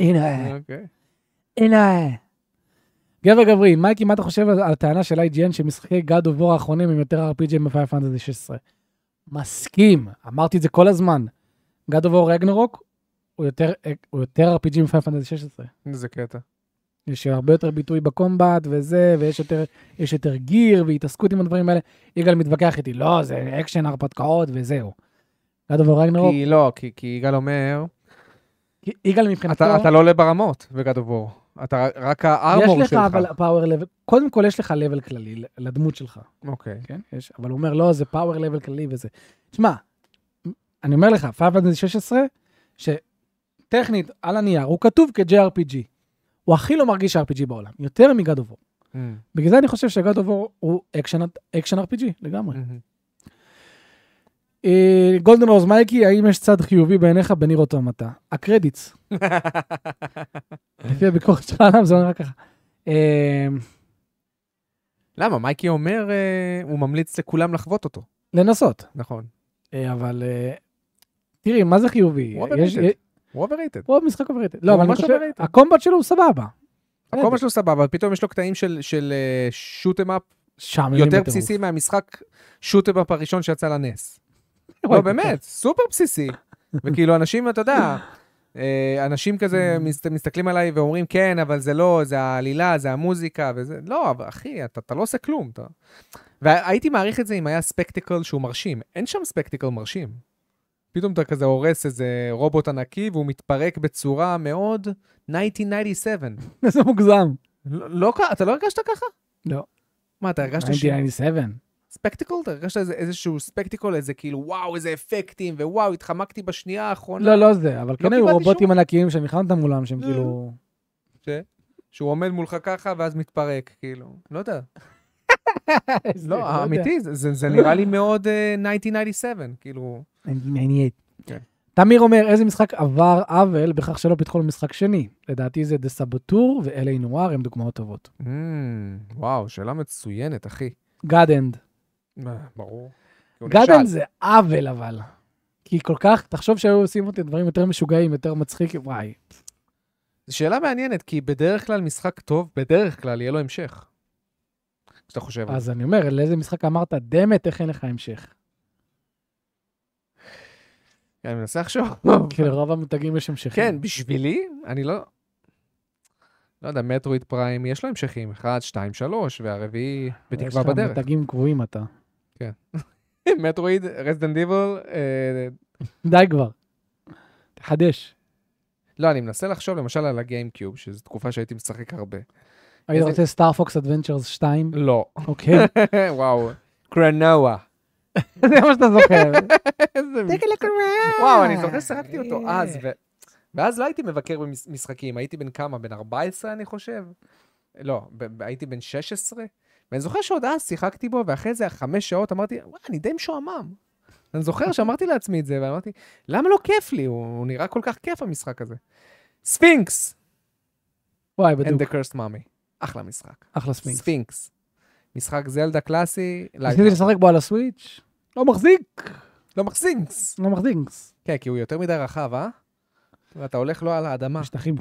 הנה,
אוקיי.
הנה. גבר גברי, מייקי, מה אתה חושב על על הטענה של IGN שמשחקי God of War האחרונים הם יותר RPG מ-Final Fantasy 16? מסכים, אמרתי את זה כל הזמן. God of War רגנרוק הוא יותר- הוא יותר RPG מ-Final Fantasy 16.
איזה קטע.
יש הרבה יותר ביטוי בקומבט וזה, ויש יותר, יש יותר גיר והתעסקות עם הדברים האלה. יגאל מתווכח איתי, לא, זה אקשן, הרפתקאות וזהו. God of War Ragnarok,
כי לא, כי, כי יגאל אומר,
כי- יגאל
אתה,
מבחינתו,
אתה לא עולה ברמות בגד אובור. אתה רק הארמור
יש לך
שלך.
אבל power level, קודם כל יש לך level כללי לדמות שלך.
אוקיי.
כן? יש, אבל הוא אומר, לא, זה פאוור לבל כללי וזה. תשמע, אני אומר לך, פאבלנד 16, שטכנית, על הנייר, הוא כתוב כ-JRPG. הוא הכי לא מרגיש RPG בעולם, יותר מגד אובור.
אמ,
בגלל זה אני חושב שגד אובור הוא אקשן, אקשן RPG לגמרי.
אמ,
אה, גולדן רוז מייקי, האם יש צד חיובי בעיניך בניר אוטומטה? הקרדיטס.
אה.
לפי הביקורת שלך עליו זה אומר ככה. אה,
למה? מייקי אומר, אה, הוא ממליץ לכולם לחוות אותו.
לנסות,
נכון.
אה, אבל אה, תראי, מה זה חיובי?
הוא
יש-
overrated. הוא overrated.
הוא משחק אוברייטד. לא,
הוא
אבל אני
ממש
חושב,
overrated.
הקומבט שלו הוא סבבה.
הכל משהו סבבה, פתאום יש לו קטעים של- של אה, שוטם-אפ
שם
יותר בסיסי מהמשחק שוטם-אפ הראשון שיצא לנס. לא, באמת, סופר בסיסי. וכאילו, אנשים, אתה יודע, אה, אנשים כזה מס- מסתכלים עליי ואומרים, כן, אבל זה לא, זה העלילה, זה המוזיקה, וזה... לא, אבל אחי, אתה אתה לא עושה כלום. אתה- והייתי מעריך את זה אם היה ספקטיקל שהוא מרשים. אין שם ספקטיקל מרשים. פתאום אתה כזה הורס איזה רובוט ענקי, והוא מתפרק בצורה מאוד 1997.
זה מוגזם.
לא, לא כ- אתה לא הרגשת ככה?
לא.
מה, אתה הרגשת ש...
1997.
ספקטיקל? אתה הרגשת איזה, איזשהו ספקטיקל, איזה כאילו, וואו, איזה אפקטים, ווואו, התחמקתי בשנייה האחרונה.
לא, לא זה, אבל כן היו
קיבלתי
רובוטים ענקיים שנלחמת מולם, שהם
לא.
כאילו...
ש... שהוא עומד מולך ככה ואז מתפרק, כאילו. לא יודע. לא,
יודע.
אמיתי, זה, זה, זה נראה לי מאוד אה, 1997, כאילו. כן.
תמיר אומר, איזה משחק עבר עוול בכך שלא פיתחו לו משחק שני? לדעתי זה דה סבתור ואלי נואר הם דוגמאות טובות.
Mm, וואו, שאלה מצוינת, אחי.
גאד אנד.
מה, ברור. כי הוא
גאד
נכשל.
אנד זה עוול אבל. כי כל כך, תחשוב שהיו עושים אותי דברים יותר משוגעים, יותר מצחיקים, וואי.
זו שאלה מעניינת, כי בדרך כלל משחק טוב, בדרך כלל יהיה לו המשך. כשאתה חושב על זה.
אז אני אומר, לאיזה משחק אמרת, דמת, איך אין לך המשך?
אני מנסה לחשוב.
כי לרוב המותגים יש המשכים.
כן, בשבילי, אני לא... לא יודע, מטרואיד פריים, יש לו המשכים, 1, 2, 3, והרביעי בתקווה
יש
בדרך.
לך מותגים קבועים אתה.
מטרואיד, רזדנד אה, איבל,
די כבר. תחדש.
לא, אני מנסה לחשוב למשל על הגיימקיוב, שזו תקופה שהייתי משחק הרבה.
היית
איזה-
רוצה סטאר פוקס אדוונצ'רס 2?
לא.
אוקיי.
וואו. קרנואה.
זה מה שאתה זוכר.
איזה... וואו, אני זוכר ששיחקתי אותו אז, ו... ואז לא הייתי מבקר במשחקים, הייתי בן כמה? בן 14 אני חושב? לא, ב- ב- הייתי בן 16? ואני זוכר שעוד אז שיחקתי בו, ואחרי זה חמש שעות אמרתי, וואי, אני די משועמם. אני זוכר שאמרתי לעצמי את זה, ואמרתי, למה לא כיף לי? הוא הוא נראה כל כך כיף המשחק הזה. ספינקס!
וואי,
And
בדיוק.
the cursed mommy. אחלה משחק.
אחלה ספינקס.
ספינקס. משחק זלדה קלאסי,
ניסיתי
לייטהאוס.
לשחק בו על הסוויץ'. לא מחזיק.
לא מחזיקס.
לא מחזיקס.
כן, כי הוא יותר מדי רחב, אה? ואתה הולך לא על האדמה.
משטחים.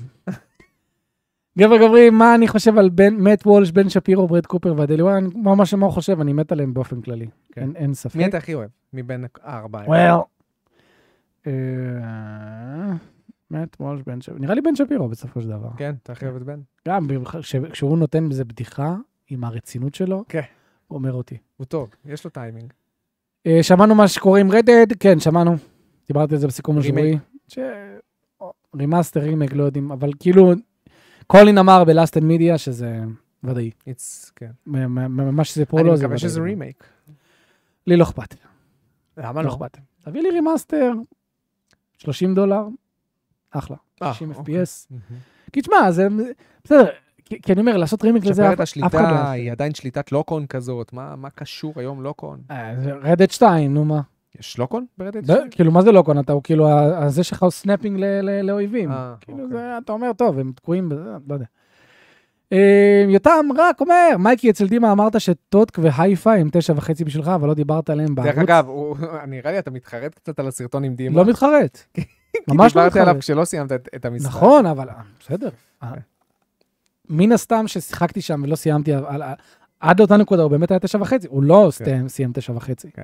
גבר גברי, מה אני חושב על בן, מאט וולש, בן שפירו, ברד קופר והדלי וואן? ממש מה הוא חושב, אני מת עליהם באופן כללי.
כן.
אין- אין ספק.
מי אתה הכי אוהב? מבין הארבעה.
well. אה, מאט וולש, בן שפירו, נראה לי בן שפירו בסופו של דבר.
כן, אתה הכי אוהב את בן?
גם בח- ש- כשהוא נותן איזה בדיחה עם הרצינות שלו,
כן.
הוא אומר אותי.
הוא טוב, יש לו טיימינג.
אה, שמענו מה שקורה עם רדד, כן, שמענו. דיברתי על זה בסיכום
רימייק.
השבועי. ש- רימאסטר, רימק, לא יודעים, אבל כאילו, קולין אמר בלאסטן מידיה שזה ודאי.
It's, כן.
מ- מ- ממש שזה פה
אני
לא, זה
מקווה שזה
ודאי.
רימייק.
לי לא אכפת.
למה
לא אכפת. תביא לי רימאסטר, 30 דולר, אחלה.
אה,
60
אוקיי.
FPS.
מהמם.
כי תשמע, זה... בסדר, כי כי אני אומר, לעשות רימק לזה,
תשפר
אף
את
אף אחד
השליטה,
לא יעשה.
היא עדיין שליטת לוקון כזאת. מה מה קשור היום לוקון?
אה, זה רדד 2, נו מה.
יש לוקון ברדיט?
ב- כאילו, מה זה לא קונטה? הוא כאילו, ה- זה שלך הוא סנאפינג ל- ל- לאויבים.
אה,
כאילו,
אוקיי.
זה- אתה אומר, טוב, הם תקועים בזה, לא יודע. אה, יותם רק אומר, מייקי אצל דימה אמרת שטוטק והייפה הם תשע וחצי בשבילך, אבל לא דיברת עליהם בערוץ.
דרך אגב, הוא- נראה לי אתה מתחרט קצת על הסרטון עם דימה.
לא מתחרט.
כי
ממש לא
דיברתי עליו כן.
מתחרט.
כשלא סיימת את- את המשחק.
נכון, אבל אה, בסדר. אה, מן הסתם ששיחקתי שם ולא סיימתי, על- על- עד אותה נקודה הוא באמת היה תשע וחצי, הוא לא סתם- סיים תשע וחצי.
כן.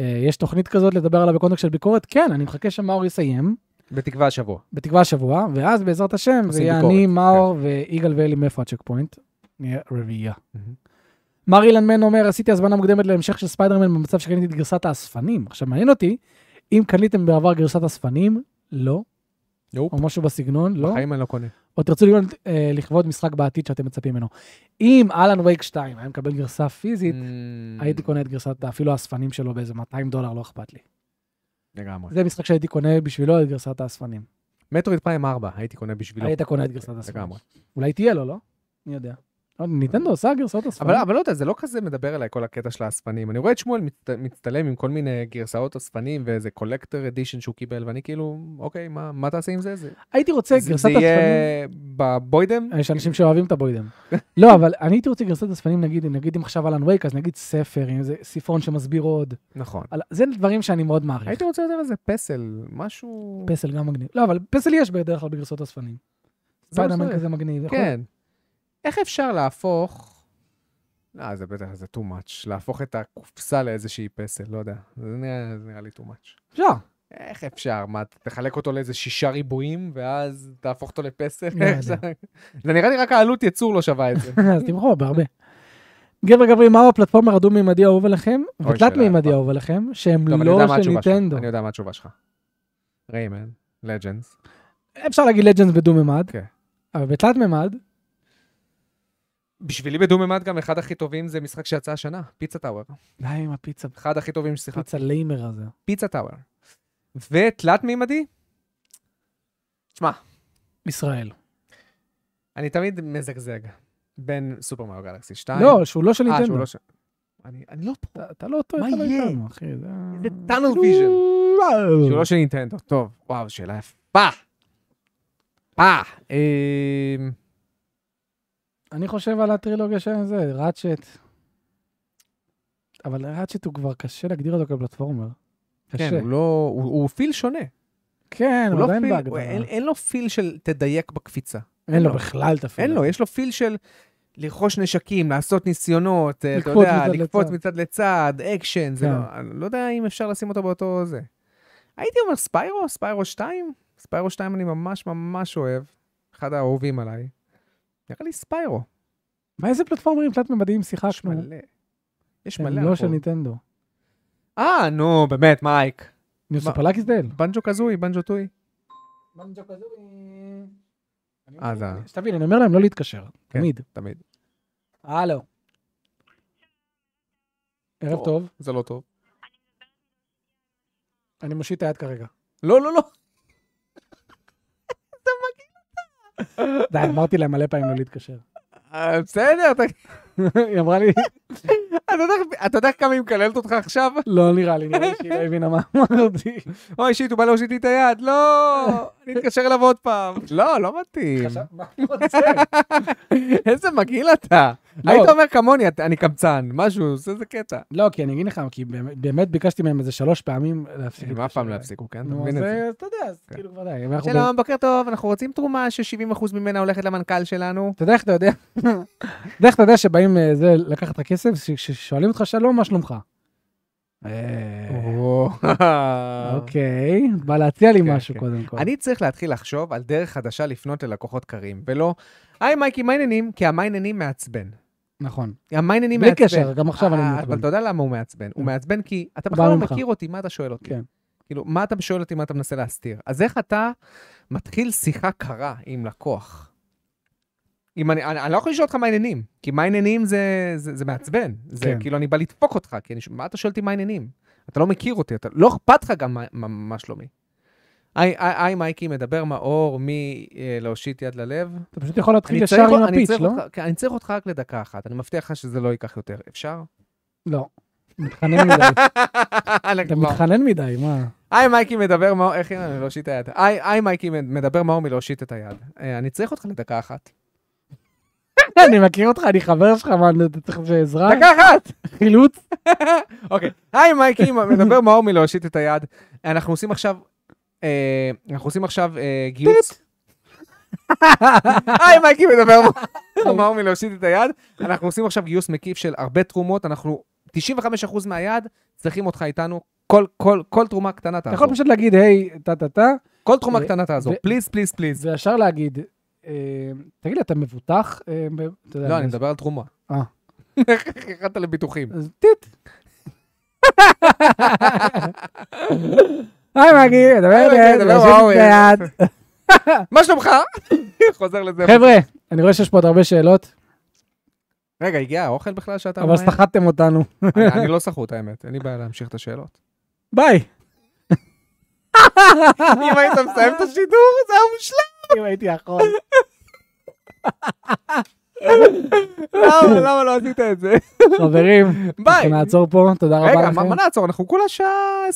אה, יש תוכנית כזאת לדבר עליו בקונטקסט של ביקורת? כן, אני מחכה שמאור יסיים,
בתקווה השבוע.
בתקווה השבוע, ואז בעזרת השם זה
עושים
יהיה
ביקורת, כן.
אני, מאור ויגאל ואלי מאיפה הצ'ק פוינט. נהיה רביעייה.
מהמם.
מר אילן מן אומר, עשיתי הזמנה מוקדמת להמשך של ספיידרמן במצב שקניתי את גרסת האספנים. עכשיו, מעניין אותי, אם קניתם בעבר גרסת אספנים, לא,
נופ.
או משהו בסגנון, לא,
בחיים אני לא קונה.
או תרצו לקנות, אה, לכבוד משחק בעתיד שאתם מצפים ממנו. אם אלן וייק 2 היה מקבל גרסה פיזית,
Mm,
הייתי קונה את גרסת, אפילו האספנים שלו באיזה 200 דולר, לא אכפת לי.
לגמרי.
זה משחק שהייתי קונה בשבילו את גרסת האספנים.
מטרויד פריים 4, הייתי קונה בשבילו.
היית קונה את גרסת האספנים.
לגמרי.
אולי תהיה לו, לא? אני יודע. לא, ניטנדו עושה גרסאות אספנים.
אבל אבל לא יודע, זה לא כזה מדבר אליי כל הקטע של האספנים. אני רואה את שמואל מצט- מצטלם עם כל מיני גרסאות אספנים ואיזה קולקטור אדישן שהוא קיבל, ואני כאילו, אוקיי, מה מה תעשה עם זה? זה
הייתי רוצה
זה-
גרסת
זה
אספנים.
יהיה בבוידם?
יש אנשים שאוהבים את הבוידם. לא, אבל אני הייתי רוצה גרסת אספנים, נגיד, נגיד אם עכשיו אלן וייק, אז נגיד ספר, עם איזה ספרון שמסביר עוד.
נכון.
על- זה דברים שאני מאוד מעריך.
הייתי רוצה יותר איזה פסל, משהו...
פסל גם מגניב. לא, אבל פסל יש בדרך כלל בגרסות אספנים.
זה מה
ספיידרמן
שזה.
כזה מגניב. יכול-
כן. איך אפשר להפוך... אה, זה בטח, זה too much. להפוך את הקופסה לאיזושהי פסל, לא יודע. זה נראה, זה נראה לי too much.
אפשר.
איך אפשר? מה, תחלק אותו לאיזה שישה ריבועים, ואז תהפוך אותו לפסל?
לא
איך זה זה נראה לי רק העלות ייצור לא שווה את זה.
אז תמכור בהרבה. גבר גברי, מהו הפלטפורמר הדו-מימדי האהוב עליכם?
אוי,
ותלת
שאלה
מימדי
יפה.
האהוב עליכם, שהם
טוב, אני
לא
יודע מה
של
התשובה שלך.
ניטנדו.
אני יודע מה התשובה שלך. ריימן, לג'נס.
אפשר להגיד לג'נדס בדו-ממד,
כן.
אבל בתלת ממד,
בשבילי בדו-ממד גם אחד הכי טובים זה משחק שיצא השנה, פיצה טאוור.
די עם הפיצה,
אחד הכי טובים ששיחקתי.
הפיצה ליימר הזה.
פיצה טאוור. ותלת מימדי? תשמע,
ישראל.
אני תמיד מזגזג בין סופר מריו גלקסי 2.
לא, שהוא לא של
אה,
ניטנדו.
שהוא לא ש... אני אני לא פה.
אתה- אתה לא טועה,
מה
אתה לא
יהיה?
איתנו, אחי. זה-
זה tunnel vision. שהוא
לא-
לא של ניטנדו. טוב, וואו, שאלה יפה. אה, אמ,
אני חושב על הטרילוגיה של זה, ראצ'ט. אבל ראצ'ט הוא כבר קשה להגדיר אותו כפלטפורמר.
כן,
קשה.
הוא לא... הוא הוא פיל שונה.
כן,
הוא
הוא
לא
עדיין
פיל-
בהגדרה.
הוא- אין- אין לו פיל של תדייק בקפיצה.
אין לו
לו.
בכלל את הפיל.
אין לו,
הזה.
יש לו פיל של לרכוש נשקים, לעשות ניסיונות, אה, אתה
לקפוץ
יודע,
מצד
לקפוץ
לצד.
מצד לצד, אקשן, זה
כן.
לא, אני לא יודע אם אפשר לשים אותו באותו זה. הייתי אומר ספיירו, ספיירו 2, ספיירו 2 אני ממש ממש אוהב, אחד האהובים עליי. נראה לי ספיירו,
מה, איזה פלטפורמרים תלת-ממדיים
יש
שיחקנו?
מלא. יש מלא.
הם לא
אנחנו-
של ניטנדו.
אה, נו, באמת, מייק.
ניו
מה-
סופרלקיס דל.
בנג'ו קזוי, בנג'ו טוי. אה, זה ה-
שתבין, אני אומר להם לא להתקשר,
כן.
תמיד.
תמיד.
הלו. ערב טוב,
זה לא טוב.
אני מושיט את היד כרגע.
לא, לא, לא.
די, אמרתי להם מלא פעמים לא להתקשר.
אה, בסדר, אתה
היא אמרה לי,
אתה יודע- אתה יודע כמה היא מקללת אותך עכשיו?
לא נראה לי, נראה לי שהיא לא הבינה מה אמרתי.
אוי, שיט, הוא בא להושיט לי את היד, לא! אני אתקשר אליו עוד פעם. לא, לא מתאים.
עכשיו, מה אתה רוצה?
איזה מגעיל אתה.
לא.
היית אומר כמוני, "אתה- אני קמצן, משהו, זה איזה קטע.
לא, כי אני אגיד לך, כי באמת- באמת ביקשתי מהם איזה שלוש פעמים להפסיק.
הם אף פעם לא יפסיקו, כן? אתה
נו,
מבין
אז
את זה? כן.
אה, אתה יודע, אז כאילו כבר די. אנחנו ב-
שלום, בוקר טוב, אנחנו רוצים תרומה ש-70% ממנה הולכת למנכ"ל שלנו.
אתה יודע איך אתה יודע? אתה יודע איך אתה יודע שבאים אה, זה לקחת את הכסף, ש- כששואלים אותך שלום, מה שלומך? אה, אוקיי, בא להציע לי
כן,
משהו
כן.
קודם כל.
אני צריך להתחיל לחשוב על דרך חדשה לפנות ללקוחות קרים, ולא, היי מייקי, מה העניינים? כי המה העניינים מעצבן.
נכון.
המייניינים
בלי
מעצבן.
קשר, גם עכשיו אני אה.
אה,
מעצבן.
אבל אתה יודע למה הוא מעצבן. הוא מעצבן כי אתה
הוא
בכלל
בא
לא
ממך.
מכיר אותי, מה אתה שואל אותי?
כן.
כאילו, מה אתה שואל אותי, מה אתה מנסה להסתיר? אז איך אתה מתחיל שיחה קרה עם לקוח? אם אני, אני, אני לא יכול לשאול אותך מה העניינים, כי מה העניינים זה, זה, זה מעצבן. זה
כן.
כאילו, אני בא לדפוק אותך, כי אני, ש- מה אתה שואל אותי מה העניינים? אתה לא מכיר אותי, אתה, לא אכפת לך גם מה, מה, מה שלומי. היי, היי, היי, מייקי, מדבר מאור מלהושיט יד ללב.
אתה פשוט יכול להתחיל
אני
ישר
צריך
עם
אות- אני
הפיץ',
צריך
לא?
אותך- כן, אני צריך אותך רק לדקה אחת, אני מבטיח לך שזה לא ייקח יותר. אפשר?
לא. מתחנן מדי.
אני
אתה
כבר-
מתחנן מדי, מה?
היי מייקי מדבר מאור, איך הנה, אני להושיט את היד. היי היי, מייקי מדבר מאור מלהושיט את היד. אה, אני צריך אותך לדקה אחת.
לא, אני מכיר אותך, אני חבר שלך, מה, אני- אתה צריך עזרה?
דקה אחת!
חילוץ?
אוקיי. היי מייקי מדבר מאור מלהושיט את היד. אנחנו עושים עכשיו, אה, אנחנו עושים עכשיו אה, גיוס. היי מייקי מדבר מאור- מאור מלהושיט את היד. אנחנו עושים עכשיו גיוס מקיף של הרבה תרומות, אנחנו 95% מהיד צריכים אותך איתנו. כל, כל, כל תרומה קטנה
אתה יכול
תעזור.
פשוט להגיד, היי, טה טה טה,
כל תרומה
ו-
קטנה תעזור.
ו-
פליז, פליז, פליז.
זה ישר להגיד, אה, תגיד לי, אתה מבוטח? אה, ב- אתה יודע,
לא, אני מדבר על תרומה.
אה.
איך הגעת לביטוחים?
אז טיט. היי מגי, דבר
היי,
ביד,
מגי, דבר
יושב
וואו, אה,
ביד.
מה שלומך? חוזר לזה.
חבר'ה, אני רואה שיש פה עוד הרבה שאלות,
רגע, הגיע האוכל בכלל שאתה...
אבל
ממהר?
סחטתם אותנו.
אני- אני לא סחוט, האמת. אין לי בעיה להמשיך את השאלות.
ביי.
אם היית מסיים את השידור, זה היה מושלם.
אם הייתי יכול.
למה, למה לא עשית את זה?
חברים,
ביי.
אנחנו נעצור פה, תודה רבה לכם.
רגע, מה מה נעצור? אנחנו כולה שעה 20